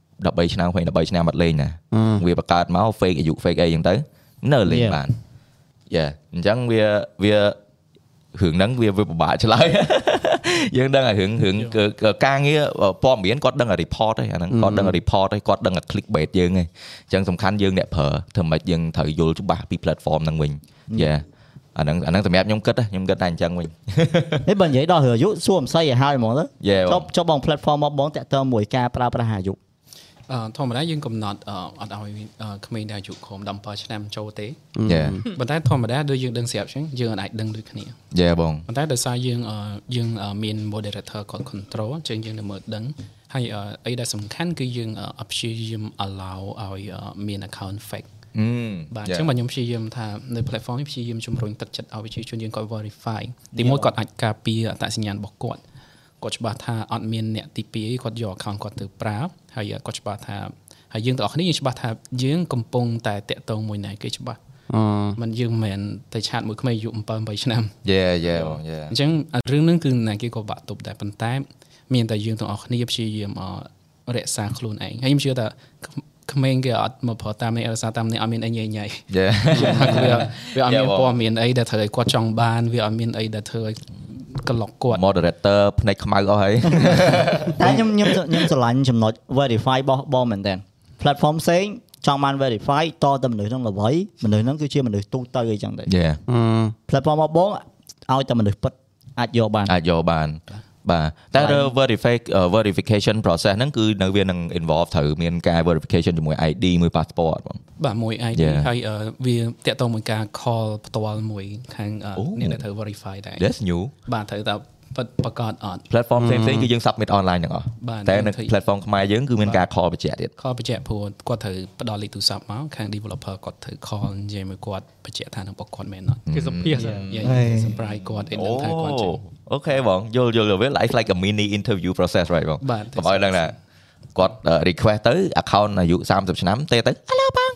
13ឆ្នាំវិញ13ឆ្នាំអត់លេងណា វាបង្កើតមក fake អាយុ fake អីចឹងទៅនៅលេង Yeah. បានយ៉ាអញ្ចឹងវាវារឿងហ្នឹងវាវាពិបាកឆ្លើយ [laughs] យើងដឹងតែរឿងរឿងការងារព័ត៌មានគាត់ដឹងតែ report ឯងអាហ្នឹងគាត់ដឹងតែ report ឯងគាត់ដឹងតែ click bait យើងឯងអញ្ចឹងសំខាន់យើងអ្នកប្រើធ្វើម៉េចយើងត្រូវយល់ច្បាស់ពី platform ហ្នឹងវិញយ៉ាអាហ្នឹងអាហ្នឹងសម្រាប់ខ្ញុំគិតណាខ្ញុំគិតតែអញ្ចឹងវិញ នេះបើនិយាយដល់រឿងអាយុសួរអំស័យឲ្យហើយហ្មងទៅ Yeah, បង ចុះចុះបង platform មក [laughs] បងតាក់ទងមួយការប្រើប្រាស់អាយុ អឺធម្មតាយើងកំណត់អឺអត់ឲ្យអឺក្មេងដែលអាយុក្រោម17ឆ្នាំចូលទេ យ៉ា ប៉ុន្តែធម្មតាដូចយើងដឹងស្រាប់អញ្ចឹងយើងអត់អាចដឹងដូចគ្នា យ៉ាបង ប៉ុន្តែដោយសារយើងអឺយើងអឺមាន moderator គាត់ control អញ្ចឹងយើងនៅមើលដឹងហើយអឺអីដែលសំខាន់គឺយើងអឺអត់ព្យាយាម allow ឲ្យអឺមាន account fake បាទអញ្ចឹងបាទខ្ញុំព្យាយាមថានៅ platform នេះព្យាយាមជំរុញទឹកចិត្តឲ្យប្រជាជនយើងគាត់ verify ទីមួយគាត់អាចការពារអត្តសញ្ញាណរបស់គាត់គាត់ច្បាស់ថាអត់មានអ្នកទី2អីគាត់យក account គាត់ទៅប្រើហើយគាត់ច្បាស់ថាហើយយើងទាំងអស់គ្នាយើងច្បាស់ថាយើងកំពុងតែតាក់ទងមួយណែគេច្បាស់มันយើងមិនមែនទៅឆាតមួយក្មេងអាយុ7 8ឆ្នាំ Yeah yeah បង yeah អញ្ចឹងរឿងហ្នឹងគឺណាគេក៏បាក់ទប់ដែរប៉ុន្តែមានតែយើងទាំងអស់គ្នាព្យាយាមអររក្សាខ្លួនឯងហើយខ្ញុំជឿថាក្មេងគេអត់មកប្រតាមនេះរក្សាតាមនេះអត់មានអីញ៉ៃញ៉ៃ yeah [laughs] ថាវាវាអ Yeah, ត់មាន បង ព័ត៌មានអីដែលត្រូវឲ្យគាត់ចង់បានវាអត់មានអីដែលធ្វើឲ្យក្លុកគាត់ moderator ភ្នែកខ្មៅអស់ហើយ តែខ្ញុំខ្ញុំខ្ញុំស្រឡាញ់ចំណុច verify របស់បងមែនតើ platform ផ្សេងចង់បាន verify តតែមនុស្សហ្នឹងល្បីមនុស្សហ្នឹងគឺជាមនុស្សទូទៅអីចឹងដែរ Yeah platform របស់បងឲ្យតែមនុស្សពិតអាចយក [laughs] បាន អាចយកបានបាទតែរើ verify verification process ហ្នឹងគឺនៅវានឹង involve ត្រូវមានការ verification ជាមួយ ID មួយ passport បង បាទមួយ ID Yeah. ហើយអឺវាតាក់ទងមួយការ call ផ្ទាល់មួយខាងអឺ Oh. អ្នកដែលត្រូវ verify ដែរ That's new បាទត្រូវតែពិតប្រកបអត់ platform ផ្សេងៗគឺយើង submit online ទាំងអស់ បាទ តែនៅ យើងធ្វើ platform ខ្មែរយើងគឺមានការ call បញ្ជាក់ទៀត call បញ្ជាក់ព្រោះគាត់ត្រូវផ្ដល់លេខទូរស័ព្ទមកខាង developer គាត់ត្រូវ call និយាយមួយគាត់បញ្ជាក់ថានឹងរបស់គាត់មែនអត់ គេសំភាសន៍ យាយ surprise គាត់អីដឹងថាគាត់ចេះ Oh, អូខេបងយល់យល់វា like like a mini interview process right បង បាទ កុំឲ្យដឹងថាគាត់ uh, request ទៅ account អាយុ30ឆ្នាំទេទៅ Hello បង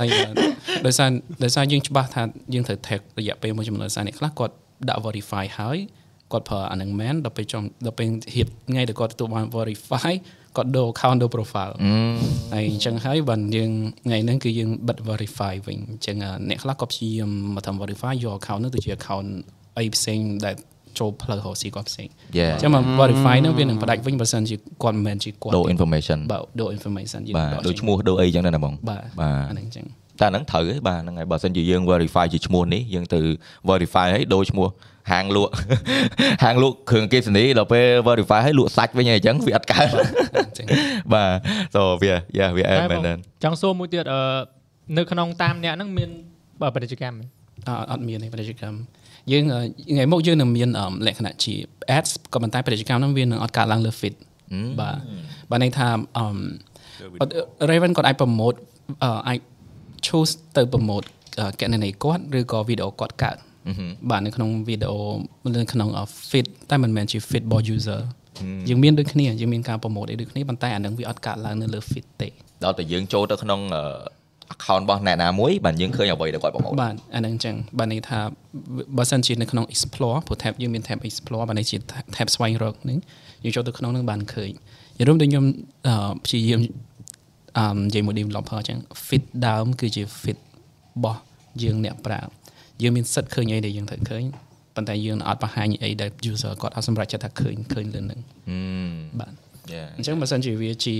ហើយអឺដោយសារដោយសារយើងច្បាស់ថាយើងត្រូវ tag រយៈពេលមួយចំនួនដោយសារអ្នកខ្លះគាត់ដាក់ verify ហើយគាត់ប្រើអាហ្នឹងមែនដល់ពេលចំដល់ពេលហៀបថ្ងៃដែលគាត់ទទួលបាន verify គាត់ដូរ account ដូរ profile ហើយអញ្ចឹងហើយបានយើងថ្ងៃហ្នឹងគឺយើងបិទ verify វិញអញ្ចឹងអ่ะអ្នកខ្លះក៏ព្យាយាមមកធ្វើ verify យក account ហ្នឹងទៅជា account អីផ្សេងដែលចូលផ្លូវរកស៊ីគាត់ផ្សេង Yeah. អញ្ចឹងមក verify ហ្នឹងវានឹងផ្ដាច់វិញបើសិនជាគាត់មិនមែនជាគាត់ ដូរ ទេ information បាទដូរ information យើង បាទ ដក ដូច ចេញ ឈ្មោះដូចអីចឹងដែរណាបង បាទ បាទ អាហ្នឹងអញ្ចឹង តែហ្នឹងត្រូវទេបាទហ្នឹងហើយបើសិនជាយើង verify ជាឈ្មោះនេះយើងទៅ verify ឲ្យដូរឈ្មោះហាងលក់ [laughs] ហាងលក់គ្រឿងអកេសនីដល់ពេល verify ឲ្យលក់សាច់វិញអីចឹងវាអត់កើត អញ្ចឹង [laughs] បាទ so វា yeah វា តែ add ប មែ ង នដែរ ចង់សួរមួយទៀតអឺនៅក្នុងតាមអ្នកហ្នឹងមានបើពាណិជ្ជកម្ម អត់អត់មានទេពាណិជ្ជកម្មយើងអឺថ្ងៃមុខយើងនឹងមានអឺលក្ខណៈជា ads ក៏ប៉ុន្តែពាណិជ្ជកម្មហ្នឹងវានឹងអត់កើតឡើងលើ feed បាទបាទន័យថាអឺមអត់ Raven គាត់អាច promote អឺអាច choose ទៅ promote អឺកណន័យគាត់ឬក៏ video គាត់កើតបាទនៅក្នុង video នៅក្នុង feed តែមិនមែនជា feed របស់ user យើងមានដូចគ្នាយើងមានការប្រម៉ូទអីដូចគ្នាប៉ុន្តែអានឹងវាអត់កើតឡើងនៅលើ feed ទេ ដល់តែយើងចូលទៅក្នុងអឺ account របស់អ្នកណាមួយបានយើងឃើញអ្វីដែលគាត់ប្រមូល បាទអានឹងអញ្ចឹងបាទន័យថាបើសិនជានៅក្នុង explore ព្រោះ tab យើងមាន tab explore បាទន័យជា tab ស្វែងរកហ្នឹងយើងចូលទៅក្នុងហ្នឹងបានឃើញយើងរួមដូចខ្ញុំអឺព្យាយាមអឺនិយាយមួយ developer អញ្ចឹង fit ដើមគឺជា fit របស់យើងអ្នកប្រើយើងមានសិទ្ធឃើញអីដែលយើងត្រូវឃើញប៉ុន្តែយើងអត់បង្ហាញអីដែល user គាត់អត់សម្រេចចិត្តថាឃើញឃើញលើហ្នឹងបាទ យេ អញ្ចឹងបើសិនជាវាជា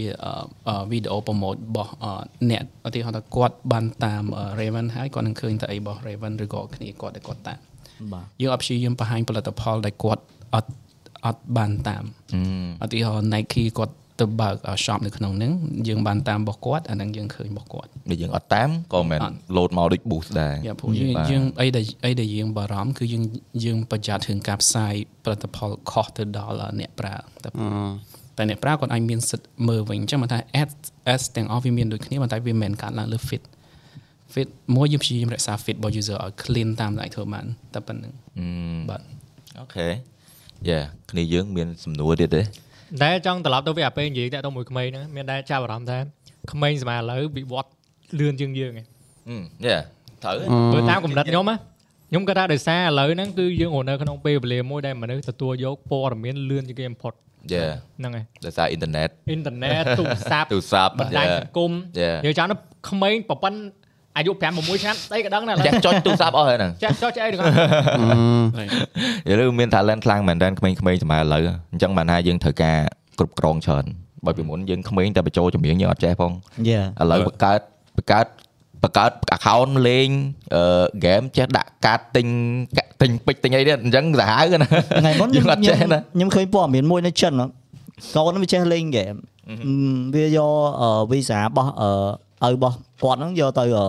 វីដេអូប្រម៉ូទរបស់អឺអ្នកឧទាហរណ៍ថាគាត់បានតាមអឺ Raven ហើយគាត់នឹងឃើញតែអីរបស់ Raven ឬក៏គ្នាគាត់ដែលគាត់តាម បាទ យើងអត់ព្យាយាមបង្ហាញផលិតផលដែលគាត់អត់អត់បានតាមឧទាហរណ៍ Nike គាត់ទៅបើកអឺ shop នៅក្នុងហ្នឹងយើងបានតាមរបស់គាត់អាហ្នឹងយើងឃើញរបស់គាត់ ដែលយើងអត់តាមក៏មិន អត់ លោតមកដូច boost ដែរ យ៉ាព្រោះយើង បាទ យើងអីដែលអីដែលយើងបារម្ភគឺយើងយើងប្រយ័ត្នរឿងការផ្សាយផលិតផលខុសទៅដល់អ្នកប្រើតែតែអ្នកប្រើគាត់អាចមានសិទ្ធិមើលវិញអញ្ចឹងមកថា ads ads ទាំងអស់វាមានដូចគ្នាប៉ុន្តែវាមិនមែនកើតឡើងលើ fit fit មួយយើងព្យាយាមរក្សា fit របស់ user ឲ្យ clean តាមដែលធ្វើបានតែប៉ុណ្្នឹងបាទ អូខេយេគ្នាយើងមានសំណួរទៀតទេ ដែលចង់ត្រឡប់ទៅវាអាពេលនិយាយតែទៅមួយក្មេងហ្នឹងមានដែលចាប់អារម្មណ៍ថាក្មេងសម័យឥឡូវវិវត្តលឿនជាងយើងឯង យេត្រូវហ បើតាមគំនិតខ្ញុំណាខ្ញុំគាត់ថាដោយសារឥឡូវហ្នឹងគឺយើងរស់នៅក្នុងពេលវេលាមួយដែលមនុស្សទទួលយកព័ត៌មានលឿនជាងគេបំផុត ៎យេ ហ្នឹងឯង ដោយសារអ៊ីនធឺណិត អ៊ីនធឺណិតទូរស័ព្ទ ទូរស័ព្ទ បណ្ដាញ យេ សង្គម Yeah. យើងចាំទៅក្មេងប្រហែលអាយុ5 6ឆ្នាំស្អីក៏ដឹងដែរឥឡូវ ចាក់ចុចទូរស័ព្ទអស់ហើយហ្នឹង ចាស់ចោះចាស់អីទាំងអស់ ឥឡូវមាន talent ខ្លាំងមែនតើក្មេងៗសម័យឥឡូវអញ្ចឹងបានថាយើងត្រូវការគ្រប់គ្រងច្រើនបើពីមុនយើងក្មេងតែបញ្ចូលចម្រៀងយើងអត់ចេះផង យេ ឥឡូវបង្កើតបង្កើតបង្កើត account លេងអឺ game ចេះដាក់កាតទិញកាក់ទិញពេជ្រទិញអីទៀតអញ្ចឹងសាហាវណា ថ្ងៃមុន [laughs] យើងខ្ញុំអត់ចេះណា ខ្ញុំឃើញព័ត៌មានមួយនៅចិនហ៎កូនហ្នឹងវាចេះលេងហ្គេមវាយកអឺវីសារបស់អឺឪរបស់គាត់ហ្នឹងយកទៅអឺ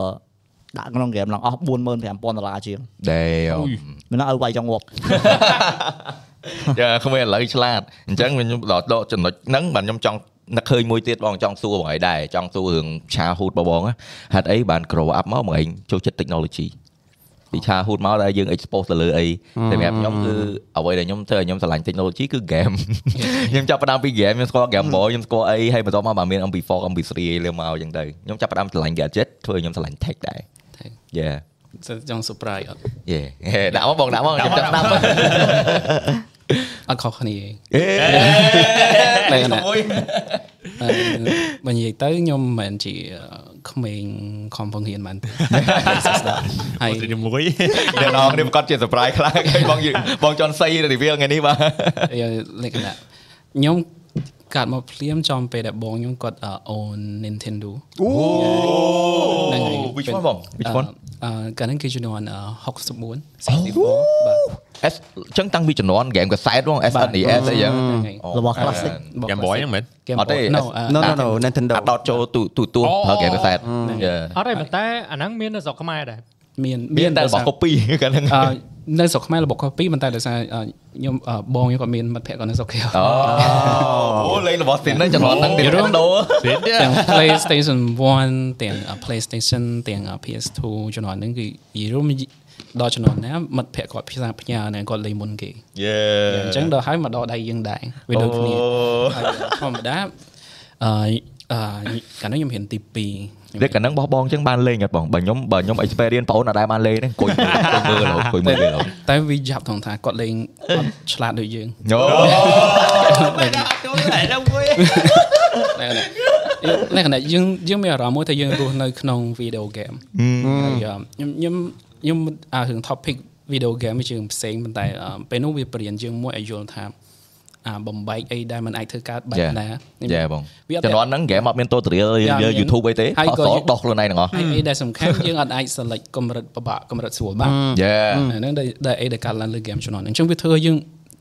ដាក់ក្នុងហ្គេមឡើងអស់45000ដុល្លារជាង ដែល [laughs] មិនណាឪវាយចង់ងាប់ យ៉ាក្មេងឥឡូវឆ្លាតអញ្ចឹងវាខ្ញុំដល់ដកចំណុចហ្នឹងបាទខ្ញុំចង់នឹកឃើញមួយទៀតបងចង់សួរបងឯងដែរចង់សួររឿងឆាហូតបងបងណាហេតុអីបាន grow up មកបងឯងចូលចិត្ត technology ពីឆាហូតមកដែរយើង expose ទៅលើអីសម្រាប់ខ្ញុំគឺអ្វីដែលខ្ញុំធ្វើឲ្យខ្ញុំស្រឡាញ់ technology គឺ game ខ្ញុំចាប់ផ្ដើមពី game ខ្ញុំស្គាល់ Game Boy ខ្ញុំស្គាល់អីហើយបន្តមកបានមាន MP4 MP3 អីលើមកអញ្ចឹងទៅខ្ញុំចាប់ផ្ដើមស្រឡាញ់ gadget ធ្វើឲ្យខ្ញុំស្រឡាញ់ tech ដែរ Yeah សិនចង់ surprise អត់ យេ [laughs] ដាក់មកបងដាក់មកខ្ញុំចាប់ដាក់មក អត់ខុសគ្នាទេ [laughs] អេ ណា មួយ អឺបើនិយាយទៅខ្ញុំមិនមែនជាក្មេងខំពង្រៀនបានទេ ហើយ ជាមួយ អ្នកនរគ្នាប្រកាសជា surprise ខ្លាំង [laughs] ហើយបងយឺបងចន់សៃ reveal ថ្ងៃនេះបាទ យកលក្ខណៈខ្ញុំកាត់មកភ្លាមចំពេលដែលបងខ្ញុំគាត់អូន Nintendo អូ ហ្នឹងហើយ which one បង which one អឺកាលហ្នឹងគេជំនាន់អឺ64 64បាទ S អញ្ចឹងតាំងពីជំនាន់ game កសែតបង SNES អីយ៉ាង ហ្នឹងហើយ របស់ classic របស់ យ៉ាំ classic បយហ្នឹងមែន Game អត់ទេ Boy ណូ No no no Nintendo អាដតចូលទូទូទួប្រើ game កសែតយេ [laughs] អត់ទេប៉ុន្តែអាហ្នឹងមាននៅស្រុកខ្មែរដែរ មាន មានតែរបស់ copy កាលហ្នឹង អឺនៅស្រុកខ្មែររបស់ copy ប៉ុន្តែដោយសារអឺខ្ញុំអឺបងខ្ញុំគាត់មានមិត្តភក្តិគាត់នៅស្រុកគេ [laughs] អូ [laughs] អូលេងរបស់ Sin ហ្នឹងជំនាន់ហ្នឹង [laughs] Nintendo ទាំង PlayStation 1ទាំងអឺ PlayStation ទាំងអឺ PS2 ជំនាន់ហ្នឹងគឺនិយាយរួមដល់ជំនាន់ណាមិត្តភក្តិគាត់ភាសាផ្ញើហ្នឹងគាត់លេងមុនគេ យេ អញ្ចឹងដល់ហើយមកដល់ដៃយើងដែរវាដូចគ្នាហើយធម្មតាអឺអឺកាលនោះខ្ញុំរៀនទី2 តែកាលហ្នឹងរបស់បងអញ្ចឹងបានលេងអត់បងបើខ្ញុំបើខ្ញុំ experience បងអូនអត់ដែរបានលេងទេអង្គុយមើលអង្គុយមើលហ៎អង្គុយមើលហ៎ តែវាយ៉ាប់ត្រង់ថាគាត់លេងគាត់ឆ្លាតដូចយើង អូ លក្ខណៈយើងយើងមានអារម្មណ៍មួយថាយើងរស់នៅក្នុង video game ហើយអឺខ្ញុំខ្ញុំខ្ញុំអារឿង topic video game វាជារឿងផ្សេងប៉ុន្តែអឺពេលនោះវាបរៀនយើងមួយឲ្យយល់ថាអាបំបែកអីដែលมันអាចធ្វើកើតបែបណា យ៉ាបង វាអត់ ជំនាន់ហ្នឹងហ្គេមអត់មាន tutorial យើ YouTube អីទេអត់សល់ដោះខ្លួនឯងទាំងអស់ ហើយអីដែលសំខាន់យើងអត់អាច select កម្រិតពិបាកកម្រិតស្រួលបាន យ៉ា អាហ្នឹងដែលដែលអីដែលកើតឡើងលើ game ជំនាន់ហ្នឹងអញ្ចឹងវាធ្វើឲ្យយើង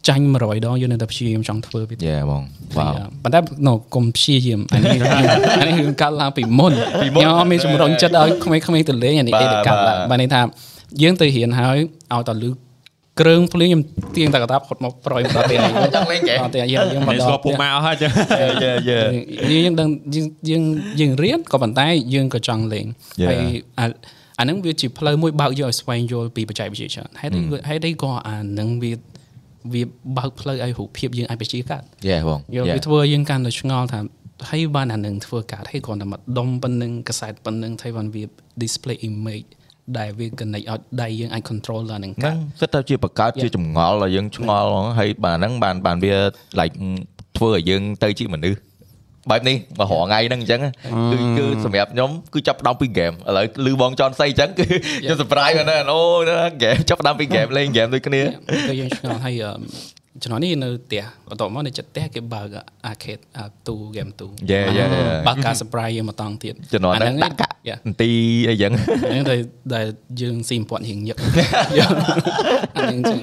ចាញ់100ដងយើងនៅតែព្យាយាមចង់ធ្វើវាទៀត Yeah បងវ៉ាវ ប៉ុន្តែ no កុំព្យាយាមអា [laughs] នេះអានេះគឺកើតឡើងពីមុនខ្ញុំអត់មានជំរុញចិត្តឲ្យក្មេងៗទៅលេងអានេះអីដែលកើតឡើង បាទ បាទនេះថាយើងទៅរៀន [laughs] ហើយឲ្យតលឺគ្រឿងភ្លេងខ្ញុំទៀងតែកតាបគាត់មកប្រយមកដល់ទី [laughs] នេះ ចង់លេងហ្គេម អត់ទេយើងយើងមក មិន ដល់ ស្គាល់ ផ្ទះ ពួកម៉ាក់អស់ហើយចឹង យ៉ាយ៉ា យើងយើងដឹងយើងយើងយើងរៀនក៏ប៉ុន្តែយើងក៏ចង់លេង Yeah. ហើយអាអាហ្នឹងវាជាផ្លូវមួយបើកយើងឲ្យស្វែងយល់ពីបច្ចេកវិទ្យាច្រើនហេតុអីហេតុអីក៏អាហ្នឹងវា វាបើកផ្លូវឲ្យរូបភាពយើងអាចបញ្ជាកើត យេបង យក យេ វាធ្វើយើងកាន់តែឆ្ងល់ថាហើយបានអានឹងធ្វើកាតហើយគ្រាន់តែ [laughs] មកដុំប៉ុណ្្នឹងកសែតប៉ុណ្្នឹងថៃបានវា display image ដែលវា connect ឲ្យដៃយើងអាច control ដល់អានឹង ហ្នឹ កាត ងសិតទៅជាបង្កើត Yeah. ជាចម្ងល់ឲ្យយើងឆ្ងល់ហ្មងហើយបាទហ្នឹងបានបានវា like ធ្វើឲ្យយើងទៅជាមនុស្សបែបនេះបើរហងៃហ្នឹងអញ្ចឹងណាគឺគឺសម្រាប់ខ្ញុំគឺចាប់ផ្ដើមពី game ឥឡូវលឺបងចនសៃអញ្ចឹងគឺខ្ញុំ surprise មែនណាអូ game ចាប់ផ្ដើមពី game លេង game ដូចគ្នា គឺយើងឆ្ងល់ [laughs] ហើយអឺមជំនាន់នេះនៅផ្ទះបន្ទាប់មកនៅចិត្តផ្ទះគេបើក arcade អាទូហ្គេមទូ Yeah, yeah, yeah. បើកការ surprise យើងមកតង់ទៀត ជំនាន់ហ្នឹង អា ដាក់កាក់ យេ នទីអីអញ្ចឹង [laughs] ហ្នឹងតែដែលយើងស៊ីពន់រៀងញឹក [laughs] អាហ្នឹងចឹង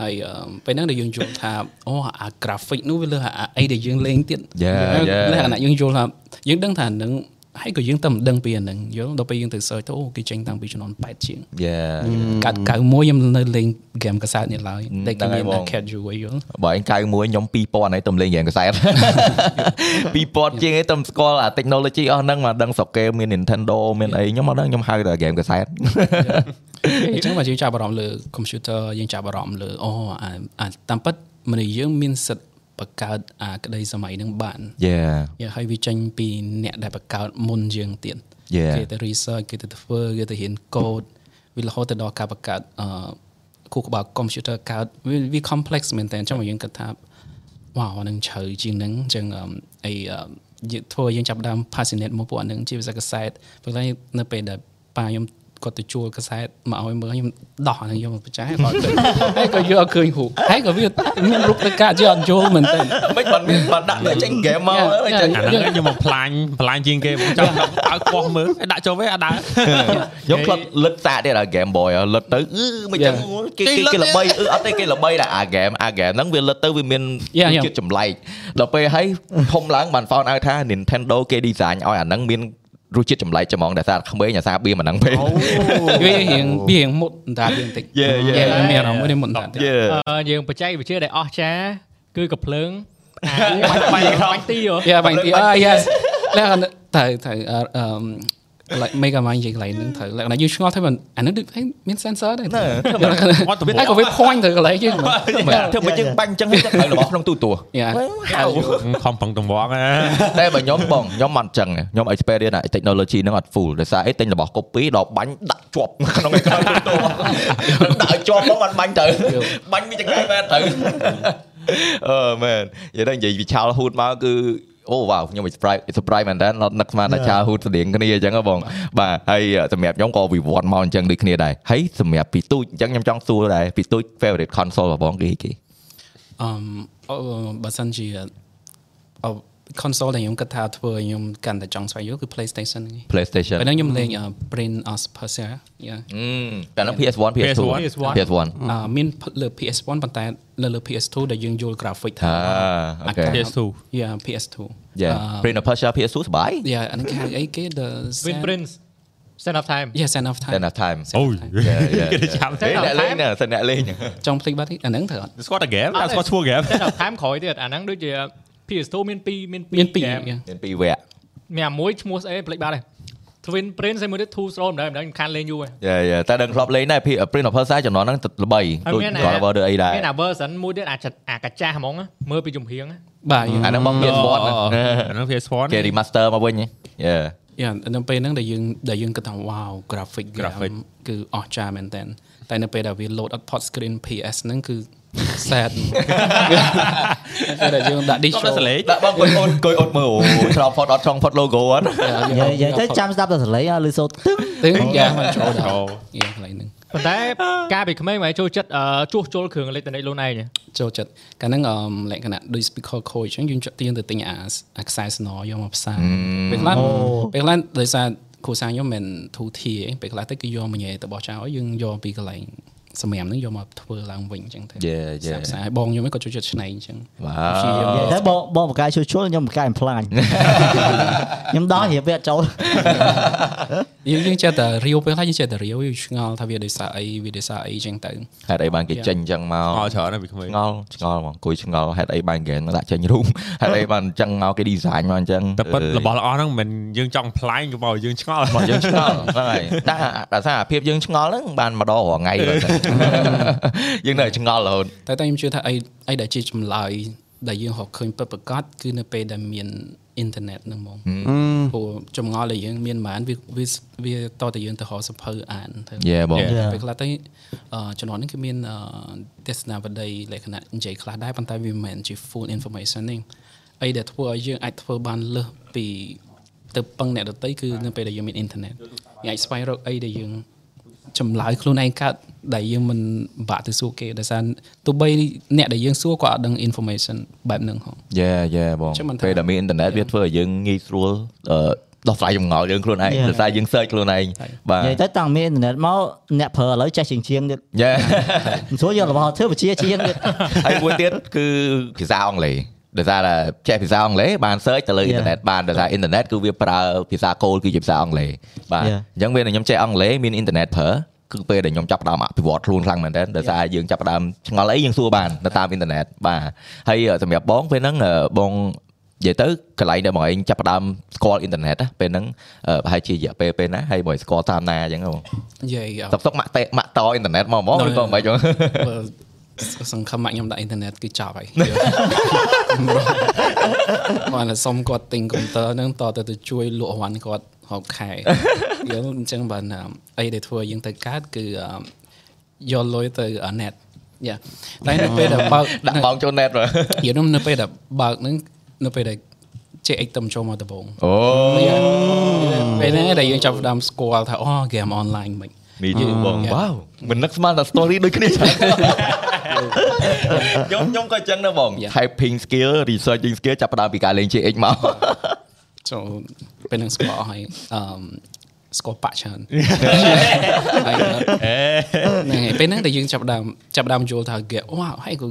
ហើយអឺមពេលហ្នឹងដែលយើងយល់ថាអូអា graphic នោះវាលើសអាអាអីដែលយើងលេងទៀត Yeah, ហើយ yeah. លក្ខណៈយើងយល់ថាយើងដឹងថាអាហ្នឹងហើយក៏យើងតែមិនដឹងពីអាហ្នឹងយល់ដល់ពេលយើងទៅ search ទៅអូគេចេញតាំងពីជំនាន់8ជាង yeah កាត់91ខ្ញុំនៅលេង game កាសែតនេះ [laughs] ឡើយ ហ៊ឹម តែគេ ដឹងហើ មា យ ន បង arcade យូរយល់ បើឯង91ខ្ញុំ2000ហើយទំលេងហ្គេមក [laughs] សែត 2000ជាងឯងទំស្គាល់អា technology អស់ហ្នឹងមកដឹងស្រុកគេមាន Nintendo មានអីខ្ញុំមកដឹងខ្ញុំហៅតែ game កសែត អញ្ចឹងបើយើងចាប់អារម្មណ៍លើ computer យើងចាប់អារម្មណ៍លើអូអាអាតាមពិតមនុស្សយើងមានសិទ្ធិបង្កើតអាក្តីសម័យហ្នឹងបាន Yeah យកហើយវាចេញពីអ្នកដែលបង្កើតមុនយើងទៀត Yeah. គេទៅ research គេទៅធ្វើគេទៅរៀនកូដវារហូតទៅដល់ការបង្កើតអឺគូក្បាល computer កើតវាវា complex មែនតើអញ្ចឹងបើយើងគិតថាវ៉ាវអានឹងជ្រៅជាងហ្នឹងអញ្ចឹងអឺមអីអឺមយើងធ្វើយើងចាប់ផ្ដើម passionate មកពួកអានឹងជាភាសាកសែតព្រោះតែនៅពេលដែលប៉ាខ្ញុំគាត់ទៅជួលកសែតមកឲ្យមើលខ្ញុំដោះអានឹងយកមក [laughs] បច្ចេកគាត់ទៅហើយក៏យកឲ្យឃើញរូបហើយក៏វាមានរូប [laughs] ទៅកាត់ជាអត់យល់មែនតើ [laughs] មិនបានមានបានដាក់តែចេញ game មកអីចឹង អាហ្នឹងឯងខ្ញុំមកផ្លាញផ្លាញជាងគេបងចង់ដល់ខ្វោះមើលឲ្យដាក់ចូលវិញអត់ដើរ ខ្ញុំខ្លត់លឹតសាកទៀតអា Game Boy ហ៎លឹតទៅអឺមិនចឹងគេគេគេល្បីអឺអត់ទេគេល្បីដែរអា game អា game ហ្នឹងវាលឹតទៅវាមាន Yeah, yeah. ជាតិចម្លែកដល់ពេលហើយធំឡើងបានហ្វោនឲ្យថា Nintendo គេ design ឲ្យអាហ្នឹងមានរសជាតិចម្លែកច្មងដែលសារក្មេងអាសាបៀមអាហ្នឹងពេក វារៀងវារៀងមុតអណ្ដាតយើងបន្តិច Yeah, yeah. យើងមានអារម្មណ៍វារៀងមុតអណ្ដាតតិច [laughs] Yeah អឺយើងបច្ចេកវិទ្យាដែលអស្ចារ្យគឺកំភ្លើង [laughs] បាញ់បាញ់ក្រោយទីហ៎ យ៉ាបាញ់ទីអឺ yes លក្ខណៈត្រូវត្រូវអឺអឺម like mega mind និយាយកន្លែងហ្នឹងត្រូវលក្ខណៈយើងឆ្ងល់ថាមិនអាហ្នឹងដូចឯងមាន sensor Dạ, ដែរ ណែ what the វាអាចក៏វា point ទៅកន្លែង [laughs] យើងមិន មិនធ្វើមិនចឹងបាញ់ចឹងហ្នឹងទៅរបស់ក្នុងទូទួ Dạ. Yeah ហៅ ខំប្រឹងតង្វក់ណា តែបើខ្ញុំបងខ្ញុំមិនអញ្ចឹងទេខ្ញុំ experience អា technology ហ្នឹងអត់ full ដោយសារអីទិញរបស់ copy ដល់បាញ់ដាក់ [laughs] ជាប់ក្នុងឯកោទូទៅដាក់ឲ្យជាប់មកអត់បាញ់ទៅ យល់ បាញ់វាចង្កេះមែនទៅ [laughs] អឺមែននិយាយដល់និយាយវិឆាលហូតមកគឺអូវ៉ាវខ្ញុំ surprise surprise មែនតើអត់នឹកស្មានថាឆាលហូតស្តៀងគ្នាអញ្ចឹងហ៎បងបាទហើយសម្រាប់ខ្ញុំក៏វិវត្តមកអញ្ចឹងដូចគ្នាដែរហើយសម្រាប់ពីទូចអញ្ចឹងខ្ញុំចង់សួរដែរពីទូច favorite console របស់បងគេគេ អឺមអូបើសិនជាអូ ờ, console ដែលខ្ញុំគិតថាធ្វើឲ្យខ្ញុំកាន់តែចង់ស្វែងយល់គឺ PlayStation ហ្នឹងឯង PlayStation ពេលហ្នឹងខ្ញុំលេង Brain of Persia យ៉ា អឺតែហ្នឹង PS1 PS2 PS1 PS1 អឺមានលើ PS1 ប៉ុន្តែលើលើ PS2 ដែលយើងយល់ graphic ថា អាអូខេ PS2 យ៉ា PS2 យ៉ា À. Prince of Persia PS2 សបាយ យ៉ាអាហ្នឹងគេហៅអីគេ the Win Prince Stand up time yeah sand of time Then of time អូយ Yeah, yeah, គេទៅចាំទេ ហេអ្នកលេងណាសិនអ្នកលេង ចង់ភ្លេចបាត់ទេអាហ្នឹងត្រូវអត់ ស្គាល់តែ game តែស្គាល់ឈ្មោះ game Stand up time ក្រោយទៀតអាហ្នឹងដូចជា PS2 មាន2មាន2 មានពីរ game យ៉ា មានពីរវគ្គ មានអាមួយឈ្មោះស្អីភ្លេចបាត់ហើយ Twin Prince ហើយមួយទៀត Two Throne ដែរមិនដឹងខានលេងយូរហើយ Yeah, yeah តែដឹងធ្លាប់លេងដែរ P- Prince of Persia ចំនួនហ្នឹងល្បី ហើយ ដូច មានអា God of War ដូចអីដែរ មានអា version មួយទៀតអាចអាកាចាស់ហ្មងណាមើលពីចំហៀងណា បាទ អាហ្នឹងមក PS1 ហ្នឹង អា [laughs] ហ្នឹង PS1 គេ remaster មកវិញហ៎ Yeah យ៉ានៅពេលហ្នឹងដែលយើងដែលយើងគិតថា wow graphic Graphic គឺអស្ចារ្យមែនតើតែនៅពេលដែលវា load អត់ port screen PS ហ្នឹងគឺ [laughs] sad [laughs] តែលដែលយើងដាក់ គាត់ទៅ digital សលេង ដាក់បងគួយអូនគួយអូនមើលអូឆ្លងផុតអត់ឆ្លងផុត logo អត់ Yeah, និយាយ យើង ទៅចាំស្ដាប់តែសលេងឲ្យលឺសូត្រទឹង ទាំងយ៉ាងមិនចូល ចូល ដល់ ចូល យ៉ាងកន្លែងហ្នឹង ប៉ុន្តែ កាលពីក្មេងមកឯងចូលចិត្តអឺជួសជុលគ្រឿងអេឡិចត្រូនិកខ្លួនឯងហ៎ ចូលចិត្តកាលហ្នឹងអឺមលក្ខណៈដូច speaker coil អញ្ចឹងយើងចាប់ទាញទៅទិញអាអាខ្សែស្នរយកមកផ្សារពេលខ្លះពេលខ្លះដោយសារគ្រូសាស្ត្រខ្ញុំមិនធូធាអីពេលខ្លះទៅគឺយកមកញ៉ែទៅបោះចោលឲ្យយើងយកពីកន្លែងសម្រាប់ហ្នឹងយកមកធ្វើឡើងវិញអញ្ចឹងទៅ Yeah, yeah. ផ្សារៗហើយបងខ្ញុំឯងក៏ចូលចិត្តឆ្នៃអញ្ចឹង Wow. ព្យាយាម និយាយទៅបងបងបកកាយជួសជុលខ្ញុំបកកាយអំផ្លាញ ខ្ញុំដោះរៀបវាអត់ចូល យើងយើងចេះតែរាវពេលខ្លះយើងចេះតែរាវយើងឆ្ងល់ថាវាដោយសារអីវាដោយសារអីអញ្ចឹងទៅ ហេតុអីបានគេចេញអញ្ចឹងមក អត់ច្រើនណាស់ពីក្មេង ឆ្ងល់ឆ្ងល់មកគួយឆ្ងល់ហេតុអីបាន game ដាក់ចេញ [laughs] រូបហេតុអីបានអញ្ចឹងមកគេ design Ừ. មកអញ្ចឹង តែប៉ិតរបស់ល្អហ្នឹងមិនយើងចង់ផ្លាញក៏មកយើងឆ្ងល់ [laughs] [laughs] បងយើងឆ្ងល់ហ្នឹងហើយតែអាដោយសារអាភាពយើងឆ្ងល់ហ្នឹងបានមកដល់រហងៃបាទ យើងនៅឆ្ងល់រហូត តែតែខ្ញុំជឿថាអីអីដែលជាចម្លើយដែលយើងរកឃើញពិតប្រាកដគឺនៅពេលដែលមានអ៊ីនធឺណិតហ្នឹងហ្មងព្រោះចម្ងល់ដែលយើងមានប៉ុន្មានវាវាវាតតែយើងទៅរកសភៅអានទៅ Yeah បង Yeah. ពេលខ្លះទៅអឺជំនាន់នេះគឺមានអឺទស្សនាវដ្ដីលក្ខណៈនិយាយខ្លះដែរប៉ុន្តែវាមិនមែនជា full information ទេអីដែលធ្វើឲ្យយើងអាចធ្វើបានលើសពីទៅពឹងអ្នកដទៃគឺនៅពេលដែលយើងមានអ៊ីនធឺណិតយើងអាចស្វែងរកអីដែលយើង ចម្លើយខ្លួនឯងកើតដែលយើងមិនពិបាកទៅសួរគេដោយសារទោះបីអ្នកដែលយើងសួរក៏អត់ដឹង information បែបហ្នឹងហង យ៉ាយ៉ាបង ចឹងមិនថា ពេលដែលមានអ៊ីនធឺណិតវាធ្វើឲ្យយើងងាយស្រួលអឺដោះស្រាយចម្ងល់យើងខ្លួនឯង Yeah. ដោយសារយើង search ខ្លួនឯងបាទ និយាយទៅតាំងមានអ៊ីនធឺណិតមកអ្នកប្រើឥឡូវចេះជាងជាងទៀត យ៉ា មិនស្រួលយករបស់ធ្វើបជាជាងទៀត [laughs] ហើយមួយទៀតគឺភាសាអង់គ្លេសដោយសារតែចេះភាសាអង់គ្លេសបាន search ទៅលើអ៊ីនធឺណិតបានដោយសារអ៊ីនធឺណិតគឺវាប្រើភាសាគោលគឺជាភាសាអង់គ្លេសបាទអ Yeah. ញ្ចឹងវានឹងខ្ញុំចេះអង់គ្លេសមានអ៊ីនធឺណិតប្រើគឺពេលដែលខ្ញុំចាប់ផ្ដើមអភិវឌ្ឍខ្លួនខ្លាំងមែនទែនដោយសារយើងចាប់ផ្ដើមឆ្ងល់អីយើងសួរបាននៅតាមអ៊ីនធឺណិតបាទហើយអឺសម្រាប់បងពេលហ្នឹងអឺបងនិយាយទៅកន្លែងដែលបងឯងចាប់ផ្ដើមស្គាល់អ៊ីនធឺណិតណាពេលហ្នឹងអឺប្រហែលជារយៈពេលពេលណាហើយបងឯងស្គាល់តាមណាអញ្ចឹងហ៎បង និយាយអ សុកសុកម៉ាក់តេម៉ាក់តអ៊ីនធឺណិតមកហ្មងឬក៏ [laughs] មិនអីចឹង បើសង្ឃឹមមកខ្ញុំដាក់អ៊ីនធឺណិតគឺចប់ [laughs] ហើយ [laughs] បានតែសុំគាត់ទិញកុំព្យូទ័រហ្នឹងតទៅទៅជួយលក់រង្វាន់គាត់ហប់ [laughs] ខែយើងអញ្ចឹងបានអ่าអីដែលធ្វើឲ្យយើងទៅកើតគឺអ่าយកលុយទៅ net យ៉ាតែនៅពេល [laughs] ដែលបើក ដាក់បងចូល net មើល យល់នៅពេលដែលបើកហ្នឹងនៅពេលដែលចេះអេកតឹមចូលមកដំបូង អូ Oh. Ừ. ពេលហ្នឹងដែលយើងចាប់ផ្ដើមស្គាល់ថាអូ game online មិន មីយូបង យ៉ា វ៉ាវមិននឹកស្មានថា story ដូចគ្នាច្រើនខ្ញុំខ្ញុំក៏អញ្ចឹងដែរបង Yeah. typing Dạ. skill researching skill ចាប់ផ្ដើមពីការលេង CX មក ចូលពេលហ្នឹងស្គាល់ហើយអឺមស្គាល់បាក់ច្រើន [laughs] ហើយហ្នឹងហើយពេលហ្នឹងដែលយើងចាប់ផ្ដើមចាប់ផ្ដើមយល់ថា game វ៉ាវហើយក៏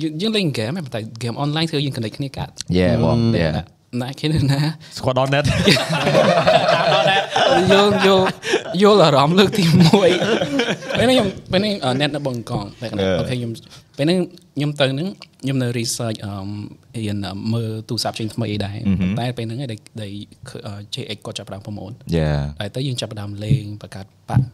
យើងយើងលេង game ហ្នឹងប៉ុន្តែ game online ធ្វើយើង connect គ្នាកាត់ យេបងយេ ណាស់គ្នាណា ស្គាល់ដល់ net [laughs] យកយកយកអារម្មណ៍លើកទី1ពេលនេះខ្ញុំពេលនេះអឺ net នៅបង្កងតែកណ្ដាលអូខេខ្ញុំពេលនេះខ្ញុំទៅហ្នឹងខ្ញុំនៅ research អឺរៀនអឺមើលទូរស័ព្ទជើងថ្មីអីដែរប៉ុន្តែពេលហ្នឹងឯងដែលដែលឃើញអឺ JX គាត់ចាប់ផ្ដើមប្រម៉ូទ យេ ហើយទៅយើងចាប់ផ្ដើមលេងបង្កើតប៉ាក់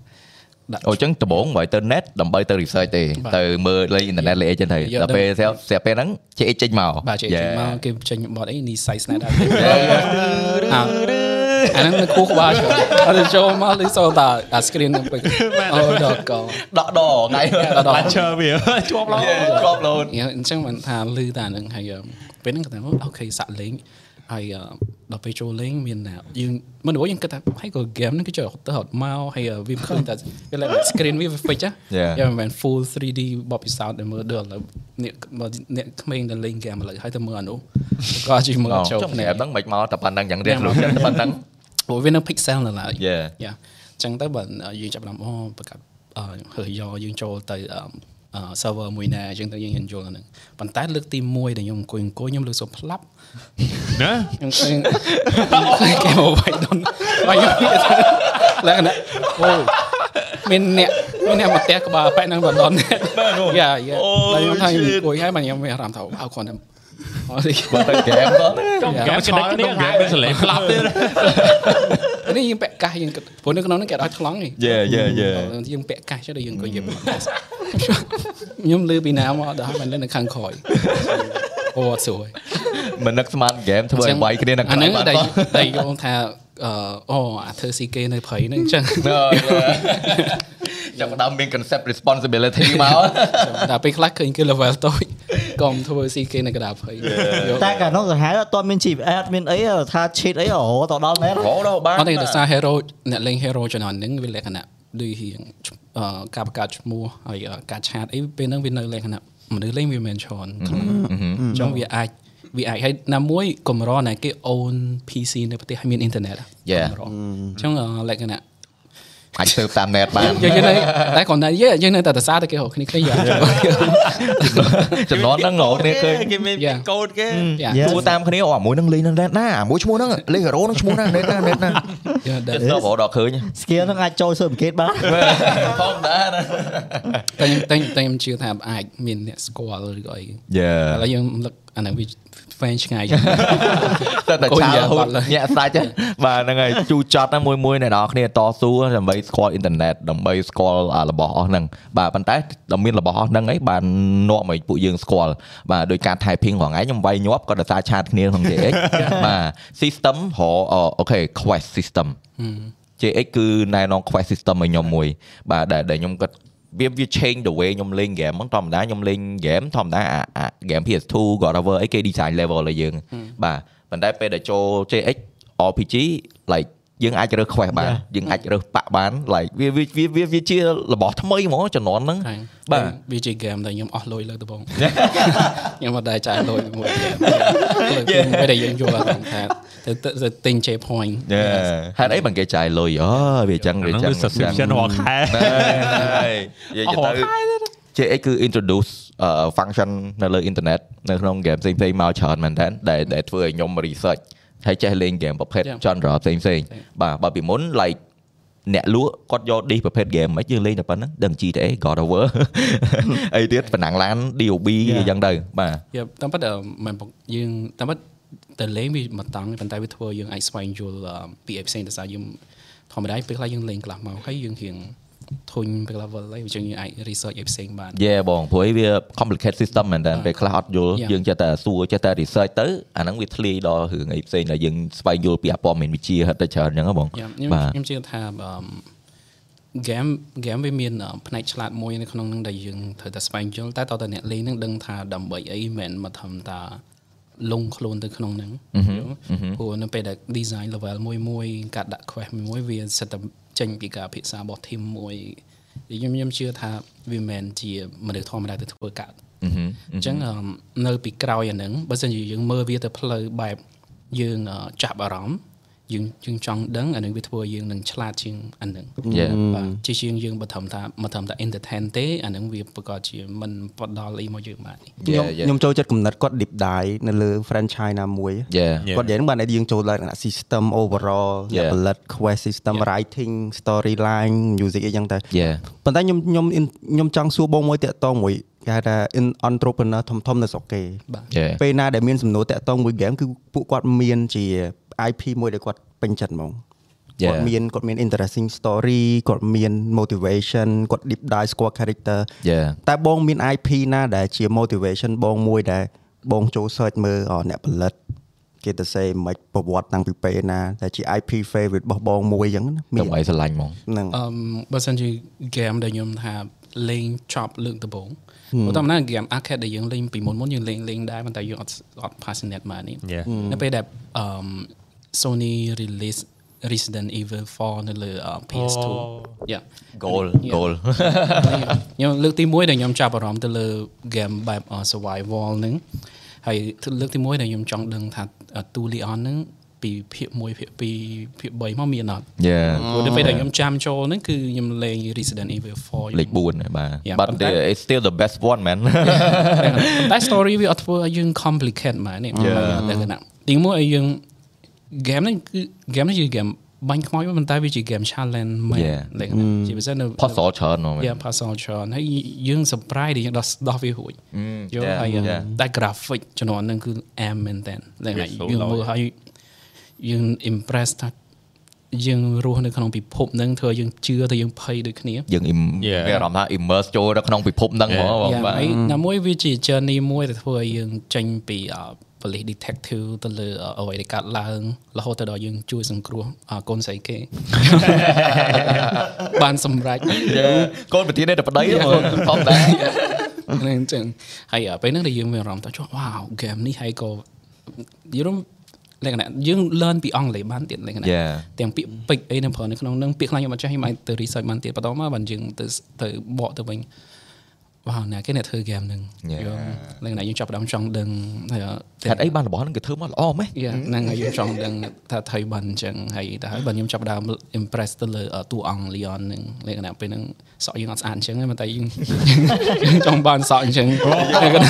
ដាក់ អូអញ្ចឹងដំបូងបើទៅ net ដើម្បីទៅ research ទេ បាទ ទៅមើលលេង internet លេងអីចឹងទៅ យក ដល់ពេល ដឹង ស្រាប់ស្រាប់ពេលហ្នឹង CX ចេញមក បាទ JX ចេញមកគេចេញបតអីនីស័យស្នេហ៍ដែរ [laughs] អាអាហ្នឹងនៅគូក្បាលចូលអត់ទៅចូលមកលឺសូរតាអា screen ហ្នឹងពេកអូដល់កង ដកដកថ្ងៃ ដកដក launcher វាជាប់ឡើង យេជាប់លោត អញ្ចឹងអញ្ចឹងមិនថាលឺតែហ្នឹងហើយអឺពេលហ្នឹងក៏តែអូខេសាក់លេងហើយអឺដល់ពេលចូលលេងមានណាយើងមិនដឹងយើងគិតថាហើយក៏ game ហ្នឹងគឺជារត់ទៅរត់មកហើយអឺវាមិនឃើញតែវា like screen វា fix ហ៎ Yeah. យើងមិនមែន full 3D បបពិសោធន៍ដែលមើលដល់ឥឡូវអ្នកបើអ្នកក្មេងដែលលេង game ឥឡូវហើយទៅមើលអានោះ [laughs] ក៏ជិះមើល អូ អត់ចូល ចុះ ភ្នែ នេះ ក ហ្នឹងមិនមកតែប៉ុណ្្នឹងយ៉ាងរៀនខ្លួនតែប៉ុណ្្នឹង ព្រោះវានៅ pixel នៅឡើយ Yeah. យ៉ាអញ្ចឹងទៅបើយើងចាប់ផ្ដើមអូប្រកាសអឺហើយយកយើងចូលទៅអឺអឺ server មួយណាអញ្ចឹងទៅយើងយល់យល់អាហ្នឹងប៉ុន្តែលើកទី1ដែលខ្ញុំអង្គុយអង្គុយខ្ញុំលើកសូរផ្លាប់ ណា ខ្ញុំឃើញខ្ញុំឃើញគេមកវាយដុនវាយខ្ញុំ [laughs] លក្ខណៈអូមានអ្នកមានអ្នកមកផ្ទះក្បាលប៉ែកហ្នឹងបាត់ដុនយ៉ាយ៉ា អូ តែខ្ញុំថាខ្ញុំអង្គុយហើយបាទខ្ញុំមានអារម្មណ៍ថាអោគាត់តែអូនេះ [laughs] បើទៅ game ផង កែឆ្លងក្នុង game មានសលេងផ្លាប់ទៀត នេះយើងពាក់កាសយើងគិតព្រោះនៅក្នុងហ្នឹងគេអត់ឲ្យខ្លងទេ Yeah, yeah, [laughs] yeah. យើងពាក់កាសចុះដល់យើងក៏និយាយ podcast ខ្ញុំលើពីណាមកដល់មិនលើនៅខាងក្រោយ [laughs] អូអត់ស្រួល មិននឹកស្មាន game ធ្វើឲ្យវាយគ្នានឹង អា ក្រោយ ហ្នឹង បាត់ តែ [laughs] ផង [laughs] តែយល់ថាអឺអូអាធ្វើស៊ីគេនៅព្រៃហ្នឹងអញ្ចឹង [laughs] អឺចាប់ផ្ដើមមាន concept responsibility មក តែពេលខ្លះឃើញគេ level តូច [laughs] កុំធ្វើស៊ីគេនៅកណ្ដាលព្រៃយល់ តែកាលនោះសាហាវអត់ទាន់មាន GPS អត់មានអីថា ờ, cheat អីរហូតដល់មែន ហៅដល់បាន អត់ទេដោយសារ hero អ្នកលេង hero ចំនួនហ្នឹងវាលក្ខណៈដូចរៀងអឺការបង្កើតឈ្មោះហើយអឺការឆាតអីពេលហ្នឹងវានៅលក្ខណៈមនុស្សលេងវាមិនមែនច្រើនក្នុង អញ្ចឹងវាអាចវាអាចហើយណាមួយកម្រណាគេអូន PC នៅប្រទេសឲ្យមានអ៊ីនធឺណិត យ៉ា កម្រអញ្ចឹងអឺលក្ខណៈ អាចទៅតាម net បាន [laughs] យើងយើងនៅតែគ្រាន់តែយើងយើងនៅតែសារតែគេហៅគ្នាគ្នាយ៉ាង ចំនួនហ្នឹងរហូតនេះឃើញ គេមានកូដគេ យ៉ា យ៉ា គួរតាមគ្នាអូអាមួយហ្នឹងលេងនៅ net ណាអាមួយឈ្មោះហ្នឹងលេង hero ហ្នឹងឈ្មោះណា net ណា net ណា យ៉ាដែ ចិត្ត តទៅរហូតដល់ឃើញ skill ហ្នឹងអាចចូលស៊ើបអង្កេតបាន [laughs] ធម្មតាណា តែខ្ញុំតែខ្ញុំតែខ្ញុំជឿថាអាចមានអ្នកស្គាល់ឬក៏អី យ៉ា ឥឡូវយើងរំលឹក អាហ្នឹងវាហ្វែងឆ្ងាយ តែតែ កូន ឆា ញ៉ាំ ហូ បា ត ត់ហើយ ញាក់សាច់ហ្នឹងបាទហ្នឹងហើយជូរចត់ណាមួយមួយអ្នកនរគ្នាតស៊ូដើម្បីស្គាល់អ៊ីនធឺណិតដើម្បីស្គាល់អារបស់អស់ហ្នឹងបាទប៉ុន្តែតែមានរបស់អស់ហ្នឹងអីបាននាំឲ្យពួកយើងស្គាល់បាទដោយការថៃភីងរងឯងខ្ញុំវាយញាប់ក៏ដោយសារឆាតគ្នាក្នុង JX [laughs] បាទ system ហៅអូខេ quest system JX គឺណែនាំ quest system ឲ្យខ្ញុំមួយបាទដែលដែលខ្ញុំគាត់វាវា change the way ខ្ញុំលេង game ហ្នឹងធម្មតាខ្ញុំលេង game ធម្មតាអាអា à, game PS2 whatever អីគេ design level ឲ្យយើងបាទប៉ុន្តែពេលដែលចូល JX RPG like យើងអាចរើស quest បាន Yeah. យើងអាចរើសប៉ាក់បាន like វាវាវាវាវាជារបស់ថ្មីហ្មងជំនាន់ហ្នឹង ហ្នឹង បា បាទ ទវាជាហ្គេមដែលខ្ញុំអស់លុយលើដំបង [laughs] ខ្ញុំអត់ដែរចាយលុយមួយហ្គេមលើពីពេលដែលយើងយល់អារម្មណ៍ថាទៅទៅទៅទិញ J point ហេតុអីបងគេចាយលុយអូវាអញ្ចឹងវាអអាញ្ចឹហ្នឹងង វា subscription រាល់ខែ [laughs] ហើយនិយាយទៅ JX គឺ introduce អឺ function នៅលើ internet នៅក្នុង game ផ្សេងៗមកច្រើនមែនតើដែលដែលធ្វើឲ្យខ្ញុំ research ហើយចេះលេង game ប្រភេទ Yeah. genre ផ្សេងផ្សេងបាទបើពីមុន like អ្នកលក់គាត់យកឌីសប្រភេទ game ហ្មិនយើងលេងតែប៉ុណ្្នឹងដឹង GTA God of [laughs] War អីទៀតប៉ណ្ណាំងឡាន DOB អីយ៉ាងទៅបាទ យកតាមពិតអឺមិនបុកយើងតាមពិតតែលេងវាមិនតង់ទេប៉ុន្តែវាធ្វើយើងអាចស្វែងយល់អឺពីអីផ្សេងដូចថាយើងធម្មតាពេលខ្លះយើងលេងខ្លះមកហើយយើងរៀងធុញពេល level ហើយវាជាងយើងអាច research អីផ្សេងបាន យេបងព្រោះឯងវា complicate system មែនតើពេលខ្លះអត់យល់ Yeah. យើងចេះតែសួរចេះតែ research ទៅអាហ្នឹងវាធ្លាយដល់រឿងអីផ្សេងដែលយើងស្វែងយល់ពីអពមមានវិជាហិតទៅច្រើនហ្នឹងហ៎បង យ៉ាខ្ញុំ បាទ ខ្ញុំជឿថាអឺម game game វាមានអឺផ្នែកឆ្លាតមួយនៅក្នុងហ្នឹងដែលយើងត្រូវតែស្វែងយល់តែតើតើអ្នកលេងហ្នឹងដឹងថាដើម្បីអីមិនមែនមកធ្វើតាលងខ្លួនទៅក្នុងហ្នឹងយល់ព្រោះនៅពេលដែល design level មួយមួយការដាក់ quest មួយមួយវាសិតតែចេញពីការពិសារបស់ team មួយខ្ញុំខ្ញុំជឿថាវាមិនមែនជាមនុស្សធម្មតាទៅធ្វើកើត អឺហឺ អញ្ចឹងអឺមនៅពីក្រោយអាហ្នឹងបើសិនជាយើងមើលវាទៅផ្លូវបែបយើងអឺចាប់អារម្មណ៍យើងយើងចង់ដឹងអាហ្នឹងវាធ្វើឲ្យយើងនឹងឆ្លាតជាងអាហ្នឹង Yeah. បាទជាជាងយើងបើត្រឹមថាមកត្រឹមថា entertain ទេអាហ្នឹងវាប្រកាសជាមិនផ្ដល់អីមកយើងបានទេ Yeah, yeah. ខ្ញុំខ្ញុំចូលចិត្តកំណត់គាត់ deep dive នៅលើ franchise ណាមួយ Yeah. គាត់និយាយហ្នឹងបានតែយើងចូលដល់គណៈ system overall អ្នក Yeah. ផលិត quest system writing storyline music អីយ៉ាងទៅ Yeah. ប៉ុន្តែខ្ញុំខ្ញុំខ្ញុំចង់សួរបងមួយតាក់តងមួយគេហៅថា in- entrepreneur ធំធំៗនៅស្រុកគេ Yeah. ពេលណាដែលមានសំណួរតាក់តងមួយ game គឺពួកគាត់មានជា IP មួយដែលគាត់ពេញចិត្តហ្មង Yeah. គាត់មានគាត់មាន interesting story គាត់មាន motivation គាត់ deep dive ស្គាល់ character Yeah. តែបងមាន IP ណាដែលជា motivation បងមួយដែលបងចូល search មើលអអ្នកផលិតគេទៅសេមិនប្រវត្តិតាំងពីពេលណាដែលជា IP favorite របស់បងមួយអញ្ចឹងណាមានកុំអីស្រឡាញ់ហ្មង ហ្នឹង អឺមបើសិនជា game ដែលខ្ញុំថាលេងចប់លើកដំបូងព្រោះតាមណា game arcade ដែលយើងលេងពីមុនមុនយើងលេងលេងដែរប៉ុន្តែយើងអត់អត់ passionate មកនេះ Yeah. នៅពេលដែលអឺម Sony release Resident Evil 4នៅលើអឺ PS2 យ៉ា goal goal ខ្ញុំលើកទី1ដែលខ្ញុំចាប់អារម្មណ៍ទៅលើ game បែបអឺ survival ហ្នឹងហើយលើកទី1ដែលខ្ញុំចង់ដឹងថាអឺ Two Leon ហ្នឹងពីភាគ1ភាគ2ភាគ3មកមានអត់ Yeah. ព្រោះនៅពេលដែលខ្ញុំចាំចូលហ្នឹងគឺខ្ញុំលេង Resident Evil 4 [laughs] លេខ4បាទ Yeah, but ប៉ុន្តែ they- it's still the best one man តែ story វាអត់ធ្វើឲ្យយើង complicate ម៉ែនេះតែគណៈទីមួយឲ្យយើង game ហ្នឹងគឺ game ហ្នឹងជា game បាញ់ខ្មោចមកប៉ុន្តែវាជា game challenge មែន Yeah. តែគណៈជាពិសេសនៅ [laughs] puzzle ច្រើនហ្មង Yeah, puzzle ច្រើនហើយយើង surprise ដែលយើងដោះដោះវារួច Mm, យល់ yeah, ហើយ yeah. តែ graphic ជំនាន់ហ្នឹងគឺ am មែនតើតែគណៈ Visual យើងមើលហើយយើង impress ថាយើងរស់នៅក្នុងពិភពហ្នឹងធ្វើឲ្យយើងជឿទៅយើងភ័យដូចគ្នា យើង im- Yeah. មានអារម្មណ៍ថា immerse ចូលទៅក្នុងពិភពហ្នឹងហ្មង Yeah. បង យ៉ា បាទ ហើយណាមួយវាជា journey មួយដែលធ្វើឲ្យយើងចេញពីអឺ police detective ទៅលើអឺអ្វីដែលកើតឡើងរហូតទៅដល់យើងជួយសង្គ្រោះអឺកូនស្រីគេ [laughs] បានសម្រេច កូនប្រធាននេះតែប្តីហ្មងធម្មតា [laughs] ហ្នឹងអញ្ចឹងហើយអ่ะពេលហ្នឹងដែលយើងមានអារម្មណ៍ថាចុះវ៉ាវហ្គេមនេះហើយក៏យល់លក្ខណៈយើង learn ពីអង់គ្លេសបានទៀតលក្ខណៈ Yeah. ទាំងពាក្យពេចន៍អីនៅព្រោះនៅក្នុងហ្នឹងពាក្យខ្លះខ្ញុំអត់ចេះខ្ញុំអាចទៅ research បានទៀតបន្តមកបានយើងទៅទៅបកទៅវិញវ៉ាវណាគេអ្នកធ្វើហ្គេមហ្នឹង Yeah. យល់លក្ខណៈយើងចាប់ផ្ដើមចង់ដឹងហើយអ่ะ ហេតុអីបានរបស់ហ្នឹងគេធ្វើមកល្អម៉េះ យ៉ាហ្នឹងហើយយើងចង់ដឹងថាថៃបានអញ្ចឹងហើយតែហើយបានខ្ញុំចាប់ផ្ដើម impress ទៅលើអឺតួអង្គ Leon ហ្នឹងលក្ខណៈពេលហ្នឹងសក់យើងអត់ស្អាតអញ្ចឹងទេប៉ុន្តែ [laughs] យើង យើងចង់បានសក់អញ្ចឹងល [laughs] ក្ខណៈ ក៏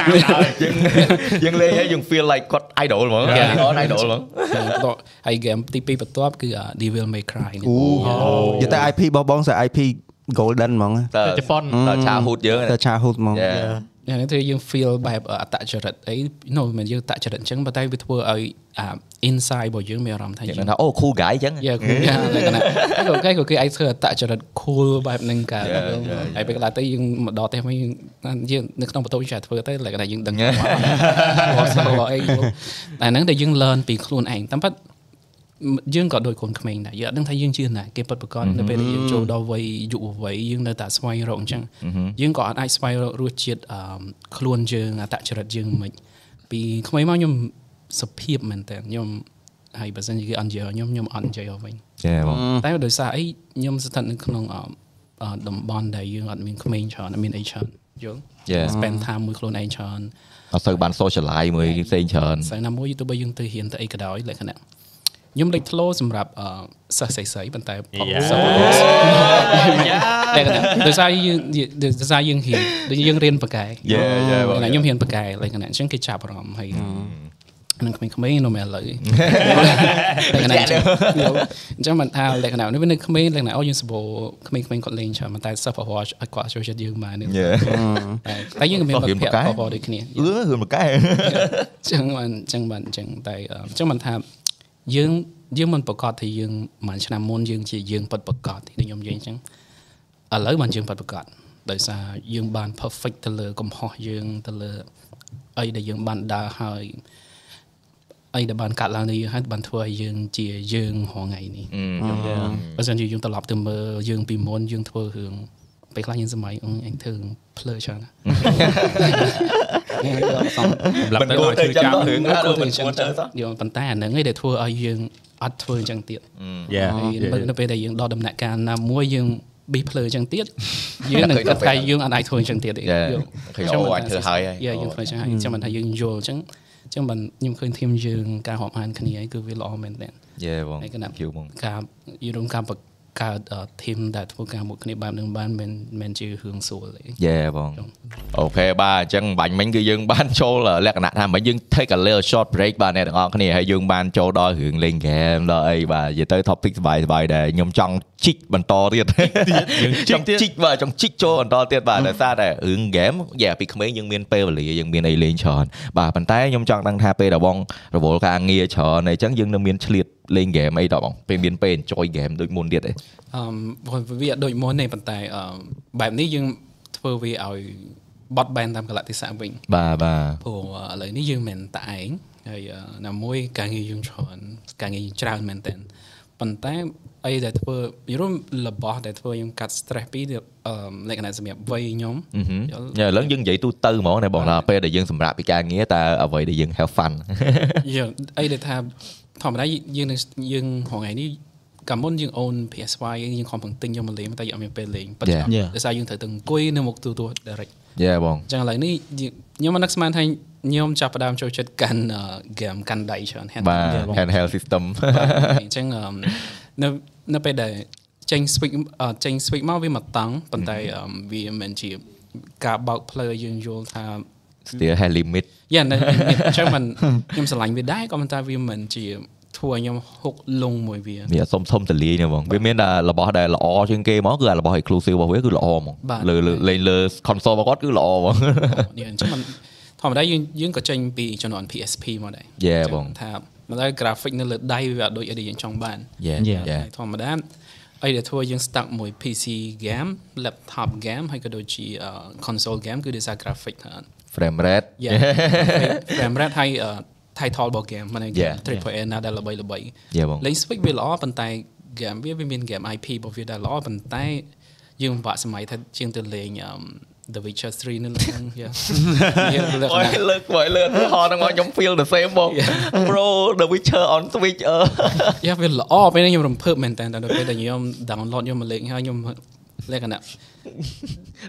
តាមដែរ [laughs] យើងយើងលេងហើយយើង feel like គាត់ idol ហ្មងគាត់ idol ហ្មង [laughs] បន្តហើយ game ទី2បន្ទាប់គឺ uh, Devil May Cry ហ្នឹង អូនិយាយតែ IP របស់បងសើ IP Golden ហ្មង តើ តែជប៉ុន តើឆាហូតយើង Dạ. តែឆាហូតហ្មង យេ យ៉ាងនេះទៅយើង feel បែបអត្តចរិតអី no មិនមែនយើងអត្តចរិតអញ្ចឹងប៉ុន្តែវាធ្វើឲ្យអា inside របស់យើងមានអារម្មណ៍ថា គេ យើង ថាអូ cool guy អញ្ចឹង យ៉ាគូយ៉ាតែគណៈគេគេគេអាចធ្វើអត្តចរិត cool បែបហ្នឹងកើត Yeah, yeah, yeah. ហើយពេលកន្លងទៅយើងមកដល់ផ្ទះវិញយើងយើងនៅក្នុងបន្ទប់យើងចេះធ្វើទៅតែគណៈយើងដឹង Yeah. វត្តរបស់របស់អីយល់តែហ្នឹងតែយើង learn ពីខ្លួនឯងតាមពិតយើងក៏ដូចខ្លួនក្មេងដែរយើងអត់ដឹងថាយើងជាណាគេពិតប្រកបនៅពេលដែលយើងចូលដល់វ័យយុវវ័យយើងនៅតែស្វែងរកអញ្ចឹងយើងក៏អត់អាចស្វែងរករសជាតិអឺមខ្លួនយើងអត្តចរិតយើងមិនពីក្មេងមកខ្ញុំសុភាពមែនតើខ្ញុំហើយបើសិនជាគេអត់និយាយឲ្យខ្ញុំខ្ញុំអត់និយាយឲ្យវិញ ចាបង តែដោយសារអីខ្ញុំស្ថិតនៅក្នុងអឺអឺតំបន់ដែលយើងអត់មានក្មេងច្រើនអត់មានអីច្រើនយល់ ចា spend time មួយខ្លួនឯងច្រើន អត់ទៅបាន socialize មួយផ្សេងច្រើន ស្អីណាមួយទោះបីយើងទៅហ៊ានទៅអីក៏ដោយលក្ខណៈខ្ញុំលេចធ្លោសម្រាប់អឺសិស្សសិស្សសិស្សប៉ុន្តែផក [laughs] សិស្ស តែគណៈ [laughs] ដោយសារយើងដោយសារយើងហ៊ានដូចយើងរៀនប៉ាកែ [laughs] តែខ្ញុំហ៊ានប៉ាកែឡើយគណៈអញ្ចឹងគេចាប់អារម្មណ៍ហើយនឹងក្មេងៗនៅមែនឥ [laughs] ឡូវតែ [laughs] គណៈអញ្ចឹងអញ្ចឹងមិនថាលក្ខណៈនេះវានៅក្មេងលក្ខណៈអូយើងសបោក្មេងៗគាត់លេងច្រើនតែសិស្សប្រហោះឲ្យគាត់ចូលចិត្តយើងមកនេះ យេ Ừ. [laughs] តែយើងក៏មានមិត្តភក្តិប្រហោះដូចគ្នា អឺហឺមកកែ ចឹងបានចឹងបានចឹងតែអឺចឹងបានថាយើងយើងមិនប្រកាសថាយើងមួយឆ្នាំមុនយើងជាយើងពិតប្រកាសទេដូចខ្ញុំនិយាយចឹងឥឡូវបានយើងពិតប្រកាសដោយសារយើងបាន perfect ទៅលើកំហុសយើងទៅលើអីដែលយើងបានដើរហើយអីដែលបានកាត់ឡើងទៅយើងហើយបានធ្វើឲ្យយើងជាយើងរាល់ថ្ងៃនេះបើសិនជាយើងត្រឡប់ទៅមើលយើងពីមុនយើងធ្វើរឿងពេលខ្លះយើងសម័យអឺអញធ្វើរឿងភ្លើច្រើនណាស់ [laughs] សម្រាប់ទៅឲ្យជួយចាប់ មិនគួរទៅចាំដល់ រឿង ណា ណា ដូច ដូច មិន មិន គួ គួ រ រ ទៅ ទៅ សោះ សោះយកប៉ុន្តែអាហ្នឹងឯងដែលធ្វើឲ្យយើងអត់ធ្វើអញ្ចឹងទៀត យ៉ា ហើយនៅនៅពេលដែលយើងដល់ដំណាក់កាលណាមួយយើងប៊ីភ្លើអញ្ចឹងទៀត យើងនឹងគិតថាយើងអត់អាចធ្វើអញ្ចឹងទៀតទេ Yeah. យើង ឃើញអូអាច Dạ. ធ្វើហើយហើយ Yeah, យើងធ្វើអញ្ចឹងហើយអញ្ចឹងមិនថាយើងយល់អញ្ចឹងអញ្ចឹងមិនខ្ញុំឃើញធីមយើងការហាប់ហានគ្នាហ្នឹងគឺវាល្អមែនទែន យេបង ឯកណាប់ ជឿបង ការយល់ការបង្កើតធីមដែលធ្វើការមួយគ្នាបែបហ្នឹងបានមិនមែនជារឿងស្រួលទេ យេបងអូខេបាទអញ្ចឹងបាញ់មិញគឺយើងបានចូលលក្ខណៈថាមិញយើង take a little short break បាទអ្នកទាំងអស់គ្នាហើយយើងបានចូលដល់រឿងលេង game ដល់អីបាទនិយាយទៅ topic សบายសบายដែរខ្ញុំចង់ជីកបន្តទៀត [laughs] យើងចជីក ង់ ទៀត ជីកបាទចង់ជីកចូលបន្តទៀតបាទដោយសារតែរឿង game យ៉ាពីក្មេងយើងមានពេលវេលាយើងមានអីលេងច្រើនបាទប៉ុន្តែខ្ញុំចង់ដឹងថាពេលដែលបងរវល់ការងារច្រើនអីចឹងយើងនៅមានឆ្លៀតលេង game អីតបងពេលមានពេល enjoy game ដូចមុនទៀតអី អឺវាអត់ដូចមុនទេប៉ុន្តែអឺបែបនេះយើងធ្វើវាឲ្យបត់បែនតាមកលៈទេសៈវិញ បាទបាទ ព្រោះអឺឥឡូវនេះយើងមិនតែឯងហើយអឺណាមួយការងារយើងច្រើនការងារយើងច្រើនមែនតើប៉ុន្តែអីដែលធ្វើយល់របស់ដែលធ្វើយើងកាត់ stress ពីអឺលក្ខណៈសម្រាប់វ័យខ្ញុំយល់ ញ៉ែឥឡូវយើងនិយាយទូទៅហ្មងណាបងណាពេលដែលយើងសម្រាប់ពីការងារតើអ្វីដែលយើង have fun យើងអីដែលថាធម្មតាយើងនឹងយើងរហងៃនេះកាលមុនយើងអូន PS5 យើងខំប្រឹងទិញយកមកលេងតែយើងអត់មានពេលលេងប៉ុន្តែ Yeah. Yeah. ដោយសារយើងត្រូវទៅអង្គុយនៅមុខទូរទស្សន៍ direct យេបង អញ្ចឹងឥឡូវនេះយើងខ្ញុំមិននឹកស្មានថាខ្ញុំចាប់ផ្ដើមចូលចិត្តកាន់អឺ game កាន់ដៃច្រើន hand បាទ game handheld system អញ្ចឹងអឺមនៅនៅពេលដែលចេញ switch អឺចេញ switch មកវាមកតង់ប៉ុន្តែអឺមវាមិនជាការបោកផ្លើយើងយល់ថា still have limit យ៉ានៅអញ្ចឹងមិនខ្ញុំស្រឡាញ់វាដែរក៏ប៉ុន្តែវាមិនជាធ្វើឲ្យខ្ញុំហុកលងមួយវា វាអត់សុំសុំតលីណាបងវាមានតែរបស់ដែលល្អជាងគេហ្មងគឺអារបស់ exclusive របស់វាគឺល្អហ្មង បាទ លើលើលេងលើ console របស់គាត់គឺល្អហ្មង [laughs] នេះអញ្ចឹងមិនធម្មតាយើងយើងក៏ចេញពីជំនាន់ PSP មកដែរ Yeah, អញ្ចឹ បង ថាមិនដែរ graphic នៅលើដៃវាអត់ដូចអីដែលយើងចង់បាន យេ Yeah. យេ ហើយធម្មតាអីដែលធ្វើយើង stuck មួយ PC game laptop game ហើយក៏ដូចជាអឺ console game គឺដោយសារ graphic ថា [laughs] frame rate [laughs] Yeah frame rate ហើយអឺ title របស់ game មិនហ្នឹង Yeah. triple A ណាដែលល្បីល្បី Yeah, បង លេង Switch វាល្អប៉ុន្តែ game វាវាមាន game IP របស់វាដែលល្អប៉ុន្តែយើងពិបាកសម័យថាជាងទៅលេងអឺម The Witcher 3នៅលើហ្នឹង [laughs] Yeah. យើងលក្ខ អូយ [laughs] ណៈ លើកបើលើកហោហ្នឹងមកខ្ញុំ feel the same បង [laughs] bro the witcher on ờ. switch អឺ យ៉ាវាល្អពេលនេះខ្ញុំរំភើបមែនតើតែដល់ពេលដែលខ្ញុំ download ខ្ញុំមកលេងហើយខ្ញុំលក្ខណៈ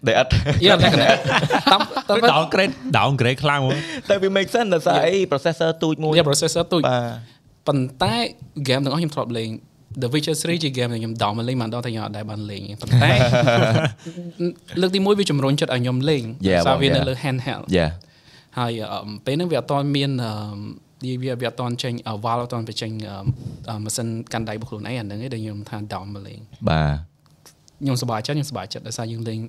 ដែលអត់ យ៉ា [laughs] លក្ខណៈតាមតាម downgrade downgrade ខ្លាំងហ្មង តែវា make sense ដល់សារអី processor ទូចមួយ យ៉ា processor ទូច បាទ ប៉ុន្តែ game ទាំងអស់ខ្ញុំធ្លាប់លេង The Witcher 3ជា game ដែលខ្ញុំ down មកលេងមិនដល់តែខ្ញុំអត់ដែរបានលេងទេប៉ុន្តែ [laughs] លើកទី1វាជំរុញចិត្តឲ្យខ្ញុំលេង Yeah, សារវា បង នៅ yeah. លើ handheld yeah ហើយអឺមពេលហ្នឹងវាអត់តមានអឺវាវាអត់តចេញអឺ Valve អត់តបញ្ចេញអឺមអឺម៉ាស៊ីនកាន់ដៃរបស់ខ្លួនឯងអាហ្នឹងឯងដែលខ្ញុំថា down មកលេង បាទ ខ្ញុំសប្បាយចិត្តខ្ញុំសប្បាយចិត្តដោយសារយើងលេង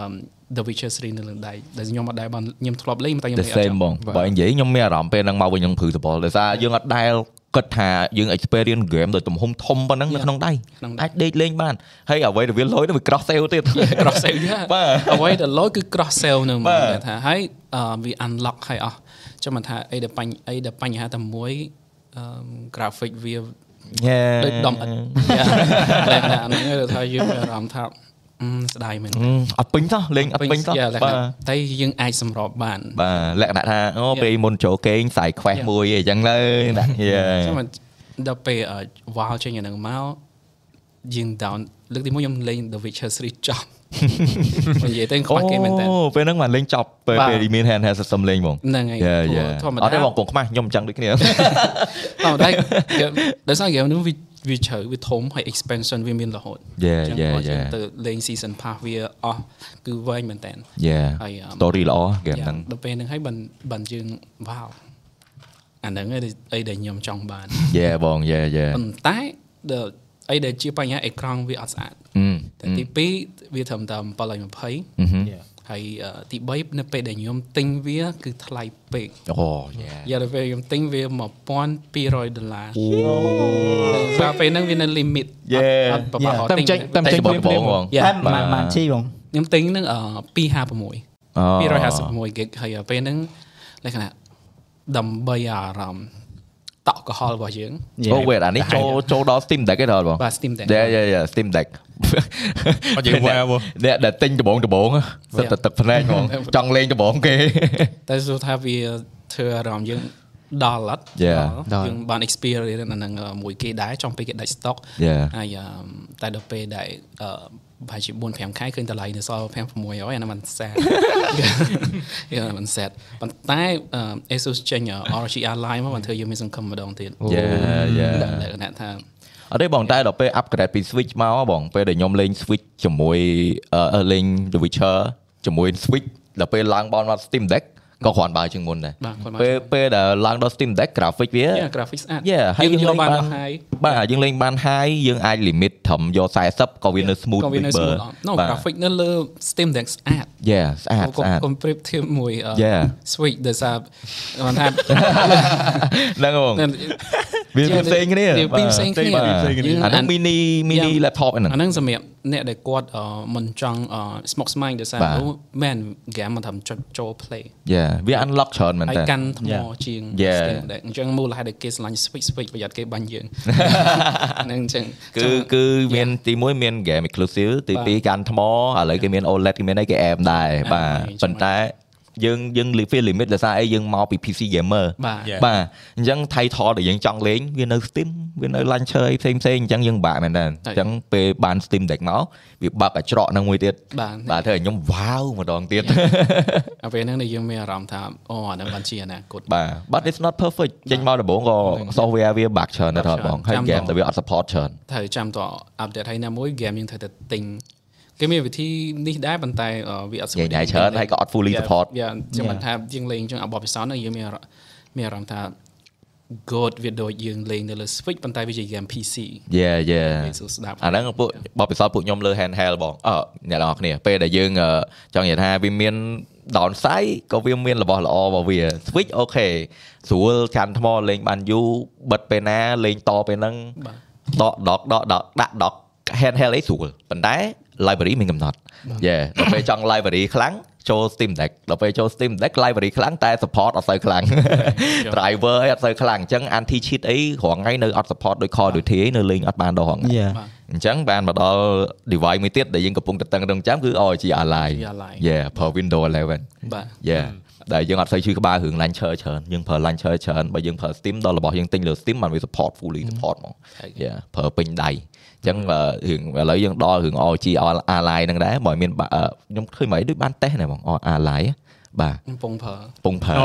um, The Witcher 3នៅលើដៃដែលខ្ញុំអត់ដែរបានខ្ញុំធ្លាប់លេងតែខ្ញុំ the លេង same បង បាទ បើនិយាយខ្ញុំមានអារម្មណ៍ពេលហ្នឹងមកវិញខ្ញុំព្រឺសបល់ដោយសារយើងអត់ដែលគិតថាយើង experience game ដោយទំហំធំប៉ុណ្ណឹងនៅ Yeah. ក្នុងដៃ ក្នុងអាដៃចដេកលេងបានហើយអ្វីដែលវាលុយទៅវា cross sale ទៀត cross sale បា បាទ ទអ្វីដែលលុយគឺ cross sale នឹង បា មើ ទ លដែលថាហើយអឺវា unlock ហើយអស់ចាំមិនថាអីដែលបញ្ហាអីដែលបញ្ហាតែមួយអឺ graphic វា Yeah. ដូចដំអិត [laughs] តែអាហ្នេះគឺថាយើងមានអារម្មណ៍ថាអឺស្ដាយមែន អឺអត់ពេញសោះលេងអត់ពេញសោះ យ៉ាលក្ខ បាទ ណៈតែយើងអាចសម្របបាន បាទលក្ខណៈថាអូពេលមុនចូលគេងខ្សែ quest Yeah. មួយអីចឹងទៅណា Yeah. ចាំមកដល់ពេលអឺ wow ចេញអាហ្នឹងមកយើង down លើកទីមួយខ្ញុំលេង The Witcher 3ចប់ [laughs] និយាយទៅខ្វះគេមែនតើ អូពេលហ្នឹងបានលេងចប់ពេល បាទ ពេលមាន handheld system លេងហ្មង ហ្នឹងហើយ យ៉ា ព្រោះ យ៉ា ធម្មតា អត់ទេបងកងខ្មាស់ខ្ញុំអញ្ចឹងដូចគ្នា ធម្មតា [laughs] គេដោយសារ game នេះវាវាជ្រៅវាធំហើយ expansion វាមានរហូត Yeah, អ yeah, ញ្បើយើង yeah. ទៅលេង season pass វាអស់គឺវែងមែនតើ Yeah. ហើយអឺ story ល្អ game យ៉ា ហ្នឹង ដល់ពេលហ្នឹងហើយបានបានយើង wow អាហ្នឹងឯងអីដែលខ្ញុំចង់ [laughs] បាន Yeah បង Yeah yeah ប៉ុន្តែ the- អីដែលជាបញ្ហាអេក្រង់វាអត់ស្អាត អឺ តែទី2វាត្រឹមតែ720 ហើយអឺទី3នៅពេលដែលខ្ញុំទិញវាគឺថ្លៃពេក អូ yeah យ៉ាដល់ពេលខ្ញុំទិញវា1200ដុល្លារដល់ពេលហ្នឹងវានៅ limit អ Yeah. ត់អត់ប្រហែល Yeah. ទិញ តែមិនចេញតែ តែចេញបងបងបង យ៉ា តែម៉ាក់ម៉ាក់ជីបង ខ្ញុំទិញហ្នឹងអឺ256 256 gig ហើយដល់ពេលហ្នឹងលក្ខណៈដើម្បីអារម្មណ៍តក់កុហល់របស់យើង អូ wait អានេះចូលចូលដល់ Steam Deck ឯងដល់បង បាទ Steam Deck Yeah yeah yeah Steam Deck អត់និយាយ wow ហ៎ អ្នកដែលទិញដបងដបងសិតតែទឹកភ្នែកហ្មងចង់លេងដបងគេ តែសួរថាវាធ្វើអារម្មណ៍យើងដល់អត់ Yeah. ដល់យើងបាន experience អាហ្នឹងមួយគេដែរចំពេលគេដាច់ stock Yeah. ហើយអឺមតែដល់ពេលដែលអឺប្រហែលជា4 5ខែឃើញតម្លៃនៅសល់5 600អាហ្នឹងมัน [laughs] សែន យ៉ាมันសែនប៉ុន្តែអឺម Asus ចេញ ROG Ally មកបានធ្វើយើងមានសង្ឃឹមម្ដងទៀត Yeah yeah លក្ខណៈថា អត់ទេបងតែដល់ពេល upgrade ពី Switch មកហ៎បងពេលដែលខ្ញុំលេង Switch ជាមួយអឺលេង The Witcher ជាមួយ Switch ដល់ពេលឡើងបនមក Steam Deck ក៏គ្រាន់បើជាងមុនដែរ បាទគ្រាន់បើ ពេលពេលដែលឡើងដល់ Steam Deck graphic វា yeah, graphics ស្អាត យេហើយយើង យលេកងបាន អស់ហើយ បាទយើងលេងបានហើយយើងអាច limit ត្រឹមយក40ក៏វានៅ smooth ក៏វានៅ smooth អត់ No បាទ graphic នៅលើ Steam Deck ស្អាត យេស្អាត កុំ ស្អាត កុំប្រៀបធៀប [laughs] មួយអឺ Yeah. Switch ដោយសារគាត់ [laughs] ថា ហ្នឹងហ៎បងវាវាផ្សេងគ្នា វាពីរផ្សេងគ្នា បាទ វាផ្សេងគ្នា អាហ្នឹង mini mini Yeah. laptop ហ្នឹង អាហ្នឹងសម្រាប់អ្នកដែលគាត់អឺមិនចង់អឺ smoke smile ដោយសារ បាទ នោះមែន game មិនថាចុចចូល play យេវា unlock ច្រើនមែន ហើយ តើ កាន់ថ្មជាង Yeah. Steam Deck អញ្ចឹងមូលហេតុដែលគេឆ្លាញ់ switch switch ប្រយ័ត្នគេបាញ់ [laughs] យើង ហ្នឹងអញ្ចឹង គឺគឺមានទី1មាន game exclusive ទី2កាន់ថ្មឥឡូវគេមាន OLED គេមានអីគេ aim ដែរបា ហើយ ទប៉ុន្តែយើងយើង limit limit ដោយសារអីយើងមកពី PC gamer បាទ Yeah. បាទអញ្ចឹង title ដែលយើងចង់លេងវានៅ Steam វានៅ launcher អីផ្សេងផ្សេងអញ្ចឹងយើងពិបាកមែនតើអញ្ចឹងពេលបាន Steam Deck មកវាបើកអាច្រកហ្នឹងមួយទៀត បាទ បាទធ្វើឲ្យខ្ញុំ wow ម្ដងទៀត អាពេលហ្នឹងដែលយើងមានអារម្មណ៍ថាអូអាហ្នឹងបានជាអនាគត [laughs] បាទ but it's not perfect ចេញមកដំបូងក៏ software វាបាក់ច្រើនណាស់បងហើយ ចាំ game តែវាអត់ support ច្រើន ត្រូវចាំតអាប់ដេតហើយណាមួយ game យើងត្រូវតែទិញគេមានវិធីនេះដែរប៉ុន្តែអឺវាអត់ស្រួ និយាយដែរច្រើនហើយក៏អត់ fully support យ៉ាខ្ញុំមិនថាយើងលេងចឹងអបបិសោនឹងយើងមានអារម្មណ៍មានអារម្មណ៍ថា good វាដូចយើងលេងនៅលើ Switch ប៉ុន្តែវាជា game PC yeah yeah វាសួរស្ដាប់ អាហ្នឹងពួកបបិសោតពួកខ្ញុំលើ handheld បងអឺអ្នកនរគ្នាពេលដែលយើងអឺចង់និយាយថាវាមាន downside ក៏វាមានរបស់ល្អរបស់វា switch អូខេស្រួលកាន់ថ្មលេងបានយូរបិទពេលណាលេងតពេលហ្នឹង បាទ ដកដកដកដកដាក់ដក handheld អីស្រួលប៉ុន្តែ library មានកំណត់យេដល់ពេលចង់ library ខ្លាំងចូល Steam Deck ដល់ពេលចូល Steam Deck library ខ្លាំងតែ support អត់សូវខ្លាំង [laughs] driver អីអត់សូវខ្លាំងអញ្ចឹង anti cheat អីរងថ្ងៃនៅអត់ support ដោយ Call of Duty អីនៅលេងអត់បានដល់រងថ្ងៃ យេ អញ្ចឹងបានមកដល់ device មួយទៀតដែលយើងកំពុងតតឹងរង់ចាំគឺ ROG Ally ROG Ally យេប្រើ Windows បាទ 11យេដែលយើងអត់សូវជួយក្បាលរឿង launcher ច្រើនយើងប្រើ launcher ច្រើនបើយើងប្រើ Steam ដល់របស់យើងទិញលើ Steam បានវា support fully support ហ្មងយេប្រើពេញដៃអញ្ចឹងបើរឿងឥឡូវយើងដល់រឿង ROG Ally ហ្នឹងដែរបើមានបាអឺខ្ញុំឃើញមកអីដូចបានតេស្តដែរហ្មង ROG Ally បាទ កំពុងប្រើ ពងប្រើយេ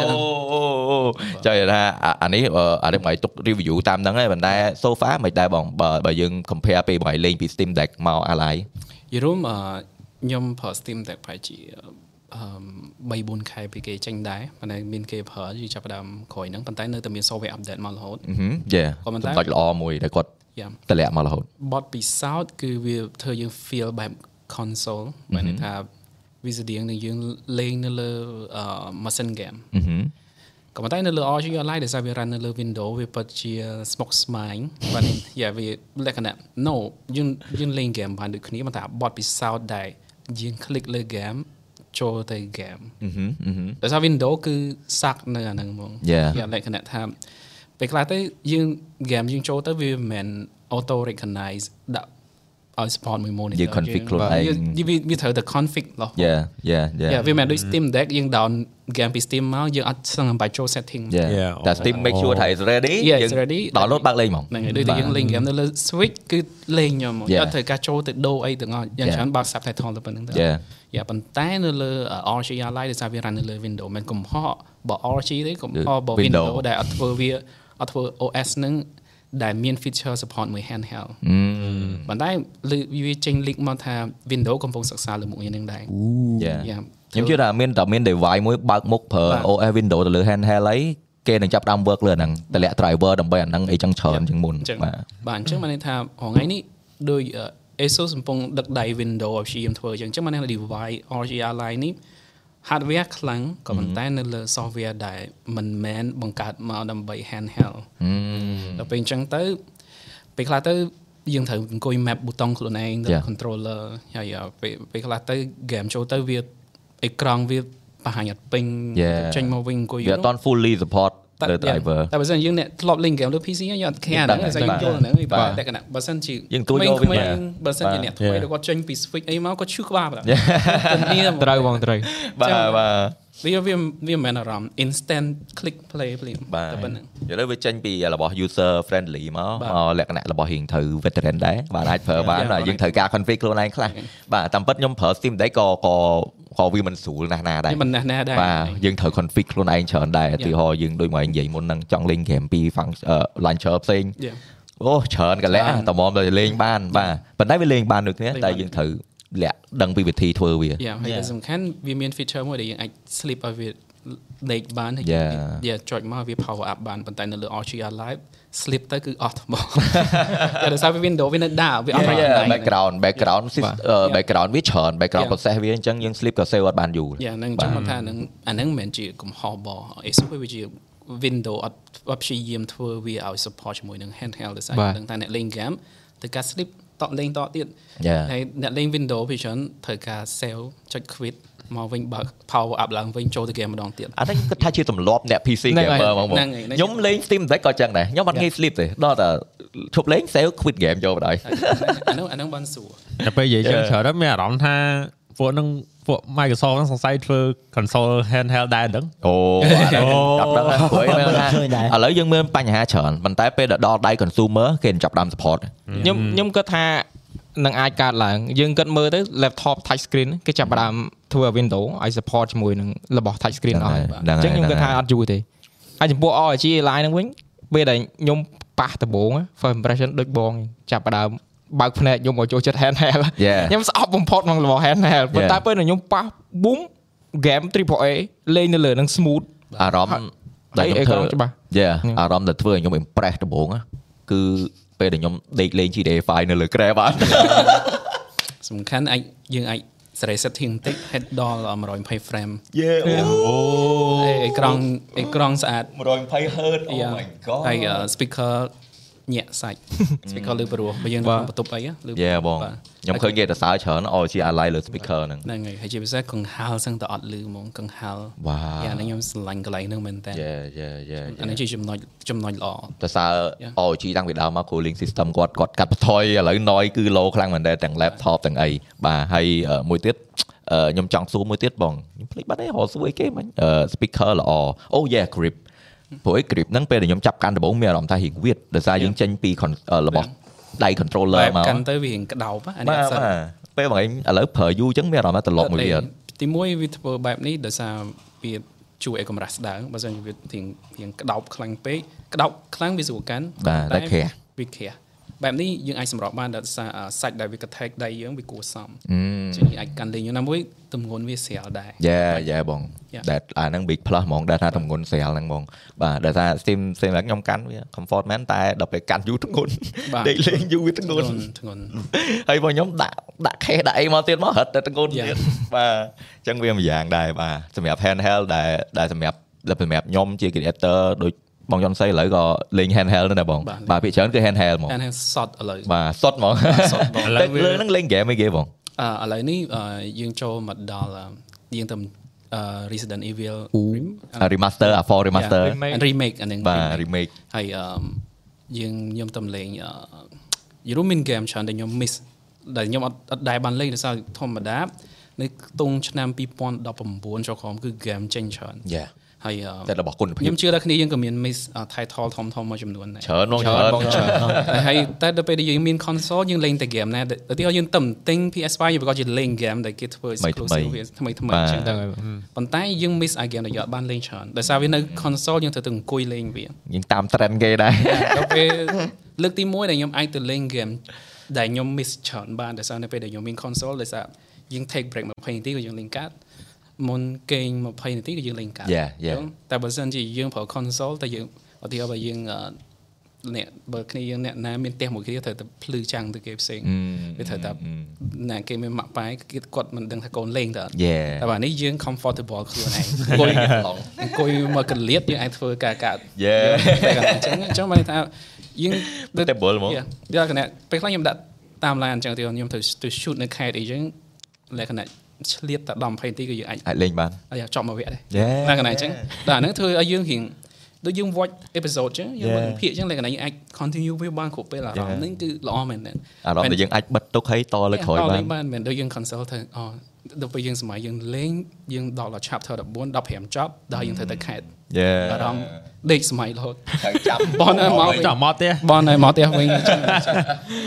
អូអូអូចៃថាអាអានេះអឺអានេះមិនទុក review តាមហ្នឹងទេប៉ុន្តែ so far មិនដែរបងបើបើយើង compare ពេលបងលេងពី Steam Deck មក Ally យល់មកខ្ញុំប្រើ Steam តែប្រហែលជាអឺ3 4ខែពីគេចេញដែរប៉ុន្តែមានគេប្រើយូរចាប់ផ្ដើមក្រោយហ្នឹងប៉ុន្តែនៅតែមាន software update មករហូត យេ ក៏ប៉ុន្តែ សម្ដេចល្អមួយដែលគាត់ យ៉ា តម្លាក់មករហូត បទពិសោធន៍គឺវាធ្វើយើង feel បែប console បានន័យថាវាស្តៀងនឹងយើងលេងនៅលើអឺ machine game ក៏ប៉ុន្តែនៅលើ ROG Online ដែលសារវា run នៅលើ Windows វាពិតជាស្មុគស្មាញបាទយ៉ាវាលក្ខណៈ no យើងយើងលេង game បានដូចគ្នាប៉ុន្តែបត់ពិសោធន៍ដែរយើង click លើ game ចូលទៅ game ដោយសារ Windows គឺសាក់នៅអាហ្នឹងហ្មង Yeah. វាលក្ខណៈថាពេលខ្លះទៅយើង game យើងចូលទៅវាមិនមែន auto recognize ដាក់ឲ្យ support មួយ monitor យើង config ខ្លួនឯង យើងវាវាត្រូវតែ config ឡោះ យ៉ាយ៉ាយ៉ា យ៉ាវាមិនដូច Steam Deck យើង down game ពី Steam មកយើងអត់សឹងអំបាច់ចូល setting ហ្ យ៉ា Yeah, តែ Steam make sure ថា is ready Yeah, it's ready. ដល់លូតបើកលេងហ្មង នឹងដូចតែយើងលេង game នៅលើ Switch គឺលេងខ្ញុំហ្មង Yeah. អត់ត្រូវការចូលទៅដូរអីទាំងអស់យ៉ាង Yeah. ច្រើនបើក subtitle ទៅប៉ុណ្្នឹងទៅ Yeah. យ៉ាប៉ុន្តែនៅលើ RG Online ដែលសារវា run នៅលើ Windows មិនកំហកបើ RG ទេកំហកបើ Windows Windows ដែលអត់ធ្វើវាអត់ធ្វើ OS ហ្នឹងដែលមាន feature support មួយ handheld ប៉ុន្តែលើវាចេញ leak មកថា Windows កំពុងសិក្សាលើមុខនេះហ្នឹងដែរ យ៉ា យ៉ា ខ្ញុំជឿថាមានតែមាន device មួយបើកមុខប្រើ បាទ OS window ទៅលើ handheld អីគេនឹងចាប់ផ្ដើម work លើហ្នឹងតម្លាក់ driver ដើម្បីអាហ្នឹងអីចឹងច្រើនជាងមុន អញ្ចឹង បាទ បាទអញ្ចឹងបានន័យថារហងៃនេះដោយ ASUS កំពុងដឹកដៃ Windows ឲ្យព្យាយាមធ្វើអញ្ចឹងអញ្ចឹងបានន័យថា device RGR line នេះ hardware ខ្លាំងក៏ប៉ុន្តែនៅលើ software ដែលមិនមែនបង្កើតមកដើម្បី handheld ដល់ពេលអញ្ចឹងទៅពេលខ្លះទៅយើងត្រូវអង្គុយ map ប៊ូតុងខ្លួនឯងទៅ Yeah. controller ហើយអ่าពេលពេលខ្លះទៅ game ចូលទៅវាអេក្រង់វាបង្ហាញអត់ពេញ Yeah. ចេញមកវិញអង្គុយយូ វា រ អត់ទាន់ fully support លើ driver តែបើសិនយើងអ្នកធ្លាប់លេងហ្គេមលើ PC ហ្នឹងយើងអត់ខែហ្នឹង ដឹង តែយើងយល់ហ្នឹងឯងបាទលក្ខណៈបើសិនជា យើងទួយយកវា ក្មេងៗ បាទ បើសិនជា បាទ អ្នកថ្មីដែលគាត់ចេញពី Switch អីមកគាត់ឈឺក្បាលបាទគ្នាហ្មង ត្រូវបងត្រូវ បាទបាទ វាវាវាមិនមែនអារម្មណ៍ instant click play ភ្លាម បាទ តែប៉ុណ្្នឹង ឥឡូវវាចេញពីរបស់ user friendly មក បាទ មកលក្ខណៈរបស់រៀងត្រូវ veteran ដែរបាទអាចប្រើបាន បាទ យើងត្រូវការ config ខ្លួនឯងខ្លះបាទតាមពិតខ្ញុំប្រើ Steam Deck ក៏ក៏ក៏វាមិនស្រួលណាស់ណាដែរ វាមិនណាស់ណាដែរ បាទយើងត្រូវ config ខ្លួនឯងច្រើនដែរឧទាហរណ៍យើងដូចមកឯងនិយាយមុនហ្នឹងចង់លេង game ពី function អឺ launcher ផ្សេង Yeah. អូច្រើនកន្លែក ច្រើន តែមកតែលេងបានបាទប៉ុន្តែវាលេងបានដូចគ្នា លេង តែ បាន យើងត្រូវលាក់ដឹងពីវិធីធ្វើវា យ៉ាហើយដែលសំខាន់វាមាន feature មួយដែលយើងអាច sleep ឲ្យវាដេកបានហើយ Yeah. យ៉ាចុចមកវា power up បានប៉ុន្តែនៅលើ RGR live sleep ទៅគឺអស់ថ្មង [laughs] តែដោយសារវា window វានៅដាក់វាអត់ Yeah, ប្រើ yeah, ដៃ background background sys- អឺ background វាច្រើន background Yeah. process វាអញ្ចឹងយើង sleep ក៏ save អត់បានយូរ យ៉ាហ្នឹងចាំមកថាហ្នឹងអាហ្នឹងមិនមែនជាកំហុសបអេសុវាជា window អត់អត់ព្យាយាមធ្វើវាឲ្យ support ជាមួយនឹង handheld ដូច បា ហ្នឹង ទ ដឹងថាអ្នកលេង game ទៅការ sleep តក់លេងតទៀត Yeah. ហើយអ្នកលេង window ពីច្រើនត្រូវការ sale ចុច quit មកវិញបើក power up ឡើងវិញចូលទៅ game ម្ដងទៀត [laughs] អានេះខ្ញុំគិតថាជាទម្លាប់អ្នក PC ហ្នឹងហើយ gamer ហ្មងបង ហ្នឹងហើយហ្នឹង ខ្ញុំលេង Steam Deck ក៏ចឹងដែរខ្ញុំអត់ងាយ sleep ទេដល់តែឈប់លេង save quit game ចូលបណ្ដោយ អាហ្នឹងអាហ្នឹងបានស្រួល តែពេលនិយាយចឹង Yeah. ច្រើនដល់មានអារម្មណ៍ថាពួកហ្នឹងពួក Microsoft ហ្នឹងសង្ស័យធ្វើ console handheld ដែរហ្នឹង អូអានេះដល់ដល់ព្រោះឯងមើលថា ឃើញដែរ ឥឡូវយើងមើលបញ្ហាច្រើនប៉ុន្តែពេលដល់ដៃ consumer គេនឹងចាប់ផ្ដើម support ខ្ញុំខ្ញុំគិតថានឹងអាចកើតឡើងយើងគិតមើលទៅ laptop touch screen គេចាប់ផ្ដើមធ្វើ window ឲ្យ support ជាមួយនឹងរបស់ touch screen អស់ហើយ ហ្នឹងហើយ អញ្ចឹងខ្ញុំ ហ្នឹងហើយ គិតថាអត់យូរទេហើយចំពោះ ROG line ហ្នឹងវិញពេលដែលខ្ញុំប៉ះដំបង first impression ដូចបង ចាប់ផ្ដើមបើកភ្នែកខ្ញុំមកចូលចិត្ត handheld [laughs] Yeah. ខ្ញុំស្អប់បំផុតក្នុងរបស់ handheld ប៉ុន្តែពេលដែលខ្ញុំប៉ះ boom game AAA លេងនៅលើនឹង smooth អារម្មណ៍ដែល ហើយ ខ្ញុំធ្វើ អេក្រង់ច្បាស់ យ៉ាអារម្មណ៍ដែលធ្វើឲ្យខ្ញុំ impress ដំបូងណាគឺពេលដែលខ្ញុំដេកលេង GTA 5នៅលើ Grab បាន សំខាន់អាចយើងអាចសេរី setting បន្តិច head ដល់120 frame យេអូ អេក្រង់អេក្រង់ស្អាត 120 Hz អូ Yeah. my god ហើយ uh, speaker ញាក់សា [laughs] ច់ speaker លើព្រោះបើយើងនៅក្នុងបន្ទប់អីយេបហ៎ង បាទ ខ្ញុំឃើញគេសរសើរច្រើន OG Ally លើ speaker ហ្នឹង ហ្នឹងហើយហើយជាពិសេសកង្ហាលសឹងតែអត់លឺហ្មងកង្ហាល Wow. យ៉ាហ្នឹងខ្ញុំស្រឡាញ់កន្លែងហ្នឹងមែនតើ យេយេយេ អាហ្នឹងជាចំណុចចំណុចល្អ តើសើ Yeah. OG តាំងពីដើមមក cooling system គាត់គាត់កាត់បន្ថយឥឡូវ noise គឺ low ខ្លាំងមែនដែរទាំង laptop ទាំងអីបាទហើយអឺមួយទៀតអឺខ្ញុំចង់សួរមួយទៀតបងខ្ញុំភ្លេចបាត់ហើយរកសួរអីគេមិញអឺ speaker ល្អអូ yeah grip ព្រោះឯ grip ហ្នឹងពេលដែលខ្ញុំចាប់កាន់ដំបូងមានអារម្មណ៍ថារៀងវៀតដោយសារយើងចេញពី con- អឺរបស់ដៃ controller បែប មក កាន់ទៅវារៀងក្តោបហ៎អា បាទនេះអត់សិ បាទ ន ពេលបងឯងឥឡូវប្រើយូរអញ្ចឹងមានអារម្មណ៍ថាត្រឡប់មកវាអត់ ទីមួយវាធ្វើបែបនេះដោយសារវាជួយឲ្យកម្រាស់ស្ដើងបើមិនវារៀងរៀងក្តោបខ្លាំងពេកក្តោបខ្លាំងវាស្រួលកាន់ បាទតែ ន្ ក្រាស់ វាក្រាស់ បែបនេះយើងអាចសម្របបានដល់សារអឺសាច់ដែលវាកថែកដៃយើងវាគួរសម ម ជាងយើងអាចកាន់លេងយូរណាមួយទម្ងន់វាស្រាលដែរ យ៉ាយ៉ាបង Yeah. ដែលអាហ្នឹង big plus ហ្មងដែលថាទម្ងន់ស្រាលហ្នឹងហ្មងបាទដែលថា steam ផ្សេងឡើងខ្ញុំកាន់វា comfort មែនតែដល់ពេលកាន់យូរទម្ងន់ បាទ ដេកលេងយូរវាទម្ង ធ្ង ន់ ន់ [laughs] ធ្ងន់ ហើយបងខ្ញុំដាក់ដាក់ខេសដាក់អីមកទៀតមករត់តែទម្ងន់ Yeah. ទៀតបាទអញ្ចឹងវាមួយយ៉ាងដែរបាទសម្រាប់ handheld ដែលដែលសម្រាប់ដែលសម្រាប់ខ្ញុំជា creator ដូចបងយន់សៃឥឡូវក៏លេង handheld ដែរណាបង បាទ បាទពាក្យច្រើនគឺ handheld ហ្មង តែហ្នឹងសតឥឡូវ បាទសុតហ្មង សតបង [laughs] ឥឡូវលើហ្នឹងលេង game អីគេបង អឺឥឡូវនេះអឺយើងចូលមកដល់អឺយើងទៅអឺ Resident Evil អា remaster អា for remaster Yeah. Remake. and remake អាហ្នឹង បាទ remake ហើយអឺយើងខ្ញុំទៅលេងអឺយូរមីនហ្គេមច្រើនដែលខ្ញុំ miss ដែលខ្ញុំអត់អត់ដែរបានលេងដោយសារធម្មតានៅខ្ទង់ឆ្នាំ2019ចូលក្រុមគឺ game ចេញច្រើន យ៉ា ហើយអឺ តែរបស់គុណភាព ខ្ញុំជឿថាគ្នាយើងក៏មាន miss អឺ title ធំៗមួយចំនួនដែរ ច្រើនហ្មងច្រើនហ្មងច្រើន [laughs] ហើយតែដល់ពេលដែលយើងមាន console យើងលេងតែ game ណាដែលឧទាហរណ៍យើងទៅទិញ PS5 យើងប្រកាសជាលេង game ដែលគេធ្វើ exclusive វាថ្មីថ្មី បាទ អញ្ចឹងទៅ ហ្នឹងហើយបង ប៉ុន្តែយើង miss អា game ដែលយើងអត់បានលេងច្រើនដោយសារវានៅ console យើងត្រូវទៅអង្គុយលេងវា យើងតាម trend គេដែរ ដល់ពេលលើកទី1ដែលខ្ញុំអាចទៅលេង game ដែលខ្ញុំ miss ច្រើនបានដោយសារនៅពេលដែលខ្ញុំមាន console ដោយសារយើង take break 20នាទីក៏យើងលេងកាតមុនកេង20នាទីក៏យើងលេងកាត Yeah, yeah. តែបើសិនជាយើងប្រើ console តែយើងឧទាហរណ៍បើយើងអឺ អ្នកបើគ្នាយើងអ្នកណាមានផ្ទះមួយគ្នាត្រូវតែភ្លឺចាំងទៅគេផ្សេងវាត្រូវតែណាគេមានម៉ាក់ប៉ែគេគាត់មិនដឹងថាកូនលេងទៅអត់ Yeah. តែបាទនេះយើង comfortable ខ្លួន [laughs] ឯងអង្គុយអង្គុយមកកលៀតយើងអាចធ្វើការកាត់ Yeah. តែកន្លែងអញ្ចឹងអញ្ចឹងបានថាយើង Portable ហ្មង Yeah. យកគណៈពេលខ្លះខ្ញុំដាក់តាមឡានអញ្ចឹងទៅខ្ញុំទៅទៅ shoot នៅខេត្តអីអញ្ចឹងលក្ខណៈឆ្លៀតតែ10 20នាទីក៏យើងអាច អាចលេងបាន អាយ៉ាចប់មកវគ្គដែរ Yeah. ហ្នឹងកណ្ដាលអញ្ចឹងតែអាហ្នឹងធ្វើឲ្យយើងរៀងដូចយើង watch episode អញ្ចឹងយើងមិនភាកអញ្ចឹងតែកណ្ដាលយើងអាច continue វាបានគ្រប់ពេលអារម្មណ៍ហ្នឹងគឺល្អមែនទែន អារម្មណ៍ដែលយើងអាចបិទទុកឲ្យតលើក្រោយ ត បាន លេងបានមែនដូចយើង console ờ, ទៅអូដល់ពេលយើងសម័យយើងលេងយើងដល់ដល់ chapter 14 15ចប់ដល់យើងត្រូវទៅខេត Yeah. អារម្មណ៍ដេកសម័យរហូត ត្រូវចាប់ បនឲ្យមកវិញ ចាំមកទេ បនឲ្យមកផ្ទះ [laughs] វិញអញ្ចឹង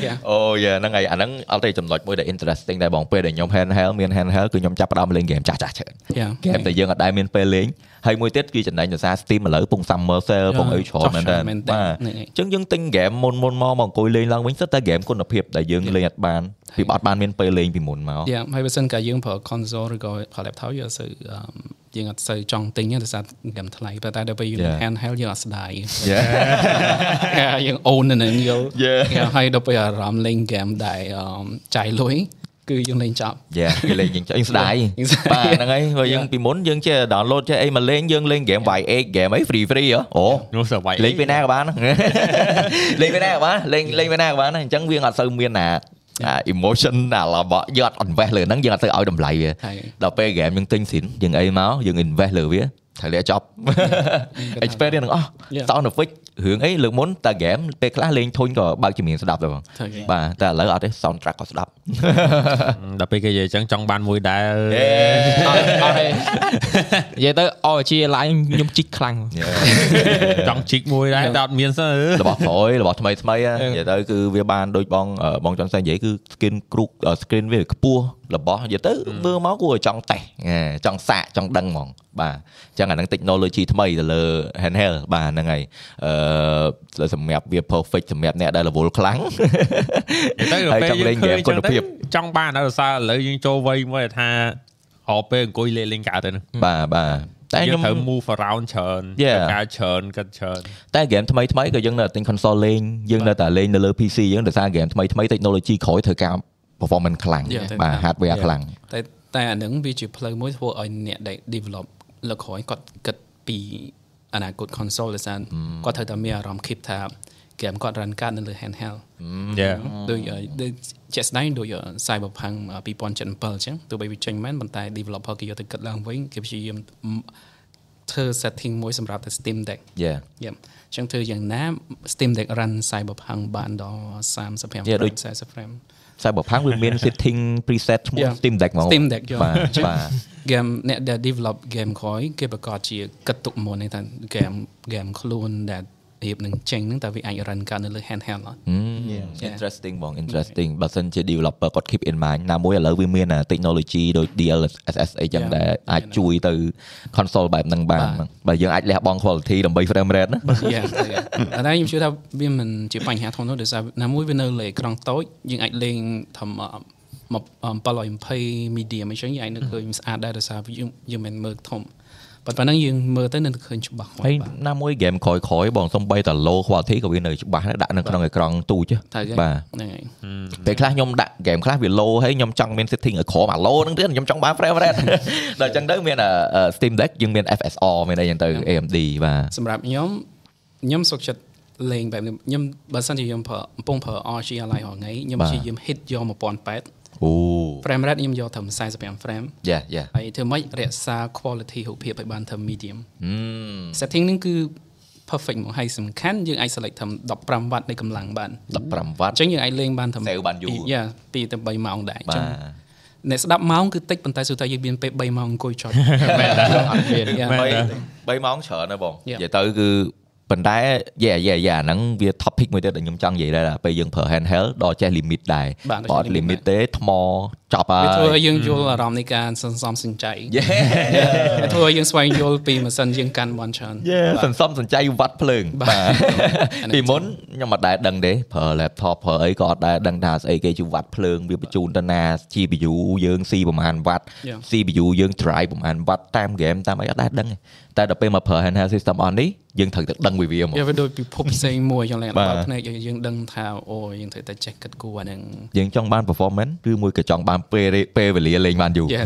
យ៉ា អូយ៉ាហ្នឹងហើយអាហ្នឹងអត់ទេចំណុចមួយដែល interesting ដែរបងពេលដែលខ្ញុំ handheld មាន handheld គឺខ្ញុំចាប់ផ្ដើមលេង game ចាស់ចាស់ច្រើន Yeah. game ដែលយើងអត់ដែរមានពេលលេងហើយមួយទៀតគឺចំណេញដោយសារ Steam ឥឡូវពង Summer Sale ពងអីច្រើនមែនតើ មែន បទទែនហ្នឹង អ ហើយ ញ្ចឹងយើងទិញ game មុនមុនមកមកអង្គុយលេងឡើងវិញសិតតែ game គុណភាពដែលយើងលេងអត់បានពីបាត់បានមានពេលលេងពីមុនមក យ៉ាហើយបើសិនកាយើងប្រើ console ឬក៏ប្រើ laptop យើងអត់សូវអឺយើងអត់សូវចង់ទិញទេដោយសារហ្គេមថ្លៃប៉ុន្តែដល់ពេលយើង Yeah. handheld យើងអត់ស្ដាយ Yeah. យើង own នៅនឹងយល់ Yeah. ហើយដល់ពេលអារម្មណ៍លេង game ដែលអឺចាយលុយគឺយើងលេងចប់ យ៉ាគេលេងយើងយើងស្ដាយ យើងបាស្ដាយទហ្នឹងហើយព្រោះយើងពីមុនយើងចេះ download ចេះអីមកលេងយើងលេង game Y8 game អី free free ហ៎អូ នោះសវ័យ លេងពេលណាក៏បាន [laughs] លេងពេលណាក៏បានលេងលេងពេលណាក៏បានអញ្ចឹងវាអត់សូវមានណាអា emotion ណារបស់យើងអត់ invest លើហ្នឹងយើងអត់សូវឲ្យតម្លៃវា ហើយ ដល់ពេល game យើងទិញស៊ីនយើងអីមកយើង invest លើវាត្រូវលាចប់ experience ទាំងអស់ Yeah. sound effect រឿងអីលើកមុនតា game ពេលខ្លះលេងធុញក៏បើកជំនាញស្ដាប់ដែរបង ត្រូវគេ បាទតែឥឡូវអត់ទេ soundtrack ក៏ស្ដាប់ ដល់ពេលគេនិយាយអញ្ចឹងចង់បានមួយដែរ អត់អត់ទេនិយាយទៅ OG Line ខ្ញុំជីកខ្លាំង ចង់ជីកមួយដែរតែអត់មានសិនអឺ របស់ក្រោយរបស់ថ្មីថ្មីៗហ្នឹងនិយាយទៅគឺវាបានដូចបងអឺបងចន់សែននិយាយគឺ skin គ្រុកអឺ screen វាខ្ពស់របស់និយាយទៅមើលមកគួរឲ្យចង់តេះហ៎ចង់សាកចង់ដឹងហ្មងបាទអញ្ចឹងអាហ្នឹង technology ថ្មីទៅលើ handheld បាទហ្នឹងហើយអឺសម្រាប់វា perfect សម្រាប់អ្នកដែលរវល់ខ្លាំង ទៅដល់ពេលយើងឃើញ គុ គុណ ណ ភា ភាព ព ចង់បានដល់សារឥឡូវយើងចូលវ័យមួយដែលថាអោពេលអង្គុយលេងលេងកាទៅហ្នឹង [laughs] បាទបាទតែ យើង ខ្ញុំ ត្រូវ move around ច្រើន Yeah. ធ្វើការច្រើនកាត់ច្រើន តែ game ថ្មីថ្មីៗក៏យើងនៅតែទិញ console លេងយើងនៅតែលេងនៅលើ PC យើងដោយសារ game ថ្មីថ្មីៗ technology ក្រោយធ្វើការ performance ខ្លាំង Yeah. បាទ hardware Yeah. ខ្លាំង តែតែអាហ្នឹងវាជាផ្លូវមួយធ្វើឲ្យអ្នកដែល develop លើកក្រោយគាត់គិតពីអនាគត console ដោយសារគាត់ត្រូវតែមានអារម្មណ៍ keep ថា game គាត់ run កាតនៅលើ handheld Mm. យ៉ា ដូចអឺដូចជាក់ស្ដែងដូចអឺ Cyberpunk អឺ2077អញ្ចឹងទោះបីវាចេញមែនប៉ុន្តែ developer គេយកទៅគិតឡើងវិញគេព្យាយាមធ្វើ setting មួយសម្រាប់តែ Steam Deck yeah យ៉ាអញ្ចឹងធ្វើយ៉ាងណា Steam Deck run Cyberpunk បានដល់35 Yeah, ដូច frame 40 frame សាយបផាំងវាមាន [laughs] setting preset ឈ្មោះ Yeah. Steam Deck ហ្មង Steam Deck យក [laughs] បាទ អញ្ចឹង បាទ game អ្នកដែល develop game ក្រោយគេប្រកាសជាគិតទុកមុនហ្នឹងថា game game ខ្លួនដែលរៀបនឹងចេញហ្នឹងតើវាអាច run កើតនៅលើ handheld អត់ ហឹម interesting បង interesting បើសិនជា developer គាត់ keep in mind ណាមួយឥឡូវវាមានអា technology ដូច DLSS អីចឹង Yeah. ដែលអាចជួយទៅ console បែបហ្នឹងបាន បាទ បើយើងអាចលះបង់ quality ដើម្បី frame rate ណា យ៉ាតែខ្ញុំជឿថាវាមិនជាបញ្ហាធំនោះដោយសារណាមួយវានៅលើអេក្រង់តូចយើងអាចលេងធំ720 medium អញ្ចឹងយើងអាចនៅឃើញស្អាតដែរដោយសារយើងយើងមិនមើលធំប៉ុន្តែហ្នឹងយើងមើលទៅនៅឃើញច្បាស់ ហើយណាមួយ game ក្រោយក្រោយៗបងសំបីតា low quality ក៏វានៅច្បាស់ដែរដាក់នៅក្នុងអេក្រង់ទូច តែ ហ៎ គេ បាទ ហ្នឹងហើយ ពេលខ្លះខ្ញុំដាក់ game ខ្លះវា low ហើយខ្ញុំចង់មាន setting ឲ្យក្រមអា low ហ្នឹងទៀតខ្ញុំចង់បាន frame rate ដល់អញ្ចឹងទៅមានអាអឺ ờ, Steam Deck យើងមាន FSR មានអីអញ្ចឹងទៅ AMD បាទ សម្រាប់ខ្ញុំខ្ញុំសុខចិត្តលេងបែបនេះខ្ញុំបើសិនជាខ្ញុំប្រើកំពុងប្រើ RG Ally រាល់ថ្ងៃខ្ញុំ បាទ ព្យាយាម hit យក1008 អូ frame rate ខ្ញុំយកត្រឹម45 frame yeah yeah ហើយធ្វើម៉េចរក្សា quality រូបភាពឲ្យបានត្រឹម medium ហឹម setting ហ្នឹងគឺ perfect មកហើយសំខាន់យើងអាច select ត្រឹម15 watt នៃកម្លាំងបាន 15វ៉ា អ ត់ ញ្ចឹងយើងអាចលេងបានត្រឹម Save បានយូរ យ៉ា2ទៅ3ម៉ោងដែរអបា [laughs] ទញ្ចឹងអ្នកស្ដាប់ម៉ោងគឺតិចប៉ុន្តែសុខថាយើងមានពេល3ម៉ោងអង្គុយចុច [laughs] Dạ. អត់មាន Yeah. 3 3ម៉ោងច្រើនណាស់បង Yeah. និយាយទៅគឺប៉ុន្តែយ៉ាយ៉ាយ៉ាហ្នឹងវា dạ, topic មួយទៀតដែលខ្ញុំចង់និយាយដែរថាពេលយើងប្រើ handheld ដល់ចេះ limit ដែរ បាទដបើល់ចេះអត់ limit limit ទេថ្មចប់ហើ វាធ្វើឲ្យ យ យើងយល់អារម្មណ៍នៃការសន្សំសំចៃ [laughs] Yeah. [laughs] វាធ្វើឲ្យយើងស្វែងយល់ពីម៉ាស៊ីនយើងកាន់បានច្រើន យេសន្សំសន្ចៃវត្តភ្លើង បា បាទ ទ អានេះ ពីមុនខ្ញុំអត់ដែរដឹងទេប្រើ laptop ប្រើអីក៏អត់ដែរដឹងថាស្អីគេជាវត្តភ្លើងវាបញ្ជូនទៅណា CPU យើង C ប្រហែលវត្ត Yeah. CPU យើង drive ប្រហែលវត្តតាម game តាមអីអត់ដែរដឹងទេតែដល់ពេលមកប្រើ handheld system អស់នេះយើងត្រូវតែដឹងវាវាមក វាវាដូចពិភពផ្សេងមួយយ៉ាងឡើង បា បា ទ ល់ភ្នែកយើងយើងដឹងថាអូយើងត្រូវតែចេះគិតគូរអាហ្នឹង យើងចង់បាន performance ឬមួយក៏ចង់បានពេលរេពេលវេលាលេងបានយូរ យ៉ា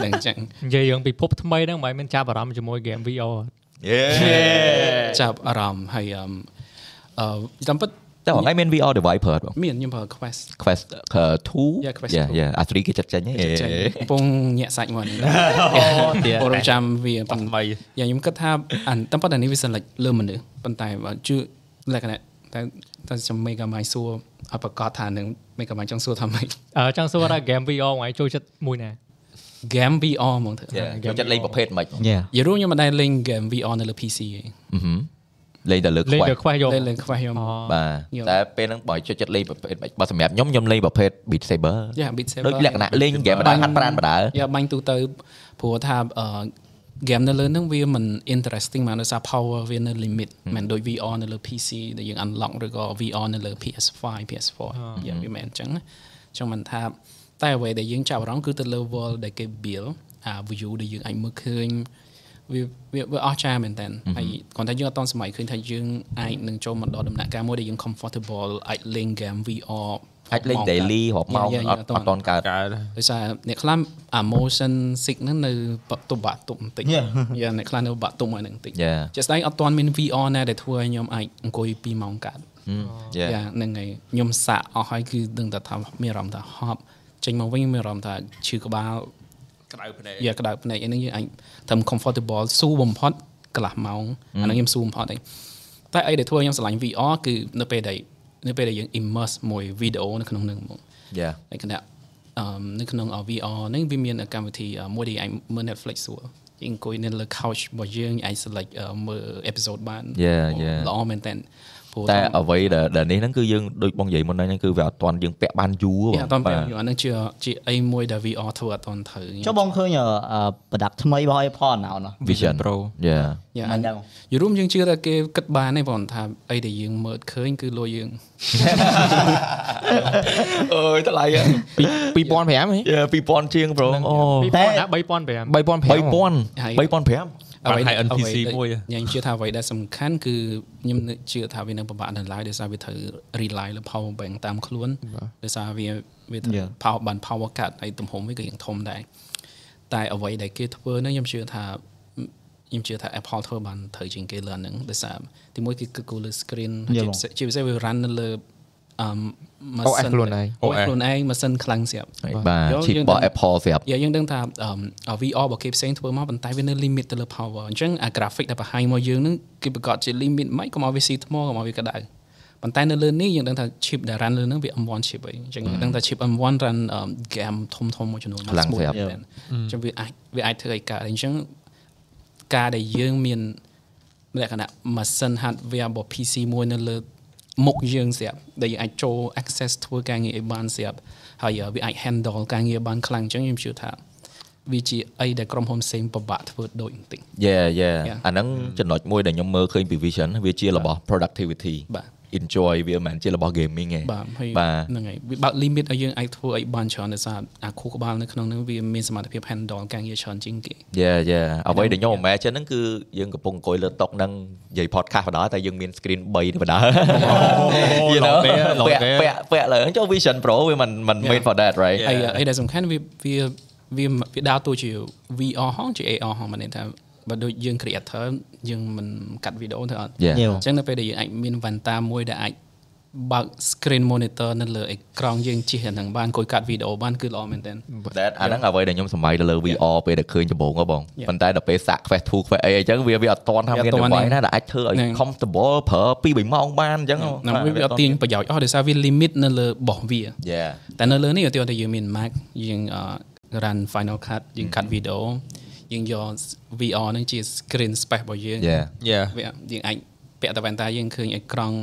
ហ្នឹងចឹង [laughs] និយាយរឿងពិភពថ្មីហ្នឹងមិនមែនចាប់អារម្មណ៍ជាមួយ game VR Yeah. ចាប់អារម្មណ៍ហើយអឺមអឺតាមពិត តែហងៃមាន VR device ប្រើអត់បង មានខ្ញុំប្រើ Quest Quest 2 Yeah, Quest 2 yeah អា3គេចាត់ចេញហ៎ ចេះកំពុងញាក់សាច់ [laughs] មកនេះ អូទៀត [laughs] អូរចាំវា [laughs] ប៉ុ បាត់ ន្តែ ថ្មី យ៉ាខ្ញុំគិតថាអានតាមពិតអានេះវាសិនលេចលើមនុស្សប៉ុន្តែបើជឿលក្ខណៈតែតែចាំមេកាម៉ៃសួរឲ្យប្រកាសថានឹងមេកាម៉ៃចង់សួរថាម៉េច អឺចង់សួរថា game VR ហ្នឹងឯងចូលចិត្តមួយណា game VR ហ្មងធ្វើ Yeah, ខ្ញុំចាត់លេងប្រភេទហ្មិន យេ យល់ខ្ញុំមិនដែលលេង game VR នៅលើ PC ទេ ហឹមលេងតែលើ លេង Quest The Quest យក លេងលេង Quest ខ្ញុំ បាទ យល់ តែពេលហ្នឹងបើចូលចិត្តលេងប្រភេទបើសម្រាប់ខ្ញុំខ្ញុំលេងប្រភេទ Beat Saber Yeah Beat Saber ដូចលក្ខណៈលេងហ្គេមបណ្ដាហាត់ប្រានបណ្ដាល យ៉ាបាញ់ទូទៅព្រោះថាអឺ game នៅលើហ្នឹងវាមិន interesting មកដោយសារ power វានៅ limit មិនដូច VR នៅលើ PC ដែលយើង unlock ឬក៏ VR នៅលើ PS5 PS4 យ៉ាវាមិនអញ្ចឹងណាអញ្ចឹងមិនថាតែអ្វីដែលយើងចាប់អារម្មណ៍គឺទៅលើ world ដែលគេ build អា view ដែលយើងអាចមើលឃើញវាវាវាអស្ចារ្យមែនតើហើយគ្រាន់តែយើងអត់តសម័យឃើញថាយើងអាចនឹងចូលមកដល់ដំណាក់កាលមួយដែលយើង comfortable អាចលេង game VR អាចលេង daily រាប់ម៉ោង Yeah, yeah, អត់ yeah, អត់តន់កើត កើត ដោយសារអ្នកខ្លះអា motion sick ហ្នឹងនៅបាក់ទុបបាក់ទុបបន្តិច [laughs] យ៉ាអ្នកខ្លះនៅបាក់ទុបមកហ្នឹងបន្តិច Yeah. ជាក់ស្ដែងអត់ទាន់មាន VR ណាដែលធ្វើឲ្យខ្ញុំអាចអង្គុយ2ម៉ោងកើត យេ យ៉ាហ្នឹងហើយខ្ញុំសាក់អស់ហើយគឺដឹងតែថាមានអារម្មណ៍ថាហប់ចេញមកវិញមានអារម្មណ៍ថាឈឺក្បាល ក្តៅភ្នែក យ៉ាក្តៅភ្នែកអីហ្នឹងយើងអាចធ្វើ comfortable ស៊ូបំផុតកន្លះម៉ោងអាហ្នឹងខ្ញុំស៊ូបំផុតហើយតែអីដែលធ្វើឲ្យខ្ញុំស្រឡាញ់ VR គឺនៅពេលដែលនៅពេលដែលយើង immerse មួយ video នៅក្នុងហ្នឹងហ្មង យេ លក្ខណៈអឺនៅក្នុង VR ហ្នឹងវាមានកម្មវិធីអឺមួយដែលអាចមើល Netflix ស្រួលយើងអង្គុយនៅលើ couch របស់យើងអាច select អឺមើល episode បាន យេយេ ល្អមែនតើព្រោះ តែ តែ អ្វីដែលដែលនេះហ្នឹងគឺយើងដូចបងនិយាយមុនហ្នឹងគឺវាអត់តន់យើងពាក់បានយូរហ៎ អត់តន់ពេលយល់អាហ្នឹងជាជាអីមួយដែល VR ធ្វើអត់តន់ត្រូវ ចុះបងឃើញអឺ product ថ្មីរបស់ iPhone ណោណា Vision Pro យេ យ៉ា មិនដឹង យល់រួមយើងជឿថាគេគិតបានទេបងថាអីដែលយើងមើលឃើញគឺលុយយើង អើយតម្លៃយេ [laughs] 2005ហ៎ 2000ជាងប្រងអូ តែ 2000ណា3500 3000 3005ហើយ 3005 បាត់ហើយ NPC មួយហ៎ ខ្ញុំជឿថាអ្វីដែលសំខាន់គឺខ្ញុំជឿថាវានៅពិបាកដល់ឡាយដោយសារវាត្រូវ rely លើ power bank តាមខ្លួនដោយសារវាវាត្រូវ power បាន power cut ហើយទំហំវាក៏យ៉ាងធំដែរតែអ្វីដែលគេធ្វើហ្នឹងខ្ញុំជឿថាខ្ញុំជឿថា Apple ធ្វើបានត្រូវជាងគេលើអាហ្នឹងដោយសារទីមួយគឺគិតគូរលើ screen ហើយជាពិសេសជាពិសេសវា run នៅលើអឺម OS ខ្លួនឯង OS ខ្លួនឯងម៉ាស៊ីនខ្លាំងស្រាប់ បាទ យល់ ឈីប យើង ប ដឹង ស់ Apple ស្រាប់ យ៉ាយើងដឹងថាអឺ VR របស់គេផ្សេងធ្វើមកប៉ុន្តែវានៅ limit ទៅលើ power អញ្ចឹងអា graphic ដែលបង្ហាញមកយើងហ្នឹងគេប្រកាសជា limit មិនខ្មិចកុំឲ្យវាស៊ីថ្មកុំឲ្យវាក្តៅប៉ុន្តែនៅលើនេះយើងដឹងថា chip ដែល run លើហ្នឹងវា M1 chip អីអញ្ចឹងយើងដឹងថា chip M1 run អឺ game ធំធំៗមួយចំនួនមក ខ្លាំង smooth ស្រាប់ មែនអញ្ចឹងវាអាចវាអាចធ្វើឲ្យកើតអីអញ្ចឹងការដែលយើងមានលក្ខណៈម៉ាស៊ីន hardware របស់ PC មួយនៅលើ មុខយើងស្រាប់ដែលយើងអាចចូល access ធ្វើការងារឲ្យបានស្រាប់ហើយអឺវាអាច handle ការងារបានខ្លាំងអញ្ចឹងខ្ញុំជឿថាវាជាអីដែលក្រុមហ៊ុនផ្សេងពិបាកធ្វើដូចបន្តិច យ៉ាយ៉ា Yeah. អាហ្នឹងចំណុចមួយដែលខ្ញុំមើលឃើញពី vision វាជារបស់ productivity បាទ enjoy វាមិនមែនជារបស់ gaming ទេ បាទហើយ បាទ ហ្នឹងហើយវាបើក limit ឲ្យយើងអាចធ្វើអីបានច្រើនដោយសារអាខួរក្បាលនៅក្នុងហ្នឹងវាមានសមត្ថភាព handle ការងារច្រើនជាងគេ Yeah yeah អ្វីដែលខ្ញុំ imagine ហ្នឹងគឺយើងកំពុងអង្គុយលើតុហ្នឹងនិយាយ podcast បណ្ដាលតែយើងមាន screen 3បណ្ដាល [laughs] You know? លោកទេលោក ពាក់ ទេ ពាក់ពាក់លើហ្នឹងចូល vision pro វាមិនមិន made for that right ហើយអីដែលសំខាន់វាវាវាវាដើរតួជា VR ហងជា AR ហងមិនន័យថាបើដូចយើង creator យើងមិនកាត់វីដេអូទេអត់ Yeah. អញ្ចឹងនៅពេលដែលយើងអាចមានវ៉ាន់តាមួយដែលអាចបើក screen monitor នៅលើអេក្រង់យើងជិះអាហ្នឹងបានអង្គុយកាត់វីដេអូបានគឺល្អមែនទែន that អាហ្នឹងអ្វីដែលខ្ញុំសម័យទៅលើ VR ពេលដែលឃើញដំបូងហ៎បងប៉ុន្តែដល់ពេលសាក់ quest 2 quest អីអញ្ចឹងវាវាអត់តន់ថា វា មាន អត់ទាន់ អ្វី ទេ ណាដែលអាចធ្វើឲ្យ ហ្នឹង comfortable ប្រើ2 3ម៉ោងបានអញ្ចឹងហ៎ ណាវាវាអត់ទាញប្រយោជន៍អស់ដោយសារវា limit នៅលើរបស់វា Yeah តែនៅលើនេះឧទាហរណ៍ថាយើងមាន Mac យើងអឺ run Final Cut យើង cut video យើងយក VR ហ្នឹងជា screen space របស់យើង Yeah យ៉ា វាយើងអាចពាក់តាវ៉ែនតាយើងឃើញអេក្រង់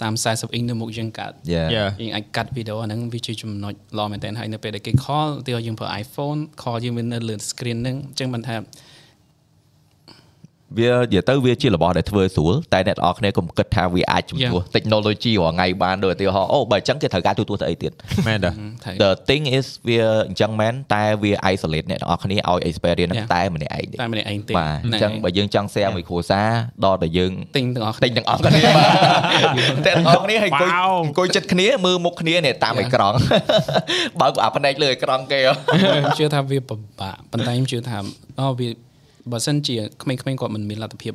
30 40 inch នៅមុខយើងកាត់ Yeah Yeah. យើងអាចកាត់វីដេអូអាហ្នឹងវាជាចំណុចល្អមែនតើហើយនៅពេលដែលគេ call ឧទីយើងប្រើ iPhone call យើងមាននៅលើ screen ហ្នឹងអញ្ចឹងមិនថា វានិយាយទៅវាជារបស់ដែលធ្វើស្រួលតែអ្នកនរគ្នាកុំគិតថាវាអាចជំនួស technology រាល់ថ្ងៃបានដូចឧទាហរណ៍អូបើអញ្ចឹងគេត្រូវការទូទាស់ទៅអីទៀត មែន [laughs] តា ថៃ The thing is វាអញ្ចឹងមែនតែវា isolate អ្នកនរគ្នាឲ្យ experience ហ្នឹង Yeah. តែម្នាក់ឯងទេ តែម្នាក់ឯងទេ បាទអញ្ចឹងបើយើងចង់ share មួយគ្រួសារដល់តែ [laughs] យើង ទិញទាំងអស់ ទិញទាំងអស់ [laughs] គ្នាបាទតែទាំងអស់គ្នាឲ្យអង្គុយ Wow. អង្គុយចិត្តគ្នាមើលមុខគ្នានេះតាមអេក្រង់ [laughs] បើកអាផ្នែកលើអេក្រង់គេហ៎ [laughs] ខ្ញុំជឿថាវាពិបាកប៉ុន្តែខ្ញុំជឿថាអូវាបើសិនជាក្មេងៗគាត់មិនមានលទ្ធភាព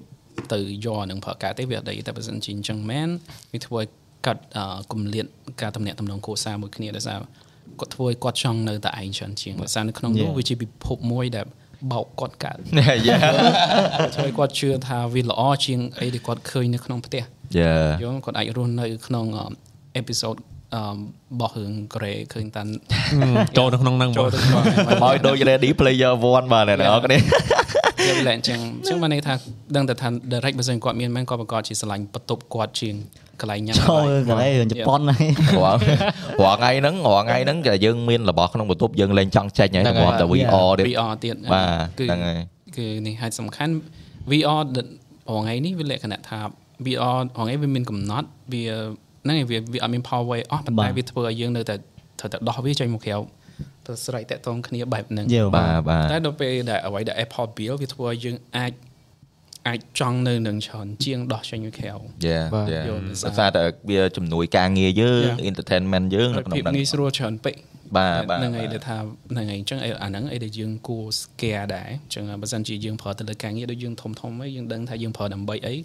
ទៅយកអានឹងប្រើការទេវាអត់ដីតែបើសិនជាអញ្ចឹងមែនវាធ្វើឲ្យកាត់អឺគម្លាតការទំនាក់ទំនងគ្រួសារមួយគ្នាដោយសារគាត់ធ្វើឲ្យគាត់ចង់នៅតែឯងច្រើនជាងដោយសារនៅក្នុងនោះវាជាពិភពមួយដែលបោកគាត់កើត Yeah ធ្វើឲ្យគាត់ជឿថាវាល្អជាងអីដែលគាត់ឃើញនៅក្នុងផ្ទះ Yeah យល់គាត់អាចរស់នៅក្នុងអេពីសូតរបស់រឿងកូរ៉េឃើញតាន់ ចូលនៅក្នុងហ្នឹង ចូល មក ទៅក្នុងហ្នឹង មកដូច ready player 1បាទអ្នកនរគ្នា វាលែងអញ្ចឹងអញ្ចឹងបានន័យថាដឹងតែថា direct បើសិនគាត់មានមែនគាត់ប្រកាសជាឆ្លាញ់បន្ទប់គាត់ជាងកន្លែងញ៉ាំ ចូលកន្លែងរឿងជប៉ុនហ្នឹង [laughs] រាល់រាល់ថ្ងៃហ្នឹងរាល់ថ្ងៃហ្នឹងគេយើងមានរបស់ក្នុងបន្ទប់យើងលែងចង់ចេញហើយ ហ្នឹងហើយ របស់តែ VR ទេ VR ទៀត បាទហ្នឹងហើយ គឺនេះហើយសំខាន់ VR ដហងៃនេះវាលក្ខណៈថា VR ហងៃវាមានកំណត់វាហ្នឹងឯងវាវាអត់មាន power way អស់ប៉ុន្តែវាធ្វើឲ្យយើងនៅតែត្រូវតែដោះវាចេញមកក្រៅទៅស្រ័យតាក់ទងគ្នាបែបហ្នឹង យោ បាទបា តែ ទ ដល់ពេលដែលអ្វីដែល Apple Bill វាធ្វើឲ្យយើងអាចអាចចង់នៅនឹងច្រើនជាងដោះចេញពីក្រៅ យ៉ា បាទ យ៉ា យល់ភាសា ដោយសារតែវាជំនួយការងារយើង Yeah. entertainment យើងនៅ ហើយ ក្នុង ភាព ហ្នឹង ងាយស្រួលច្រើនពេក បាទបាទ ហ្នឹងហើយ បាទ ដែលថាហ្នឹងហើយអញ្ចឹងអីអាហ្នឹងអីដែលយើងគួរ scare ដែរអញ្ចឹងបើសិនជាយើងប្រើទៅលើការងារដូចយើងធំធំហើយយើងដឹងថាយើងប្រើដើម្បីអី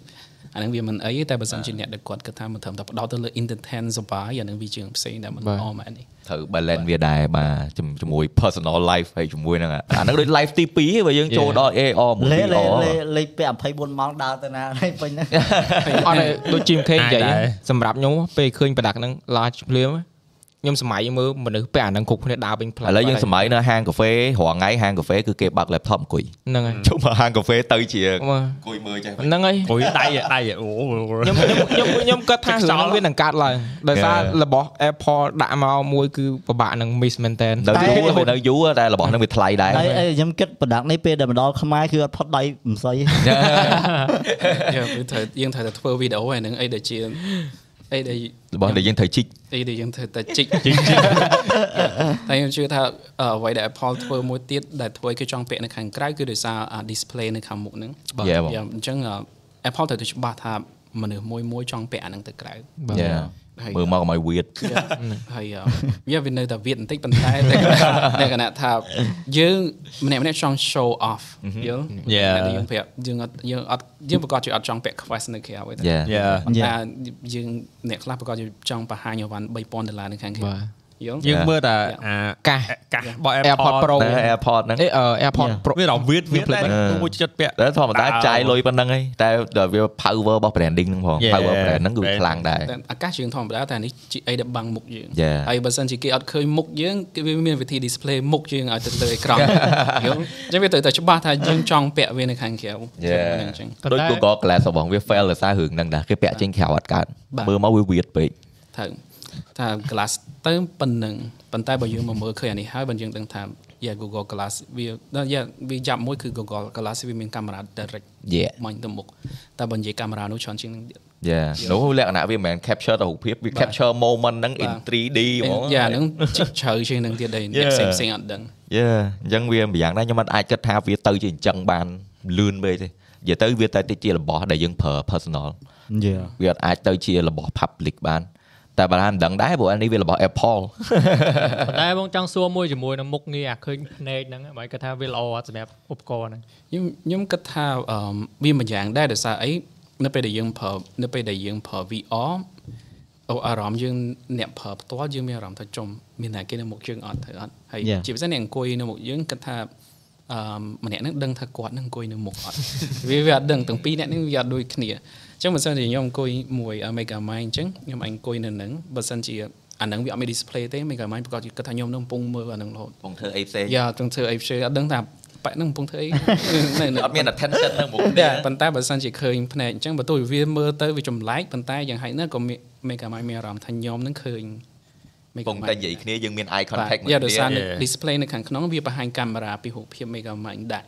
អាហ្នឹងវាមិនអីទេតែបើសិនជាអ្នកដែលគាត់គិតថាមិនត្រឹមតែផ្ដោតទៅលើ entertain សុបាយអាហ្នឹងវាជាងផ្សេ [laughs] ងដែលមិនល្អមែននេះ ត្រូវ balance វាដែរបាទជំជាមួយ personal life ហើយជាមួយហ្នឹងអាអាហ្នឹងដូច life ទី2បើយើងចូលដល់ AR មួយ លេលេ VR លេលេខពេល24ម៉ោងដើរទៅណាហើយពេញហ្នឹង អត់ទេដូចជីមខេងនិយាយ អាចដែរ សម្រាប់ខ្ញុំពេលឃើញប្រដាក់ហ្នឹងឡាជភ្លាមខ្ញុំសម័យមើលមនុស្សពេលអាហ្នឹងគ្រប់គ្នាដើរវិញផ្លូវ ឥឡូវយើងសម័យនៅហាងកាហ្វេរាល់ថ្ងៃហាងកាហ្វេគឺគេបើក laptop អង្គុយ ហ្នឹងហើយ ជុំមកហាងកាហ្វេទៅជាអ មើល ង្គុយមើលចេះ ហ្នឹងហើយ អុយដៃឯដៃឯអូ ខ្ញុំ ខ្ញុំខ្ញុំខ្ញុំគិតថារឿងហ្នឹងវានឹងកាត់ឡើងដោយសារ Yeah. របស់ Apple ដាក់មកមួយគឺពិបាកនឹង miss maintain នៅយូរ រហូ វា ត នៅយូរតែរបស់ហ្នឹងវាថ្លៃដែរ ហើយហើយខ្ញុំគិតប្រដាក់នេះពេលដែលមកដល់ខ្មែរគឺអត់ផុតដៃមិនស័យ យើងត្រូវយើងត្រូវតែធ្វើវីដេអូអាហ្នឹងអីដែលជាអីដែល របស់ដែលយើងត្រូវជីក អីដែលយើង [laughs] ធ្វើតែជីកតែខ្ញុំជឿថាអឺអ្វីដែល Apple ធ្វើមួយទៀតដែលធ្វើឲ្យគេចង់ពាក់នៅខាងក្រៅគឺដោយសារអា display នៅខាងមុខហ្នឹង Yeah បង Yeah អញ្ចឹងអឺ Apple ត្រូវតែច្បាស់ថាមនុស្សមួយមួយចង់ពាក់អាហ្នឹងទៅក្រៅ Yeah ហើយ មើលមកកុំឲ្យ weird [laughs] ហើយអឺវាវានៅតែវៀតបន្តិចប៉ុន្តែ [laughs] លក្ខណៈថាយើងម្នាក់ម្នាក់ៗចង់ show off យល់ Yeah តែយើងប្រាប់យើងអត់យើងអត់យើងប្រកាសជាអត់ចង់ពាក់ quest នៅក្រៅទេ Yeah យ៉ា ប៉ុន្តែយើងអ្នកខ្លះប្រកាសជាចង់បង្ហាញអីវ៉ាន់3000ដុល្លារនៅខាងគេ យើង យើងមើលតែអា កាស កាសរបស់ AirPod AirPod Pro Pro តែ AirPod ហ្នឹង អេអឺ AirPod Yeah. Pro វារវិតវាផ្លេច អឺ មួយចិត្តពាក់ តែធម្មតា តើ ចាយលុយប៉ុណ្្នឹងឯងតែដល់វា power របស់ branding ហ្នឹងផង Yeah, power brand ហ្នឹងគឺ brand ខ្លាំងដែរ តែអាកាសយើងធម្មតាតែនេះជាអីដែលបាំងមុខយើង Yeah. ហើយបើសិនជាគេអត់ឃើញមុខយើងគេវាមានវិធី display មុខយើងឲ្យទៅលើអេក្រង់ យល់អញ្ចឹងវាទៅតែច្បាស់ថាយើងចង់ពាក់វានៅខាងក្រៅ Yeah. អញ្ចឹង ដូច Google Glass របស់វា fail ដោយសាររឿងហ្នឹងដែរគេពាក់ចេញក្រៅអត់កើត បាទ មើលមកវាវៀតពេក ត្រូវថា glass ទៅប៉ុណ្ណឹងប៉ុន្តែបើយើងមកមើលឃើញអានេះហើយបើយើងដឹងថា yeah Google Glass វាដល់ yeah វាចាប់មួយគឺ Google Glass វាមានកាមេរ៉ា direct Yeah. មាញ់ទៅមុខតែបើនិយាយកាមេរ៉ានោះច្រើនជាងនឹងទៀត យ៉ានោះលក្ខណៈវាមិនមែន capture តែរូបភាពវា capture moment ហ្នឹង in 3D ហ្មង yeah ហ្នឹងជីកជ្រៅជាងនឹងទៀតដែរអ្នក Yeah. ផ្សេងផ្សេងៗអត់ដឹង យ៉ាអញ្ចឹងវាម្យ៉ាងដែរខ្ញុំអត់អាចគិតថាវាទៅជាអញ្ចឹងបានលឿនពេកទេនិយាយទៅវាតែតិចជារបស់ដែលយើងប្រើ personal យេ វាអត់អាចទៅជារបស់ public បាន តែបើថាមិនដឹងដែរព្រោះអានេះវារបស់ Apple [laughs] ប៉ុន្តែបងចង់សួរមួយជាមួយនឹងមុខងារអាឃើញភ្នែកហ្នឹងហ្មងគាត់ថាវាល្អអត់សម្រាប់ឧបករណ៍ហ្នឹង ខ្ញុំខ្ញុំគិតថាអឺមវាមួយយ៉ាងដែរដោយសារអីនៅពេលដែលយើងប្រើនៅពេលដែលយើងប្រើ VR អូអារម្មណ៍យើងអ្នកប្រើផ្ទាល់យើងមានអារម្មណ៍ថាចំមានតែគេនៅមុខយើងអត់ទៅអត់ហើយជាពិសេសអ្នកអង្គុយនៅមុខយើងគិតថាអឺម្នាក់ហ្នឹងដឹងថាគាត់នឹងអង្គុយនៅមុខអត់ [laughs] វាវាអត់ដឹងទាំងពីរអ្នកហ្នឹងវាអត់ដូចគ្នាអញ្ចឹងបើសិនជាខ្ញុំអង្គុយមួយ Mega Mind អញ្ចឹងខ្ញុំអាចអង្គុយនៅហ្នឹងបើសិនជាអាហ្នឹងវាអត់មាន display ទេ Mega Mind ប្រកាសគិតថាខ្ញុំនឹងកំពុងមើលអាហ្នឹងរហូត ពងធ្វើអីផ្សេង យ៉ាទាំងធ្វើអីផ្សេងអត់ដឹងថាប៉ែកហ្នឹងកំពុងធ្វើអី [laughs] នៅនៅ អត់មាន attention នៅមុខ តែ នេះ [laughs] ប៉ុន្តែបើសិនជាឃើញភ្នែកអញ្ចឹងបើទោះវាមើលទៅវាចម្លែកប៉ុន្តែយ៉ាងហោចណាស់ក៏មាន [laughs] មេកាម៉ៃមានអារម្មណ៍ថាញោមហ្នឹងឃើញមេ ព កា ង ម៉ៃ តែនិយាយគ្នាយើងមាន eye បាទ contact មួយ យ៉ាដោយសារ គ្នា នៅ Yeah. display នៅខាងក្នុងវាបង្ហាញកាមេរ៉ាពីរូបភាពមេកាម៉ៃដែរ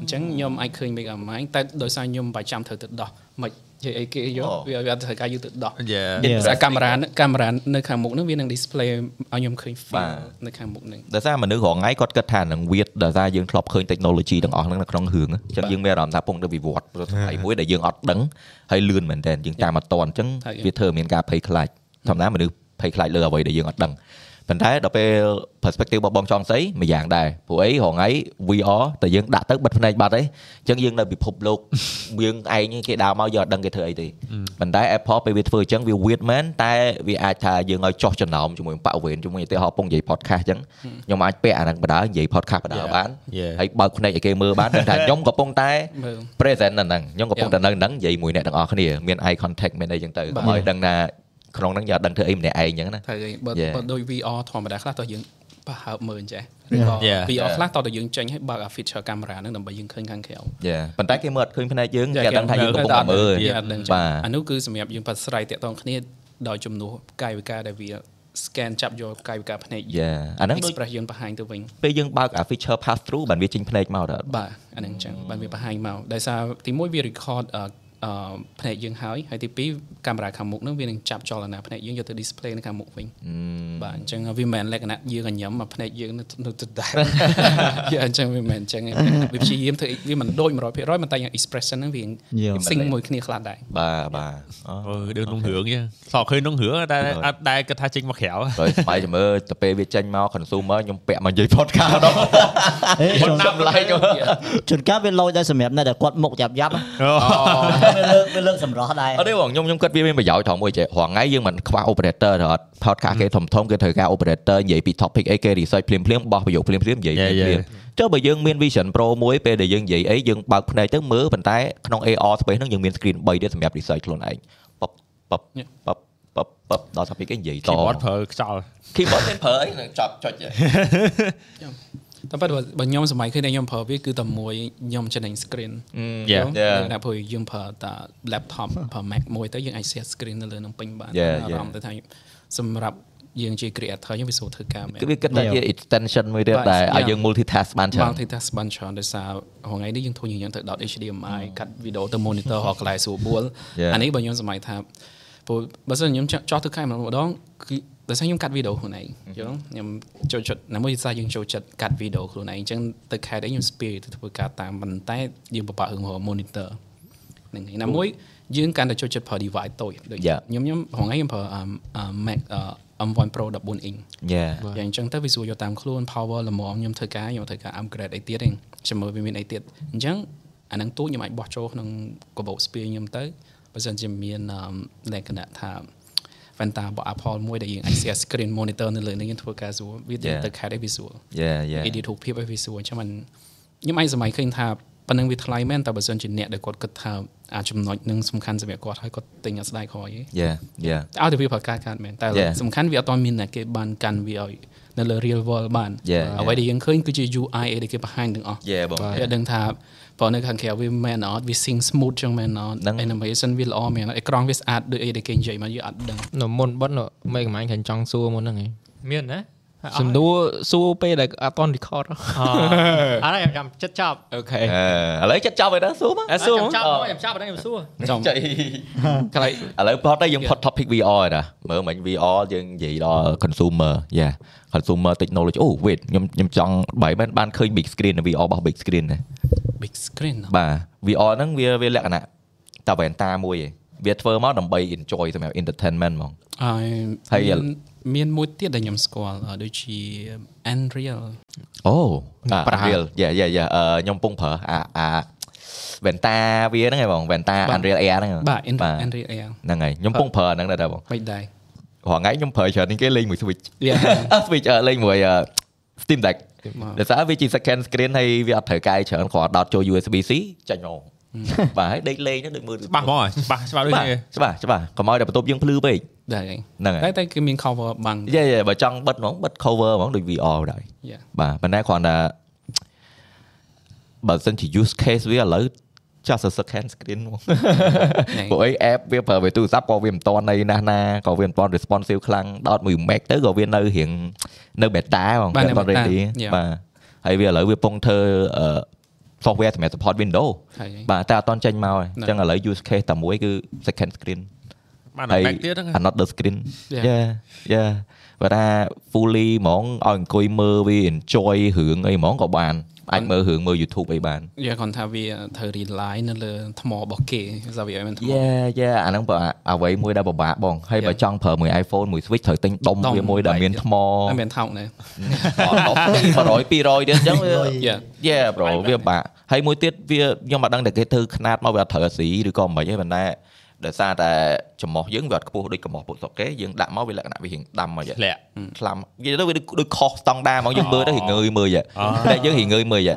អញ្ចឹងញោមអាចឃើញមេកាម៉ៃតែដោយសារញោមប្រចាំត្រូវទៅដោះមិននិយាយអីគេយកវាវាអត់ត្រូវការយកទៅដោះ យ៉ា ដោយសារកាមេរ៉ាកាមេរ៉ានៅខាងមុខហ្នឹងវានឹង display ឲ្យញោមឃើញ feel នៅខាងមុខហ្នឹង ដោយសារមនុស្សរងថ្ងៃគាត់គិតថានឹងវាតដោយសារយើងធ្លាប់ឃើញ technology ទាំងអស់ហ្នឹងនៅក្នុងរឿងហ្នឹងអញ្ចឹងយើងមានអារម្មណ៍ថាពងទៅវិវត្តព្រោះថ្ងៃមួយដែលយើងអត់ដឹងហើយលឿនមែនតើយើងតាមអត់តអញ្ចឹង ហើយ វាធ្វើឲ្យមានការភ័យខ្លាចធម្មតាមនុស្សភ័យខ្លាចលើអ្វីដែលយើងអត់ដឹងប៉ុន្តែដល់ពេល perspective របស់បងចង់ស្អីមួយយ៉ាងដែរព្រោះអីរងថ្ងៃ VR តែយើងដាក់ទៅបិទភ្នែកបាត់អីអញ្ចឹងយើងនៅពិភពលោក [laughs] យើងឯងគេដើរមកយើងអត់ដឹងគេធ្វើអីទេប៉ុន្តែ Apple ពេលវាធ្វើអញ្ចឹងវា weird មែនតែវាអាចថាយើងឲ្យចោះចំណោមជាមួយនឹងបរិវេណជាមួយឧទាហរណ៍ពងនិយាយ podcast អញ្ចឹងខ្ញុំអាចពាក់អាហ្នឹងបណ្ដានិយាយ podcast បណ្ដាបានហើយបើកភ្នែកឲ្យគេមើលបាន [laughs] ដឹងថាខ្ញុំកំពុងតែ មើល present នៅហ្នឹងខ្ញុំកំពុងតែនៅហ្នឹងនិយាយមួយអ្នកទាំងអស់គ្នាមាន eye contact មានអីអញ្ចឹងទៅ បាទ ឲ្យដឹងថាក្នុងហ្នឹងយើងអត់ដឹងធ្វើអីម្នាក់ឯងអញ្ចឹងណា ត្រូវហើយបើ Yeah. បើដូច VR ធម្មតាខ្លះតោះយើងបើហើបមើលអញ្ចេះឬក៏ Yeah. VR ខ្លះតោះតែយើងចេញឲ្យបើកអា feature កាមេរ៉ាហ្នឹងដើម្បីយើងឃើញខាងក្រៅ យ៉ាប៉ុន្តែគេមើលអត់ឃើញភ្នែកយើងគេអត់ដឹងថា គេ យើងកំពុង គេអត់ តែមើល ដឹង យើងអត់ដឹងចឹង បាទ អានោះគឺសម្រាប់យើងបាត់ស្រ័យតាក់ទងគ្នាដោយចំនួនកាយវិការដែលវា scan ចាប់យកកាយវិការភ្នែក Yeah. អាហ្នឹងដូច express យើងបង្ហាញទៅវិញ ពេលយើងបើកអា feature pass through បានវាចេញភ្នែកមកដល់ បាទអាហ្នឹងចឹងបានវាបង្ហាញមកដោយសារទីមួយវា record អឺអឺភ្នែកយើងហើយហើយទីពីរកាមេរ៉ាខាងមុខហ្នឹងវានឹងចាប់ចលនាភ្នែកយើងយកទៅ display នៅខាងមុខវិញបាទអញ្ចឹងវាមិនមែនលក្ខណៈយើងអញ្ញឹមមកភ្នែកយើងនៅនៅទៅដែរ យេអញ្ចឹងវាមិនមែនអញ្ចឹងទេវាព្យាយាមធ្វើវាមិនដូច100%ប៉ុន្តែយ៉ាង expression ហ្នឹងវា sync មួយគ្នាខ្លះដែរ បាទបាទអូ អឺដូចក្នុងរឿងចឹងសក់ឃើញក្នុងរឿងតែអត់ដែរគិតថាចេញមកក្រៅ បើស្មៃចាំមើលទៅពេលវាចេញមក consumer ខ្ញុំពាក់មកនិយាយ podcast ដល់ អេជន [laughs] តាម like ទៅ ជនកាលវាលយដែរសម្រាប់អ្នកដែលគាត់មុខយ៉ាប់យ៉ាប់វាលើកវាលើកសម្រស់ដែរ អត់ទេបងខ្ញុំខ្ញុំគិតវាមានប្រយោជន៍ត្រង់មួយចេះរាល់ថ្ងៃយើងមិនខ្វះ operator ទេអត់ podcast គេធំធំគេត្រូវការ operator និយាយពី topic អីគេ research ភ្លាមភ្លាមបោះប្រយោគភ្លាមភ្លាមនិយាយភ្លាមភ្លាមចុះបើយើងមាន vision pro មួយពេលដែលយើងនិយាយអីយើងបើកភ្នែកទៅមើលប៉ុន្តែក្នុង AR space ហ្នឹងយើងមាន screen 3ទៀតសម្រាប់ research ខ្លួនឯងប៉បប៉បប៉បប៉បប៉បដល់ topic គេនិយាយត គេអត់ប្រើខ្យល់ keyboard គេប្រើអីនឹងចប់ចុច តែប៉ះបើខ្ញុំសម័យឃើញតែខ្ញុំប្រើវាគឺតែមួយខ្ញុំចំណេញ screen យ Yeah. ល់ Yeah. តែព្រោះយើងប្រើតែ laptop ប្រើ Mac មួយទៅយើងអាច share screen នៅលើនឹងពេញបាន Yeah, អារម្មណ៍ទៅថាសម្រាប់យើងជា creator យើងវាស្រួលធ្វើការមែន គឺវាគិតថាជា extension មួយទៀត បាទ ដែលឲ្យ យ៉ាង យើង multitask បានច្រើ បា ន ងទីតាស្បានច្រើនដោយសាររហងៃនេះយើងធូរញញឹមទៅដុត HDMI កាត់វីដេអូទៅ monitor រកកន្លែងស្រួលបួលអានេះបើខ្ញុំសម័យថាព្រោះបើសិនខ្ញុំចោះទៅខែម្ដងម្ដងគឺដោយសារខ្ញុំកាត់វីដេអូខ្លួនឯងយល់ខ្ញុំចូលចិត្តណាមួយសារយើងចូលចិត្តកាត់វីដេអូខ្លួនឯងអញ្ចឹងទៅខែដែរខ្ញុំស្ពាយទៅធ្វើការតាមប៉ុន្តែយើងពិបាករឿងរក monitor ហ្នឹងហើយណាមួយយើងកាន់តែចូលចិត្តប្រើ device តូចដូចខ្ញុំខ្ញុំរហងៃខ្ញុំប្រើ Mac M1 Pro 14 inch យ៉ា យ៉ាងអញ្ចឹងទៅវាស្រួលយកតាមខ្លួន power ល្មមខ្ញុំធ្វើការខ្ញុំធ្វើការ upgrade អីទៀតហ្នឹងចាំមើលវាមានអីទៀតអញ្ចឹងអាហ្នឹងទូចខ្ញុំអាចបោះចូលក្នុងកាបូបស្ពាយខ្ញុំទៅបើសិនជាមានអឺលក្ខណៈថា វ៉ែនតារបស់ Apple មួយដែលយើងអាច share screen monitor នៅលើហ្នឹងយើងធ្វើការស្រួលវា Yeah. ទៅខែឲ្យវាស្រួល yeah yeah edit រូបភាពឲ្យវាស្រួលអញ្ចឹងមិនខ្ញុំឯងសម័យឃើញថាប៉ុណ្្នឹងវាថ្លៃមែនតែបើសិនជាអ្នកដែលគាត់គិតថាអាចចំណុចនឹងសំខាន់សម្រាប់គាត់ហើយគាត់ទិញអត់ស្ដាយក្រោយទេ yeah yeah តែឲ្យតែវាប្រើការកាត់មែនតែ Yeah. សំខាន់វាអត់ទាន់មានអ្នកគេបានកាន់វាឲ្យនៅលើ real world បាន Yeah, អ្វីដែលយើងឃើញគឺជា UI ដែលគេបង្ហាញទាំងអស់ Yeah, បង យើងដឹងថាព្រោះនៅខាងក្រៅវាមែនអត់វា sync smooth ចឹងមែនអត់ ហ្នឹង animation វាល្អមែនអត់អេក្រង់វាស្អាតដូចអីដែលគេនិយាយមកយើងអត់ដឹង នៅមុនបិទនៅមេកំាញ់ខាងចង់សួរមុនហ្នឹងឯង មានណា សំដួរសួរពេលដែលអត់តន់ record អរខ្ញុំចិត្តចប់ អូខេ អឺឥឡូវចិត្តចប់ហើយដល់សួរមក អ អ សួរ ខ្ញុំចប់មកខ្ញុំចប់បងខ្ញុំសួរ ចង់ ចៃ កន្លែង ឥឡូវផតទៅយើងផត topic VR ហើយណាមើលមិញ VR យើងនិយាយដល់ consumer yeah consumer technology អូ wait ខ្ញុំខ្ញុំចង់បែរមែនបានឃើញ big screen នៅ VR របស់ big screen ណា big screen ណា បាទ VR ហ្នឹងវាវាលក្ខណៈតែវ៉ែនតាមួយឯងវាធ្វើមកដើម្បី enjoy សម្រាប់ entertainment ហ្មង អឺ ហើយ មានមានមួយទៀតដែលខ្ញុំស្គាល់អឺដូចជា Unreal អូ ប្រើ ប្រារៀលយ៉ាយ៉ាយ៉ាអឺខ្ញុំពងប្រើអាអាវ៉ែនតាវាហ្នឹងឯងបងវ៉ែនតា បាទ Unreal Air ហ្នឹង បាទ ហ៎ Unreal- Unreal ហ្នឹងហើយខ្ញុំពងប្រើអាហ្នឹងដែរដែរបង មិនដែរារល់ថ្ងៃខ្ញុំប្រើច្រើនជាងគេលេងមួយ Switch វា [laughs] អឺ Switch អឺលេងមួយអឺ Steam Deck មក ដោយសារវាជា second screen ហើយវាអត់ត្រូវកាយច្រើនគ្រាន់ដោតចូល USB C ចាញ់មក [laughs] បាទហើយដេកលេងហ្នឹងដូចមើល ច្បាស់ហ្មងច្បាស់ច្បាស់ដូច បាទ គ្នា ច្បាស់ច្បាស់កុំឲ្យដល់បន្ទប់យើងភ្លឺពេក ដែរហើយ ហ្នឹងហើយ តែតែគឺមាន cover បាំង យេយេបើចង់បិទហ្មងបិទ cover ហ្មងដូច VR ដែរ [laughs] [laughs] Yeah. បាទប៉ុន្តែគ្រាន់តែបើសិនជា use case វាឥឡូវចាស់សរសឹក hand screen ហ្មង ហ្នឹង ព្រោះអី app វាប្រើវាទូរស័ព្ទក៏វាមិនតន់អីណាស់ណាក៏វាមិនតន់ responsive ខ្លាំងដោត1 meg ទៅក៏វានៅរៀងនៅ beta ហ្មង បាទ វាមិនតន់ នៅ beta ready Yeah. បាទហើយវាឥឡូវវាពងធ្វើអឺ software សម្រាប់ support window ហើយហើយ បាទតែអត់តន់ចេញមកឯងអ ហ្នឹង ញ្ចឹងឥឡូវ use case តែមួយគឺ second screen បាន ហើយ បែកទៀតហ្នឹង another screen Yeah. យ៉ាយ៉ាបើថា fully ហ្មងឲ្យអង្គុយមើលវា enjoy រឿងអីហ្មងក៏បានអាចមើលរឿងមើល YouTube អីបាន យកគាត់ថាវាត្រូវ rely នៅលើថ្មរបស់គេសារវាឲ្យ [laughs] មានថ្ម យ៉ាយ៉ាអាហ្នឹងបើអ្វីមួយដែលពិបាកបងហើយបើ Yeah. ចង់ប្រើមួយ iPhone មួយ Switch ត្រូវទិញដុំ ដុំ វាមួយដែល បែក មានថ្ម តែមានថោកដែរ 100 200ទៀតអញ្ចឹងវា Yeah. Yeah bro វាពិបាកហើយមួយទៀតវាខ្ញុំមិនដឹងតែគេធ្វើຂ្នាតមកវាអត់ត្រូវអាស៊ីឬក៏មិនអីប៉ុន្តែដោយសារតែចំហយើងវាអត់ខ្ពស់ដូចកំហពួកស្រុកគេយើងដាក់មកវាលក្ខណៈវារៀងដាំមកយ៉ា ធ្លាក់ ខ្លាំនិយាយទៅវាដូចដូចខុសស្តង់ដារហ្មងយើងមើលទៅហិងើយមើលយ៉ាតែយើងហិងើយមើលយ៉ា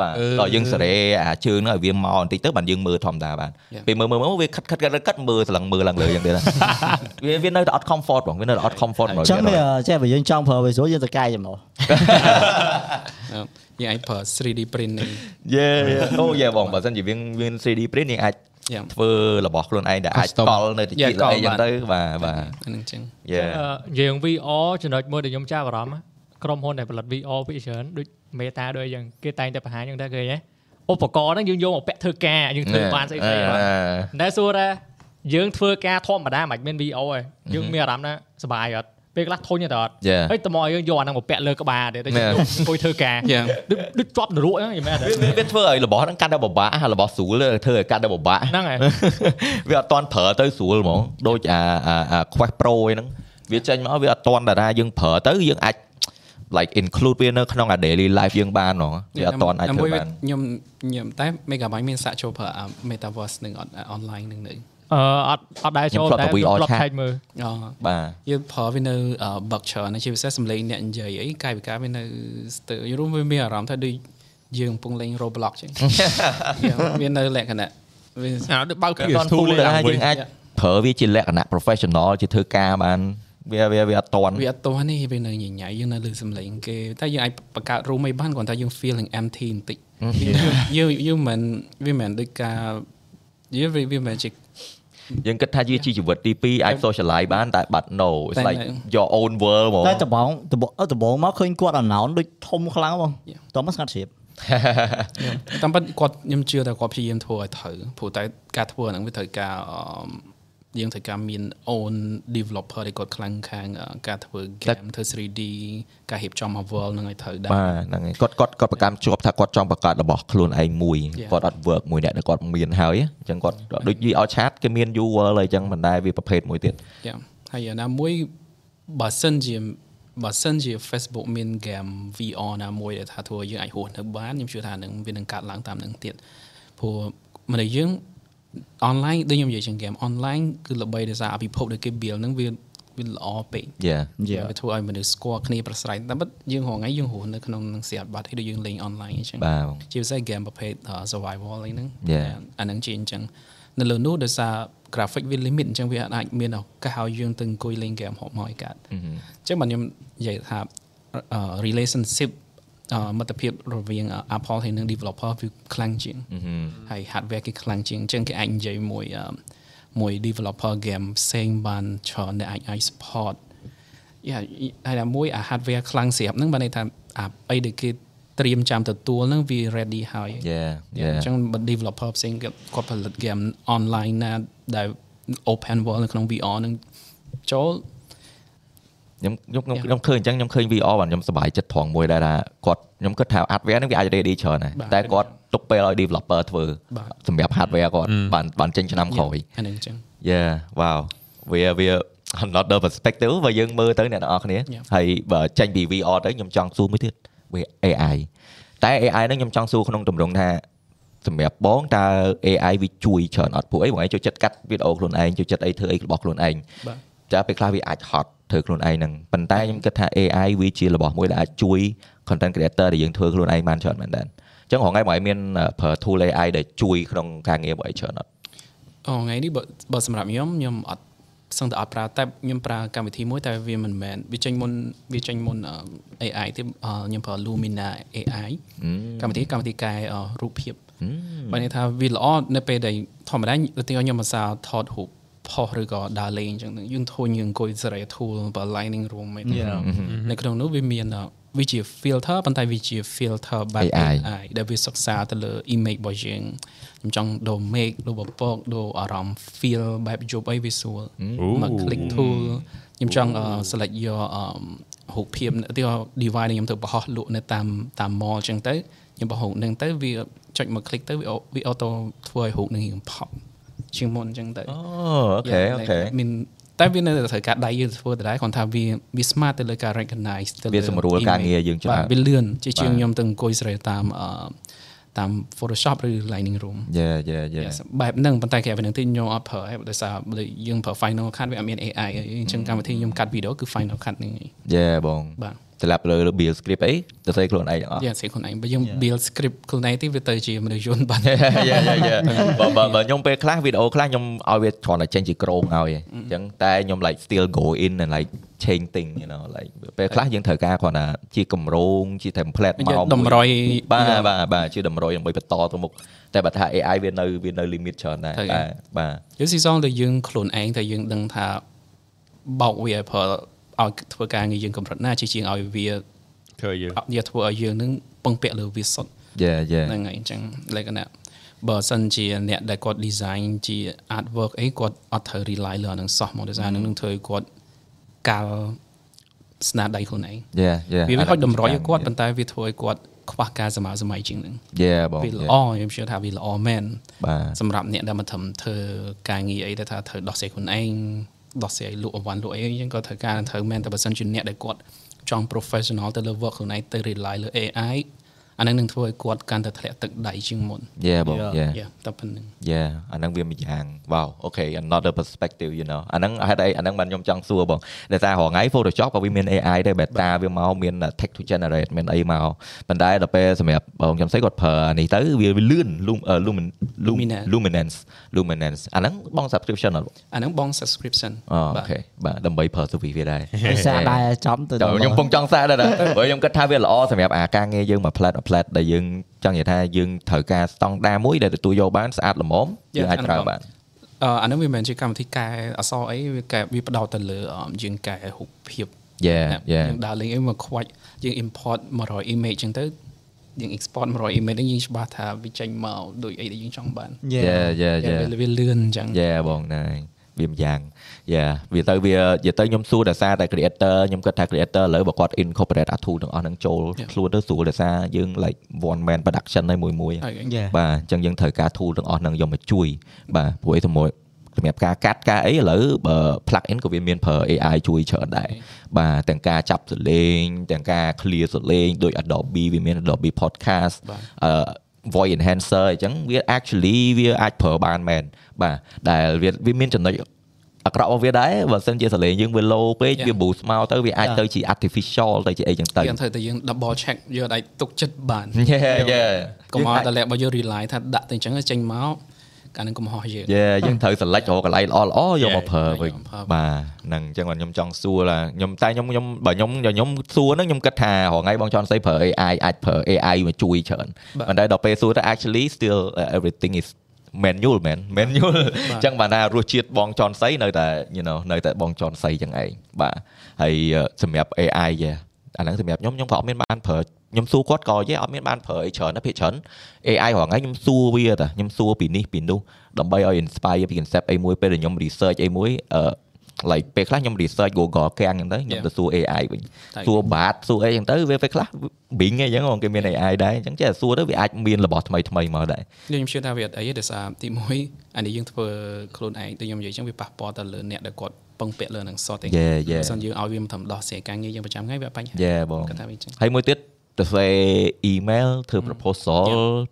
បាទ អឺ តោះយើងសេរីអាជើងហ្នឹងឲ្យវាមកបន្តិចទៅបានយើងមើលធម្មតាបាន Yeah. ពេលមើលមើលមើលវាខិតខិតខិតខិតមើលស្លឹងមើលឡើងលើយ៉ាងទៀតណា វាវានៅតែអត់ comfort បងវានៅតែអត់ comfort ហ្មង ចឹងវាចេះបើយើងចង់ប្រើវាស្រួលយើងទៅកាយចំហ យើងអាចប្រើ 3D print នេះ Yeah yeah. [laughs] អូ yeah បងបើសិនជាវាមាន 3D print យើងអាច Yeah. ធ្វើរបស់ខ្លួនឯងដែលអាច Custom. កលនៅទី Yeah, ទីអីចឹងកលបាន ទៅបាទបាទ អាហ្នឹងចឹង Yeah យើង VR ចំណុចមួយដែលខ្ញុំចាប់អារម្មណ៍ក្រុមហ៊ុនដែលផលិត VR ពីច្រើនដូច Meta ដូចយ៉ាងគេតែងតែបង្ហាញយ៉ាងដែរគេហ៎ឧបករណ៍ហ្នឹងយើងយកមកពាក់ធ្វើការយើងធ្វើបានស្អីស្អី អឺ បា អឺ ន តែសួរថាយើងធ្វើការធម្មតាមិនអាចមាន VO ទេយើងមានអារម្មណ៍ថាសប្បាយអត់ពេលខ្លះធុញទេអត់ Yeah. ហើយតមកយើងយកអាហ្នឹងមកពាក់លើក្បាលទៀតដូចយើងអង្គុយធ្វើការ Yeah. ដូចដូចជាប់នរកហ្នឹងយល់មែនទេ វាវាវាធ្វើឲ្យរបស់ហ្នឹងកាន់តែពិបាកហើយរបស់ស្រួលធ្វើឲ្យកាន់តែពិបា [laughs] ក ហ្នឹងហើយ [laughs] វាអត់តន់ប្រើទៅស្រួលហ្មងដូចអាអាអា Quest Pro ឯហ្នឹងវាចេញមកវាអត់តន់តារាយើងប្រើទៅយើងអាច like include វានៅក្នុងអា daily life យើងបានហ្មងវាអត់តន់អាចធ្វើបាន ខ្ញុំខ្ញុំតែ Megabyte មានសាក់ចូលប្រើអា Metaverse នឹងអត់ online នឹងនៅ អឺអត់អត់ដែរចូលតែខ្ញុំធ្លាប់ថែកមើល អូ បាទ យើងប្រើវានៅ Berkshire ហ្នឹងជាពិសេសសំឡេងអ្នកនិយាយអីកាយវិការវានៅស្ទើរយល់វាមានអារម្មណ៍ថាដូចយើងកំពុងលេង Roblox [laughs] ចឹង [laughs] យើងវានៅលក្ខណៈវា អាដូចបើក អ គ្រី ត់តន់ ស្ទូ ទូល លេង តារា ឡើងវិញ យើងអាចប្រើវាជាលក្ខណៈ professional ជាធ្វើការបានវាវាវាអត់តន់ វាអត់ទាស់នេះវានៅញញៃយើងនៅលើសំឡេងគេតែយើងអាចបង្កើត room អីបានគ្រាន់តែយើង feeling empty បន្តិច [laughs] យើងយើងមិនវាមិនដូចការយើងវាវាមិនជា យើងគិតថាវាជាជីវិតទី2អាច socialize បានតែបាត់ no it's តែ like your own world ហ្មង តែដបងដបងអឺដបងមកឃើញគាត់អាណោនដូចធំខ្លាំងបង Yeah. តោះមកស្ងាត់ជ្រាប តាមពិតគាត់ខ្ញុំជឿថាគាត់ព្យាយាមធ្វើឲ្យត្រូវព្រោះតែការធ្វើអាហ្នឹងវាត្រូវការអឺយើងត្រូវការមាន own developer ដែលគាត់ខ្លាំងខាងអឺការធ្វើ game ធ្វើ 3D ការរៀបចំ Marvel ហ្នឹងឲ្យត្រូវដែរ បាទហ្នឹងហើយគាត់គាត់គាត់ប្រកម្មជាប់ថាគាត់ចង់បង្កើតរបស់ខ្លួនឯងមួយ Yeah. គាត់អត់ work មួយអ្នកដែលគាត់មានហើយអញ្ចឹងគាត់ដូចនិយាយឲ្យឆាតគេមាន user ហើយអញ្ចឹងមិនដែរវាប្រភេទមួយទៀត យ៉ាហើយអាណាមួយបើសិនជាបើសិនជា Facebook មាន game VR ណាមួយដែលថាធ្វើឲ្យយើងអាចហួសនៅបានខ្ញុំជឿថានឹងវានឹងកាត់ឡើងតាមនឹងទៀតព្រោះមនុស្សយើង online ដូចខ្ញុំនិយាយជាង game online គឺល្បីដោយសារអាពិភពដែលគេ build ហ្នឹងវាវាល្អពេក Yeah យើងវាធ្វើឲ្យមនុស្សស្គាល់គ្នាប្រស្រ័យតែបើយើងរងថ្ងៃយើងរស់នៅក្នុងនឹងស្រីអត់បាត់ទេដូចយើងលេងអនឡាញអញ្ចឹង បាទបង ជាពិសេស game ប្រភេទ uh, survival អីហ្នឹង Yeah. អាហ្នឹងជាអញ្ចឹងនៅលើនោះដោយសារ graphic វា limit អញ្ចឹងវាអាចមានឱកាសឲ្យយើងទៅអង្គុយលេង game ហប់មកឲ្យកាត់អញ្ចឹងបាទខ្ញុំនិយាយថា uh, relationship អឺមិត្តភាពរវាង uh, Apple ហើយនឹង developer វាខ្លាំងជាងហើយ hardware គេខ្លាំងជាងអញ្ចឹងគេអាចនិយាយមួយអឺមួយ developer game ផ្សេងបានច្រើនដែលអាចអាច support យ៉ាហើយតែមួយអា hardware ខ្លាំងស្រាប់ហ្នឹងបានន័យថាអាអីដែលគេត្រៀមចាំទទួលហ្នឹងវា ready ហើយ Yeah អ Yeah ញ្ចឹងបើ developer ផ្សេងគាត់គាត់ផលិត game online ណាដែល open world នៅក្នុង VR ហ្នឹងចូល ខ្ញុំខ្ញុំខ្ញុំខ្ញុំឃើញអញ្ចឹងខ្ញុំឃើញ VR បាទខ្ញុំសប្បាយចិត្តត្រង់មួយដែរថាគាត់ខ្ញុំគិតថា hardware ហ្នឹងវាអាច ready ច្រើនដែរ បាទ តែគាត់ទុកពេលឲ្យ developer ធ្វើ បាទ សម្រាប់ hardware គាត់បានបានចេញឆ្នាំក្រោយ អាហ្នឹងអញ្ចឹង Yeah wow វាវា [laughs] another perspective បើយើងមើលទៅអ្នកទាំងអស់គ្នា Yeah. ហើយបើចេញពី VR ទៅខ្ញុំចង់សួរមួយទៀតវា AI តែ AI ហ្នឹងខ្ញុំចង់សួរក្នុងទម្រង់ថាសម្រាប់បងតើ AI វាជួយច្រើនអត់ពួកអីបងឯងចូលចិត្តកាត់វីដេអូខ្លួនឯងចូលចិត្តអីធ្វើអីរបស់ខ្លួនឯង បាទ ចាពេលខ្លះវាអាចហត់ធ្វើខ្លួនឯងហ្នឹងប៉ុន្តែខ្ញុំគិតថា AI វាជារបស់មួយដែលអាចជួយ content creator ដែលយើងធ្វើខ្លួនឯងបានច្រើនមែនដែរអញ្ចឹងរហងៃបងឯងមានអឺប្រើ tool AI ដែលជួយក្នុងការងារបងឯងច្រើនអត់ អូថ្ងៃនេះបើបើសម្រាប់ខ្ញុំខ្ញុំអត់សឹងតែអត់ប្រើតែខ្ញុំប្រើកម្មវិធីមួយតែវាមិនមែនវាចេញមុនវាចេញមុនអឺ AI ទេអឺខ្ញុំប្រើ Lumina AI កម្មវិធីកម្មវិធីកែអឺរូបភាពបើនេះថាវាល្អនៅពេលដែលធម្មតាឧទាហរណ៍ខ្ញុំមិនសាលថតរូបផុសឬក៏ដើរលេងអញ្ចឹងទៅយើងធូនយើងអង្គុយសេរី tool បើ lining room ឯណានៅក្នុងនោះវាមានអឺវាជា filter ប៉ុន្តែវាជា filter បែប AI AI ដែលវាសិក្សាទៅលើ image របស់យើងខ្ញុំចង់ដូរ make ដូរបពកដូរអារម្មណ៍ feel បែបយប់អីវាស្រួលមក click tool ខ្ញុំចង់អឺ select យកអឺរូបភាពឧទី device ដែលខ្ញុំទៅបោះលក់នៅតាមតាម mall អញ្ចឹងទៅខ្ញុំបោះរូបហ្នឹងទៅវាចុចមក click ទៅវាអូវា auto ធ្វើឲ្យរូបហ្នឹងរៀងផប់ជាងមុនអញ្ចឹងទៅ អូអូខេអូខេ មានតែវានៅតែត្រូវការដៃយើងធ្វើដដែលគ្រាន់ថាវាវា smart ទៅលើការ recognize ទៅលើ វាសម្រួល image ការងារយើងច្រើន បាទវាលឿនជាជាងខ្ញុំទៅអង្គុយស្រីតាមអឺតាម Photoshop ឬ Lighting Room យេយេយេ Yes បែបហ្នឹងប៉ុន្តែគេវិញទីខ្ញុំអត់ប្រើហើយដោយសារដូចយើងប្រើ Final Cut វាអត់មាន AI អីអញ្ចឹងកម្មវិធីខ្ញុំកាត់វីដេអូគឺ Final Cut ហ្នឹងឯង យេបង បាទ ស្លាប់លើ bill script អីទៅស្អីខ្លួនឯងទាំងអស់យេ [laughs] យ៉ាងស្អីខ្លួនឯងបើយើង build script ខ្លួនឯងទីវាទៅជាមនុស្សយន្ត [laughs] បាន យេយេបើបើបើខ្ញុំពេលខ្លះវីដេអូខ្លះខ្ញុំឲ្យវាគ្រាន់តែចេញជាក្រងឲ្យឯងអញ្ចឹងតែខ្ញុំ like still go in and like change thing you know like ពេលខ្លះយើងត្រូវការគ្រាន់តែជាកម្រងជា template យើ មកមួយងតម្រុយ បាទបាទបាទជាតម្រុយដើម្បីបន្តទៅមុខតែបើថា AI វានៅវានៅ limit ច្រើនដែរ ត្រូវឯង បាទបាទ យើងស៊ីសងតែយើងខ្លួនឯងតែយើងដឹងថាបោកវាឲ្យប្រើឲ្យធ្វើការងារយើងកម្រិតណាជាជាងឲ្យវា ធ្វើយើង អត់យកធ្វើឲ្យយើងនឹងពឹងពាក់លើវាសុទ្ធ yeah yeah ហ្នឹងហើយអញ្ចឹងលក្ខណៈបើសិនជាអ្នកដែលគាត់ design ជា artwork អីគាត់អត់ត្រូវ rely លើអាហ្នឹងសោះមកដោយសារហ្នឹងនឹងធ្វើឲ្យគាត់កាល់ស្នាដៃខ្លួនឯង yeah yeah វាមិនខុសតម្រុយឲ្យគាត់ប៉ុន្តែវាធ្វើឲ្យគាត់ខ្វះការសម័យសម័យជាងហ្នឹង yeah បង វា yeah ល្អខ្ញុំជឿថាវាល្អមែន បាទ សម្រាប់អ្នកដែលមកធ្វើធ្វើការងារអីដែលថាត្រូវដោះស្រាយខ្លួនឯងដោះស្រាយលក់អវ៉ាន់លក់អីអញ្ចឹងក៏ត្រូវការត្រូវមែនតែបើសិនជាអ្នកដែលគាត់ចង់ professional ទៅលើ work ខ្លួនឯងទៅ rely លើ AI អាហ្នឹងនឹងធ្វើឲ្យគាត់កាន់តែធ្លាក់ទឹកដៃជាងមុន yeah បង Yeah. yeah Yeah តែប៉ុណ្្នឹង Yeah អាហ្នឹងវាម្យ៉ាង wow okay another perspective you know អាហ្នឹងហេតុអីអាហ្នឹងបានខ្ញុំចង់សួរបងដែលថារហងៃ Photoshop ក៏វាមាន AI ដែរ beta វាមកមាន text to generate មានអីមកប៉ុន្តែដល់ពេលសម្រាប់បងខ្ញុំស្អីគាត់ប្រើអានេះទៅវាវាលឿន lum- អឺ lumin- lum- Luminance luminance luminance អាហ្នឹងបង subscription អត់បង អាហ្នឹងបង subscription អូអូខេបាទដើម្បីប្រើ service វាដែរ សាដែរចំទៅ តែខ្ញុំពងចង់សាកដែរណាព្រោះខ្ញុំគិតថាវាល្អសម្រាប់អាការងារយើងមួយផ្លែតមួយផ្លែតដែលយើងចង់និយាយថាយើងត្រូវការស្តង់ដារមួយដែលទទួលយកបានស្អាតល្មមយើងអាចប្រើបាន អឺអាហ្នឹងវាមិនមែនជាកម្មវិធីកែអក្សរអីវាកែវាផ្ដោតទៅលើអឺយើងកែរូបភាព Yeah ណា yeah យើងដើរលេងអីមកខ្វាច់យើង import 100 image ចឹងទៅយើង export 100 image ហ្នឹងយើងច្បាស់ថាវាចេញមកដូចអីដែលយើងចង់បាន យេ yeah yeah វា yeah វាលឿនចឹង យ៉ាបងណៃវាម្យ៉ាងយ៉ាវាទៅវានិយាយទៅខ្ញុំសួរដោយសារតែ creator ខ្ញុំគិតថា creator ឥឡូវបើគាត់ incorporate អា tool ទាំងអស់ហ្នឹងចូលខ្លួនទៅស្រួលដោយសារយើង like one man production ហើយមួយមួយៗ ហើយ យេ បាទអញ្ចឹងយើងត្រូវការ tool ទាំងអស់ហ្នឹងយកមកជួយបាទព្រោះអីសម្រាប់សម្រាប់ការកាត់ការអីឥឡូវបើ plug in ក៏វាមានប្រើ AI ជួយច្រើនដែរបាទទាំងការចាប់សលេងទាំងការ clear សលេងដូច Adobe វាមាន Adobe Podcast អឺ voice enhancer អញ្ចឹងវា actually វាអាចប្រើបានមែន បាទដែលវាវាមានចំណុចអាក្រក់របស់វាដែរបើសិនជាសលេងយើងវា low ពេក Yeah. វា boost មកទៅវាអាច ចា៎ ទៅជា artificial ទៅជាអីចឹងទៅ យើងត្រូវតែយើង double check យើងអាចទុកចិត្តបាន Yeah yeah កុំឲ្យតែលេបរបស់យើង rely ថាដាក់ទៅអញ្ចឹងចេញមកកាលនឹងកំហុសយើង Yeah យើងត្រូវ select រកកន្លែងល្អល្អៗយកមក Yeah. ប្រើវិញ យកមកប្រើ បាទហ្នឹងអញ្ចឹងបាទខ្ញុំចង់សួរថាខ្ញុំតែខ្ញុំខ្ញុំបើខ្ញុំខ្ញុំសួរហ្នឹងខ្ញុំគិតថារហងៃបងចន់ស្អីប្រើ AI អាចប្រើ AI មកជួយច្រើន បាទ ប៉ុន្តែដល់ពេលសួរទៅ actually still uh, everything is manual man [laughs] manual អញ្ចឹងបាទថារសជាតិបងចន់ស្អីនៅតែ you know នៅតែបងចន់ស្អីចឹងឯងបាទហើយអឺសម្រាប់ AI យេអាហ្នឹងសម្រាប់ខ្ញុំខ្ញុំក៏អត់មានបានប្រើខ្ញុំសួរគាត់ក៏យេអត់មានបានប្រើអីច្រើនណាស់ភាគច្រើន AI រហងៃខ្ញុំសួរវាតាខ្ញុំសួរពីនេះពីនោះដើម្បីឲ្យ inspire ពី concept អីមួយពេលដែលខ្ញុំ research អីមួយអឺ like ពេលខ្លះខ្ញុំ research Google កាំងហ្នឹងទៅខ្ញុំ Yeah. ទៅសួរ AI វិញ តែ សួរបាតសួរអីចឹងទៅវាពេលខ្លះ Bing អីចឹងហងគេមាន AI ដែរអញ្ចឹងចេះតែសួរទៅវាអាចមានរបស់ថ្មីថ្មីៗមកដែរ ខ្ញុំខ្ញុំជឿថាវាអត់អីទេដោយសារទី1អានេះយើងធ្វើខ្លួនឯងដូចខ្ញុំនិយាយអញ្ចឹងវាប៉ះពាល់ទៅលើអ្នកដែលគាត់ពឹងពាក់លើនឹង sorting Yeah, yeah. បើសិនយើងឲ្យវាមិនធ្វើដោះស្រាយការងារយើងប្រចាំថ្ងៃវាអត់បញ្ហា Yeah បង គាត់ថាវាអញ្ចឹង ហើយមួយទៀតទៅស្វែ email ធ្វើ proposal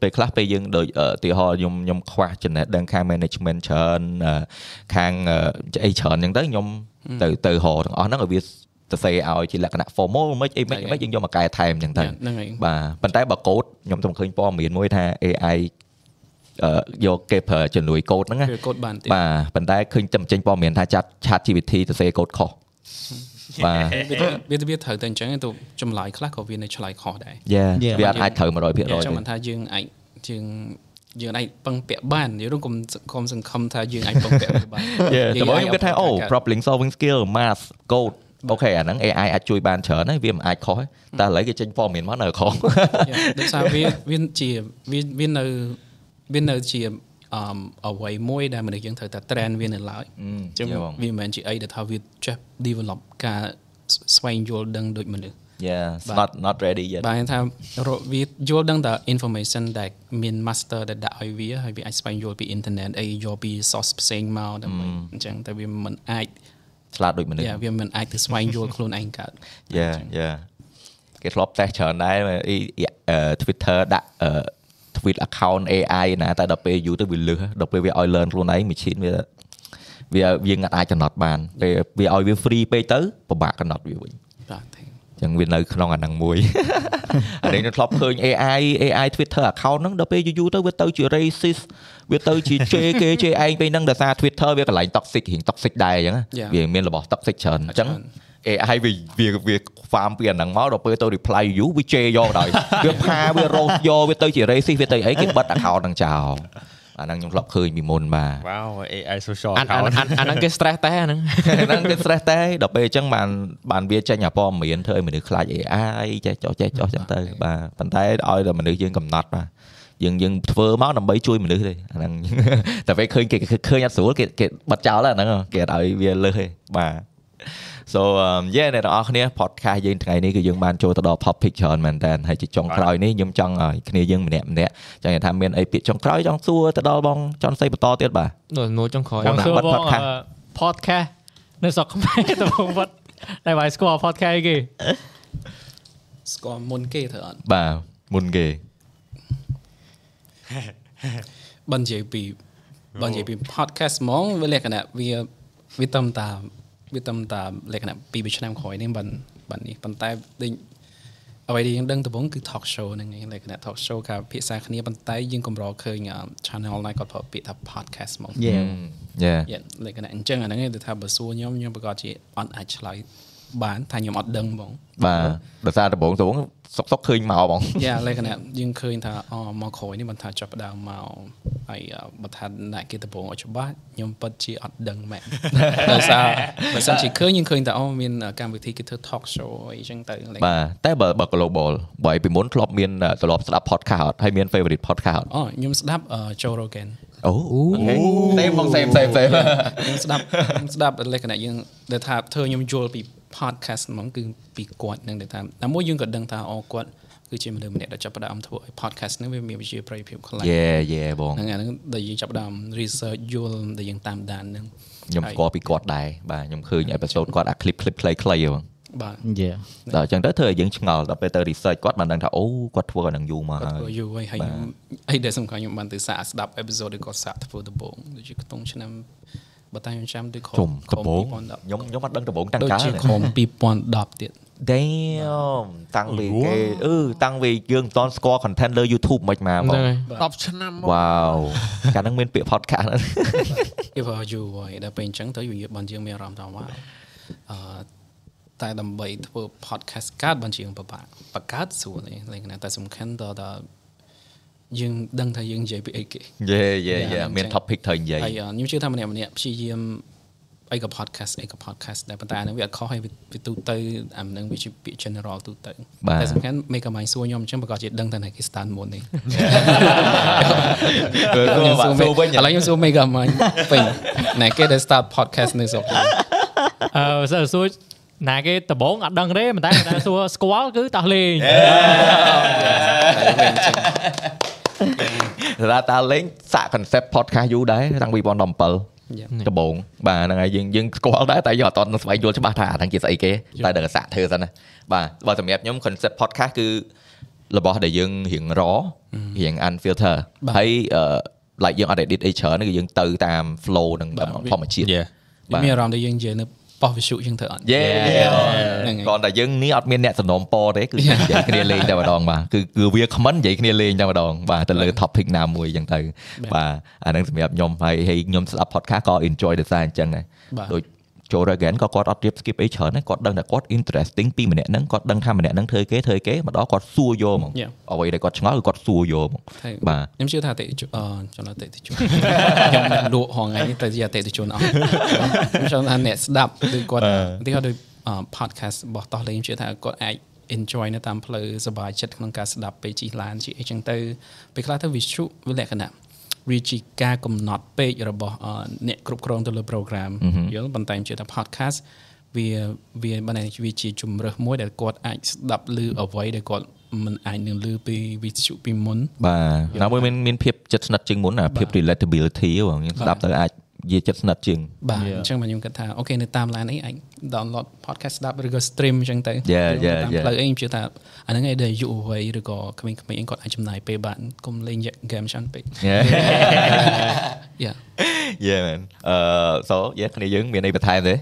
ពេលខ្លះពេលយើងដូចអឺឧទាហរណ៍ខ្ញុំខ្ញុំខ្វះចំណេះដឹងខាង management ច្រើនអឺខាងអឺអីច្រើនចឹងទៅខ្ញុំទៅទៅរកទាំងអស់ហ្នឹងឲ្យវាទៅស្វែឲ្យជាលក្ខណៈ formal មិនអីមិនអីមិនអីយើងយកមកកែថែមចឹងទៅ Yeah, ហ្នឹងហើយ បាទប៉ុន្តែបើកូដខ្ញុំទៅឃើញព័ត៌មានមួយថា AI អឺយកគេប្រើជំនួយកូដហ្នឹងណា វាកូដបានទៀត បាទប៉ុន្តែឃើញតែចេញព័ត៌មានថាចាត់ Chat GPT ទៅសេកូដខុសបាទ វាវាត្រូវតែអញ្ចឹងទៅចម្លើយខ្លះក៏វានៅឆ្លើយខុសដែរ Yeah Yeah. វាអត់អាចត្រូវ100%ទេ អញ្ចឹងមិនថាយើងអាចយើងយើងអាចពឹងពាក់បានយើងរំកុំកុំសង្ឃឹមថាយើងអាចពឹង [laughs] ពាក់វាបាន យេតែបងខ្ញុំគិតថាអូ ប្រ problem solving skill math code អូខេអាហ្នឹង AI អាចជួយបានច្រើនហើយវាមិនអាចខុសទេតែឥឡូវគេចេញព័ត៌មានមកនៅខុស [laughs] ដោយសារវាវាជាវាវានៅវានៅជាអមអ្វីមួយដែលមនុស្សយើងត្រូវតែ train វានៅឡើយ អឺ អញ្ចឹង យេបង វាមិនមែនជាអីដែលថាវាចេះ develop ការស្វែងយល់ដឹងដូចមនុស្ស [laughs] Yeah it's បា not ទ not ready yet បាទថារកវាយល់ដឹងតែ information ដែលមាន master ដែលដាក់ឲ្យវាហើយវាអាចស្វែងយល់ពី internet អីយកពី source ផ្សេងមកដើម្បីអញ្ចឹងតែវាមិនអាច ឆ្លាតដូចមនុស្ស Yeah, វាមិនអាចទៅស្វែងយល់ខ្លួនឯងកើត យ៉ាយ៉ាគេធ្លាប់តេសច្រើនដែរអីអីអឺ Twitter ដាក់អឺ tweet account AI ណាតែដល់ពេលយូរទៅវាលឺដល់ពេលវាឲ្យ learn ខ្លួនឯង machine វាវាយើងអត់អាចកំណត់បានពេលវាឲ្យវា free ពេកទៅពិបាកកំណត់វាវិញ បាទទេ ចឹងវានៅក្នុងអាហ្នឹងមួយ [laughs] អានេះខ្ញុំធ្លាប់ឃើញ AI AI Twitter account ហ្នឹងដល់ពេលយូរៗទៅវាទៅជា racist វាទៅជាជេរគេជេរ [laughs] ឯងពេលហ្នឹងដោយសារ Twitter វាកន្លែង toxic រៀង toxic ដែរអញ្ចឹងណាវាមានរបស់ toxic ច្រើនអញ្ចឹង AI វាវាវាខ្វាមពីអាហ្នឹងមកដល់ពេលទៅ reply យូរវាជេរយក [laughs] ដល់វាផាវារោសយកវាទៅជា racist វាទៅអីគេបិទ account ហ្នឹងចោលអាហ្នឹងខ្ញុំធ្លាប់ឃើញពីមុនបាទ វ៉ាវ AI social អានអាន account អានអានហ្នឹងគេ stress តែអាហ្នឹង [laughs] ហ្នឹងគេ stress តែដល់ពេលអញ្ចឹងបានបានវាចេញអាព័ត៌មានធ្វើឲ្យមនុស្សខ្លាច AI ចេះចោះចេះចោះចឹងទៅបាទប៉ុន្តែឲ្យតែមនុស្សយើងកំណត់បាទយើងយើងធ្វើមកដើម្បីជួយមនុស្សទេអាហ្នឹង [laughs] តែពេលឃើញគេឃើញអត់ស្រួលគេគេបិទចោលហើយអាហ្នឹងគេអត់ឲ្យវាលើសទេបាទ So um yeah អ្នកនរអស់គ្នា podcast យើងថ្ងៃនេះគឺយើងបានចូលទៅដល់ topic ច្រើនមែនតើហើយជាចុងក្រោយនេះខ្ញុំចង់ឲ្យគ្នាយើងម្នាក់ម្នាក់ៗចង់និយាយថាមានអីពាក្យចុងក្រោយចង់សួរទៅដល់បងចន់សីបន្តទៀតបាទ នោះនោះចុងក្រោយ ចង់សួរ បាត់ បង podcast អឺ podcast នៅស្រុកខ្មែរ [laughs] តំបងវត្តតែវាយស្គាល់ podcast អីគេ ស្គាល់មុនគេទៅអត់ បាទមុនគេ បើនិយាយពីបើនិយាយពី podcast ហ្មងវាលក្ខណៈវាវាតាមតាមវាតាមតាមលក្ខណៈពីរបីឆ្នាំក្រោយនេះបានបាននេះប៉ុន្តែដូចអ្វីដែលយើងដឹងដំបូងគឺ talk show ហ្នឹងឯងលក្ខណៈ talk show ការភាសាគ្នាប៉ុន្តែយើងកម្រឃើញអឺ channel ណាគាត់ប្រើពាក្យថា podcast ហ្មង Yeah Yeah យ៉ាលក្ខណៈអញ្ចឹងអាហ្នឹងឯងទៅថាបើសួរខ្ញុំខ្ញុំប្រកាសជាអត់អាចឆ្លើយបានថាខ្ញុំអត់ដឹងបង បាទដោយសារដំបងដំបងសុកសុកឃើញមកបង យ៉ាលក្ខណៈយើងឃើញថាអូមកក្រោយនេះមិនថាចាប់ផ្ដើមមកហើយ [laughs] អ่าបើថាអ្នកគេដំបងអត់ច្បាស់ខ្ញុំពិតជាអត់ដឹងមែន ដោយសារបើសិនជាឃើញយើងឃើញថាអូមានអ่าកម្មវិធីគេធ្វើ talk show អីចឹងទៅលេខ បាទតែបើបើ global បើពីមុនធ្លាប់មានធ្លាប់ស្ដាប់ podcast អត់ហើយមាន favorite podcast អត់ អូខ្ញុំស្ដាប់អ่า Joe Rogan អូសេមផងសេមសេមសេម ខ្ញុំស្ដាប់ខ្ញុំស្ដាប់លក្ខណៈយើងដែលថាធ្វើខ្ញុំយល់ពី podcast ហ្មងគឺពីគាត់នឹងដែលថាតែមួយយើងក៏ដឹងថាអូគាត់គឺជាមនុស្សម្នាក់ដែលចាប់ផ្ដើមធ្វើឲ្យ podcast ហ្នឹងវាមានវិជ្ជាប្រយោជន៍ខ្លាំង [laughs] Yeah yeah បង ហ្នឹងអាហ្នឹងដែលយើងចាប់ផ្ដើម research យល់ដែលយើងតាមដានហ្នឹង ខ្ញុំស្គាល់ពីគាត់ដែរបាទខ្ញុំឃើញ episode គាត់អា clip clip ខ្លីៗហ៎បង បាទ យេ ដល់អញ្ចឹងទៅធ្វើឲ្យយើងឆ្ងល់ដល់ពេលទៅ research គាត់បានដឹងថាអូគាត់ធ្វើកណ្ដឹងយូរមក គាត់ ហើយ ធ្វើយូរហើយហើយខ្ញុំអីដែលសំខាន់ខ្ញុំបានទៅសាកស្ដាប់ episode ដែលគាត់សាកធ្វើដំបូងដូចជាក្នុងឆ្នាំបើតាមខ្ញុំចាំដូចខ ជុំដំបូង 2010 ខ្ញុំខ្ញុំអត់ដឹងដំបូងតាំង ដូច កាល ជាខំ2010ទៀត Damn តាំងពីគេអឺតាំងពីយើងមិនតន់ស្គាល់ content លើ YouTube មិនមកហ្ម ហ្នឹង ង ហើយ 10ឆ្នាំមក Wow កាលហ្នឹងមានពាក្យ podcast ហ្នឹង if are you ហើយដល់ពេលអញ្ចឹងទៅវាបានជាងមានអារម្មណ៍ថាវ៉ាវអឺតែដើម្បីធ្វើ podcast កើតបានជាងពិបាកបង្កើតស្រួលទេតែគណៈតែសំខាន់ដល់ដល់យើងដឹងថាយើងនិយាយពីអីគេ យេយេយេ Yeah, មាន ចឹង topic ត្រូវនិយាយ [laughs] ហើយអឺខ្ញុំជឿថាម្នាក់ម្នាក់ព្យាយាមអីក៏ podcast អីក៏ podcast ដែរប៉ុន្តែអាហ្នឹងវាអត់ខុសហើយវាវាទូទៅអាហ្នឹងវាជាពាក្យ [laughs] general ទូទៅ បាទ តែសំខាន់មេកម៉ាញ់សួរខ្ញុំអញ្ចឹងប្រកាសជាដឹងថាណែគេ stand មុននេះ គាត់ ខ្ញុំ សួរវិញ ឥឡូវខ្ញុំសួរមេកម៉ាញ់ពេញណែគេដែល start podcast នៅស្រុកខ្ញុំ អឺសើសួរណាគេដំបងអត់ដឹងទេប៉ុន្តែគាត់ថាសួរស្គាល់គឺតោះលេង សម្រាប់តាលេងសាក concept podcast យូរដែរតាំងពី យ៉ា 2017ដំបូងបាទហ្នឹងហើយយើងយើងស្គាល់ដែរតែយើងអត់ទាន់ស្វែងយល់ច្បាស់ថាអាហ្នឹងជាស្អីគេតែដល់សាកធ្វើសិនណាបាទបើសម្រាប់ខ្ញុំ concept podcast គឺរបស់ដែលយើងរៀងររៀង unfilter ហើយអឺ like យើងអត់ edit អីច្រើនគឺយើងទៅតាម flow នឹង បាទ ធម្មជាតិ យេ បាទ មានអារម្មណ៍ថាយើងនិយាយនៅប៉ុស្តិ៍វិទ្យុជាងធ្វើអត់ យេ ហ្នឹងហើយ គាត់តែយើងនេះអត់មានអ្នកសំណុំពរទេគឺនិយាយគ្នាលេងតែម្ដងបាទគឺគឺវាខមមិននិយាយគ្នាលេងតែម្ដងបាទទៅលើ topic ណាមួយអញ្ចឹងទៅបាទអាហ្នឹងសម្រាប់ខ្ញុំហើយហើយខ្ញុំស្ដាប់ podcast ក៏ enjoy ដោយសារអញ្ចឹងដែរ បាទ ដូច Joe Rogan ក៏គាត់អត់រៀប skip អីច្រើនដែរគាត់ដឹងតែគាត់ interesting ពីម្នាក់ហ្នឹងគាត់ដឹងថាម្នាក់ហ្នឹងធ្វើអីគេធ្វើអីគេមកដល់គាត់សួរយកហ្មង Yeah. អ្វីដែលគាត់ឆ្ងល់គឺគាត់សួរយកហ្មង ហើយ បាទ ខ្ញុំជឿថាអតិថិជនអឺចំណុចអតិថិជន ខ្ញុំមិនលក់ហងៃនេះតែជាអតិថិជនអស់ខ្ញុំចង់ថាអ្នកស្ដាប់ដូចគាត់ទីគាត់ដូចអឺ podcast របស់តោះលេងខ្ញុំជឿថាគាត់អាច enjoy នៅតាមផ្លូវសប្បាយចិត្តក្នុងការស្ដាប់ពេលជិះឡានជិះអីចឹងទៅពេលខ្លះទៅវាជក់វាលក្ខណៈវាជាការកំណត់ពេករបស់អឺអ្នកគ្រប់គ្រងទៅលើ program យល់ប៉ុន្តែខ្ញុំជឿថា podcast វាវាបានន័យថាវាជាជំរើសមួយដែលគាត់អាចស្ដាប់ឮអ្វីដែលគាត់មិនអាចនឹងឮពីវិទ្យុពីមុន បាទណាមួយមានមានភាពចិត្តស្និទ្ធជាងមុនណាភាព relatability ហ្មងយើងស្ដាប់ទៅអាចនិយាយចិត្តស្និទ្ធជាង បាទអញ្ចឹងបាទខ្ញុំគិតថាអូខេនៅតាមឡានអីអាច download podcast ស្ដាប់ឬក៏ stream អញ្ចឹងទៅ Yeah, យើង yeah, តាម yeah. ផ្លូវអីខ្ញុំជឿថាអាហ្នឹងឯងដែលយុវវ័យឬក៏ក្មេងៗអីគាត់អាចចំណាយពេលបានកុំលេង game ច្រើនពេក [laughs] Yeah Yeah man អឺ so yeah គ្នាយើងមានអីបន្ថែមទេ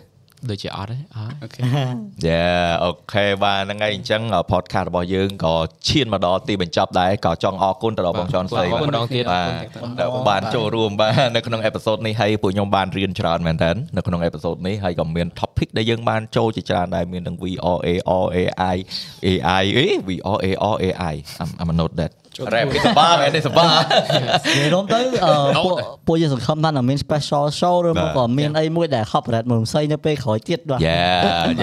ដូចជាអត់ទេអត់ okay Yeah អូខេបាទហ្នឹងហើយអញ្ចឹង podcast របស់យើងក៏ឈានមកដល់ទីបញ្ចប់ដែរក៏ចង់អរគុណទៅដល់បងចនស្រី អរគុណម្ដងទៀត បាទដែលបានចូលរួមបាទនៅក្នុង episode នេះហើយពួកខ្ញុំបានរៀនច្រើនមែនតើនៅក្នុង episode នេះហើយក៏មាន topic ដែលយើងបានចូលជាច្រើនដែរមានទាំង VRA RAI AI អេ VRA RAI I'm I'm a note that រ៉េពីសបាមែនទេសបា និយាយរួមទៅអឺ [laughs] ពួកពួកយើងសង្ឃឹមថានឹងមាន special show ឬមកក៏មានអីមួយដែល copyright មួយផ្សេងនៅពេលក្រោយទៀតបាទ យ៉ា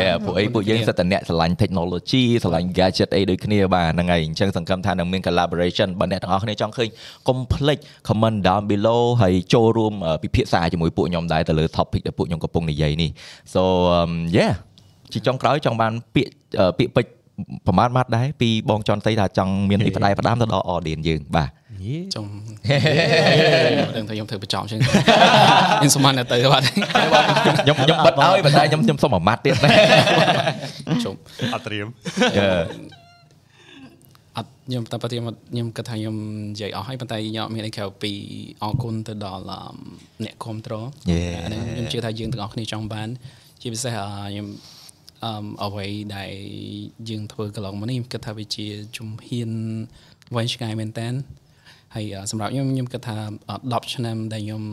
យ៉ា [laughs] ពួកអីពួកយើងសិតតែអ្នកស្រឡាញ់ technology ស្រឡាញ់ gadget អីដូចគ្នាបាទហ្នឹងហើយអញ្ចឹងសង្ឃឹមថានឹងមាន collaboration បើអ្នកទាំងអស់គ្នាចង់ឃើញកុំភ្លេច comment down below ហើយចូលរួមអឺពិភាក្សាជាមួយពួកខ្ញុំដែរទៅលើ topic ដែលពួកខ្ញុំកំពុងនិយាយនេះ so um, yeah ជាចុងក្រោយចង់បានពាក្យអឺពាក្យពេចន៍ប្រមាណម៉ាត់ដែរពីបងចន់ស្រីថាចង់មាន [laughs] អីផ្ដាយផ្ដាំទៅដល់ audience យើងបាទ ចុង [laughs] ដឹងថាខ្ញុំធ្វើបញ្ចំអញ្ចឹង [laughs] ខ្ញុំស្មានតែទៅបាទ [laughs] ខ្ញុំខ្ញុំបិទឲ្យបន្តែខ្ញុំខ្ញុំសុំមួយម៉ាត់ទៀត [laughs] ណា ជុំ អត់ត្រៀម Yeah. អត់ខ្ញុំតែប្រតិមកខ្ញុំគិតថាខ្ញុំនិយាយអស់ហើយប៉ុន្តែខ្ញុំអត់មានអីក្រៅពីអរគុណទៅដល់អឺអ្នកគ្រប់គ្រង Yeah. អាហ្នឹងខ្ញុំជឿថាយើងទាំងអស់គ្នាចង់បាន ជាពិសេសអឺខ្ញុំអឺមអ្វីដែលយើងធ្វើកន្លងមកនេះខ្ញុំគិតថាវាជាជំហានវែងឆ្ងាយមែនតើហើយអឺសម្រាប់ខ្ញុំខ្ញុំគិតថាអឺ10ឆ្នាំដែលខ្ញុំ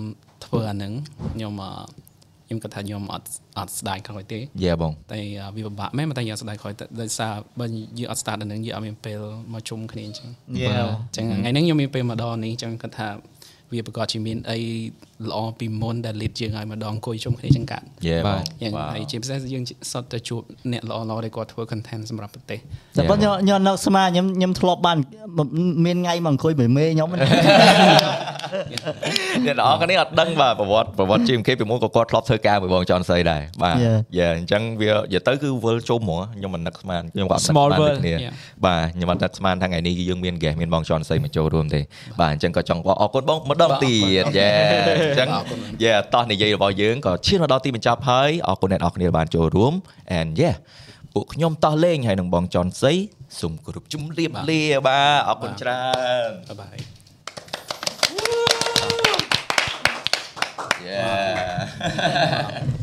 ធ្វើអាហ្នឹងខ្ញុំអឺខ្ញុំគិតថាខ្ញុំអត់អត់ស្ដាយក្រោយទេ Yeah បង តែអឺវាពិបាកមែនប៉ុន្តែយើងអត់ស្ដាយក្រោយតែដោយសារបើយើងអត់ start ដល់ហ្នឹងយើងអត់មានពេលមកជុំគ្នាអញ្ចឹង Yeah អញ្ចឹងថ្ងៃហ្នឹងខ្ញុំមានពេលម្ដងនេះអញ្ចឹងគាត់ថាវាប្រកាសជាមានអីល្អពីមុនដែល lead យើងឲ្យម្ដងអង្គុយជុំគ្នាអញ្ចឹងកាត់ Yeah បង យ៉ាងហើយជាពិសេសយើងសតទៅជួបអ្នកល្អៗដែលគាត់ធ្វើ content សម្រាប់ប្រទេស តែប៉ុន្តែខ្ញុំខ្ញុំនឹកស្មានខ្ញុំខ្ញុំធ្លាប់បានមានថ្ងៃមកអង្គុយមួយមេខ្ញុំ [laughs] [laughs] អ្នកនរគ្នាអត់ដឹងបាទប្រវត្តិប្រវត្តិ GMK ពីមុនក៏គាត់ធ្លាប់ធ្វើការមួយបងចនសីដែរបាទ Yeah. យ៉ាអញ្ចឹងវានិយាយទៅគឺវិលជុំហ្មងខ្ញុំមិននឹកស្មានខ្ញុំក៏អត់នឹកស្មា Small នដូច world. គ្នា Yeah. បាទខ្ញុំអត់នឹកស្មានថាថ្ងៃនេះគឺយើងមាន guest មានបងចនសីមកចូលរួមទេបាទអញ្ចឹងក៏ចង់អរគុណបងម្ដងទៀតយ៉ា [laughs] អញ្ចឹង អរគុណ យ៉ាតោះនិយាយរបស់យើងក៏ឈានមកដល់ទីបញ្ចប់ហើយអរគុណអ្នកនរគ្នាដែលបានចូលរួម and yeah ពួកខ្ញុំតោះលេងហើយនឹងបងចន់សីសូមគោរពជំរាបលាបាទអរគុណច្រើន បាយ Yeah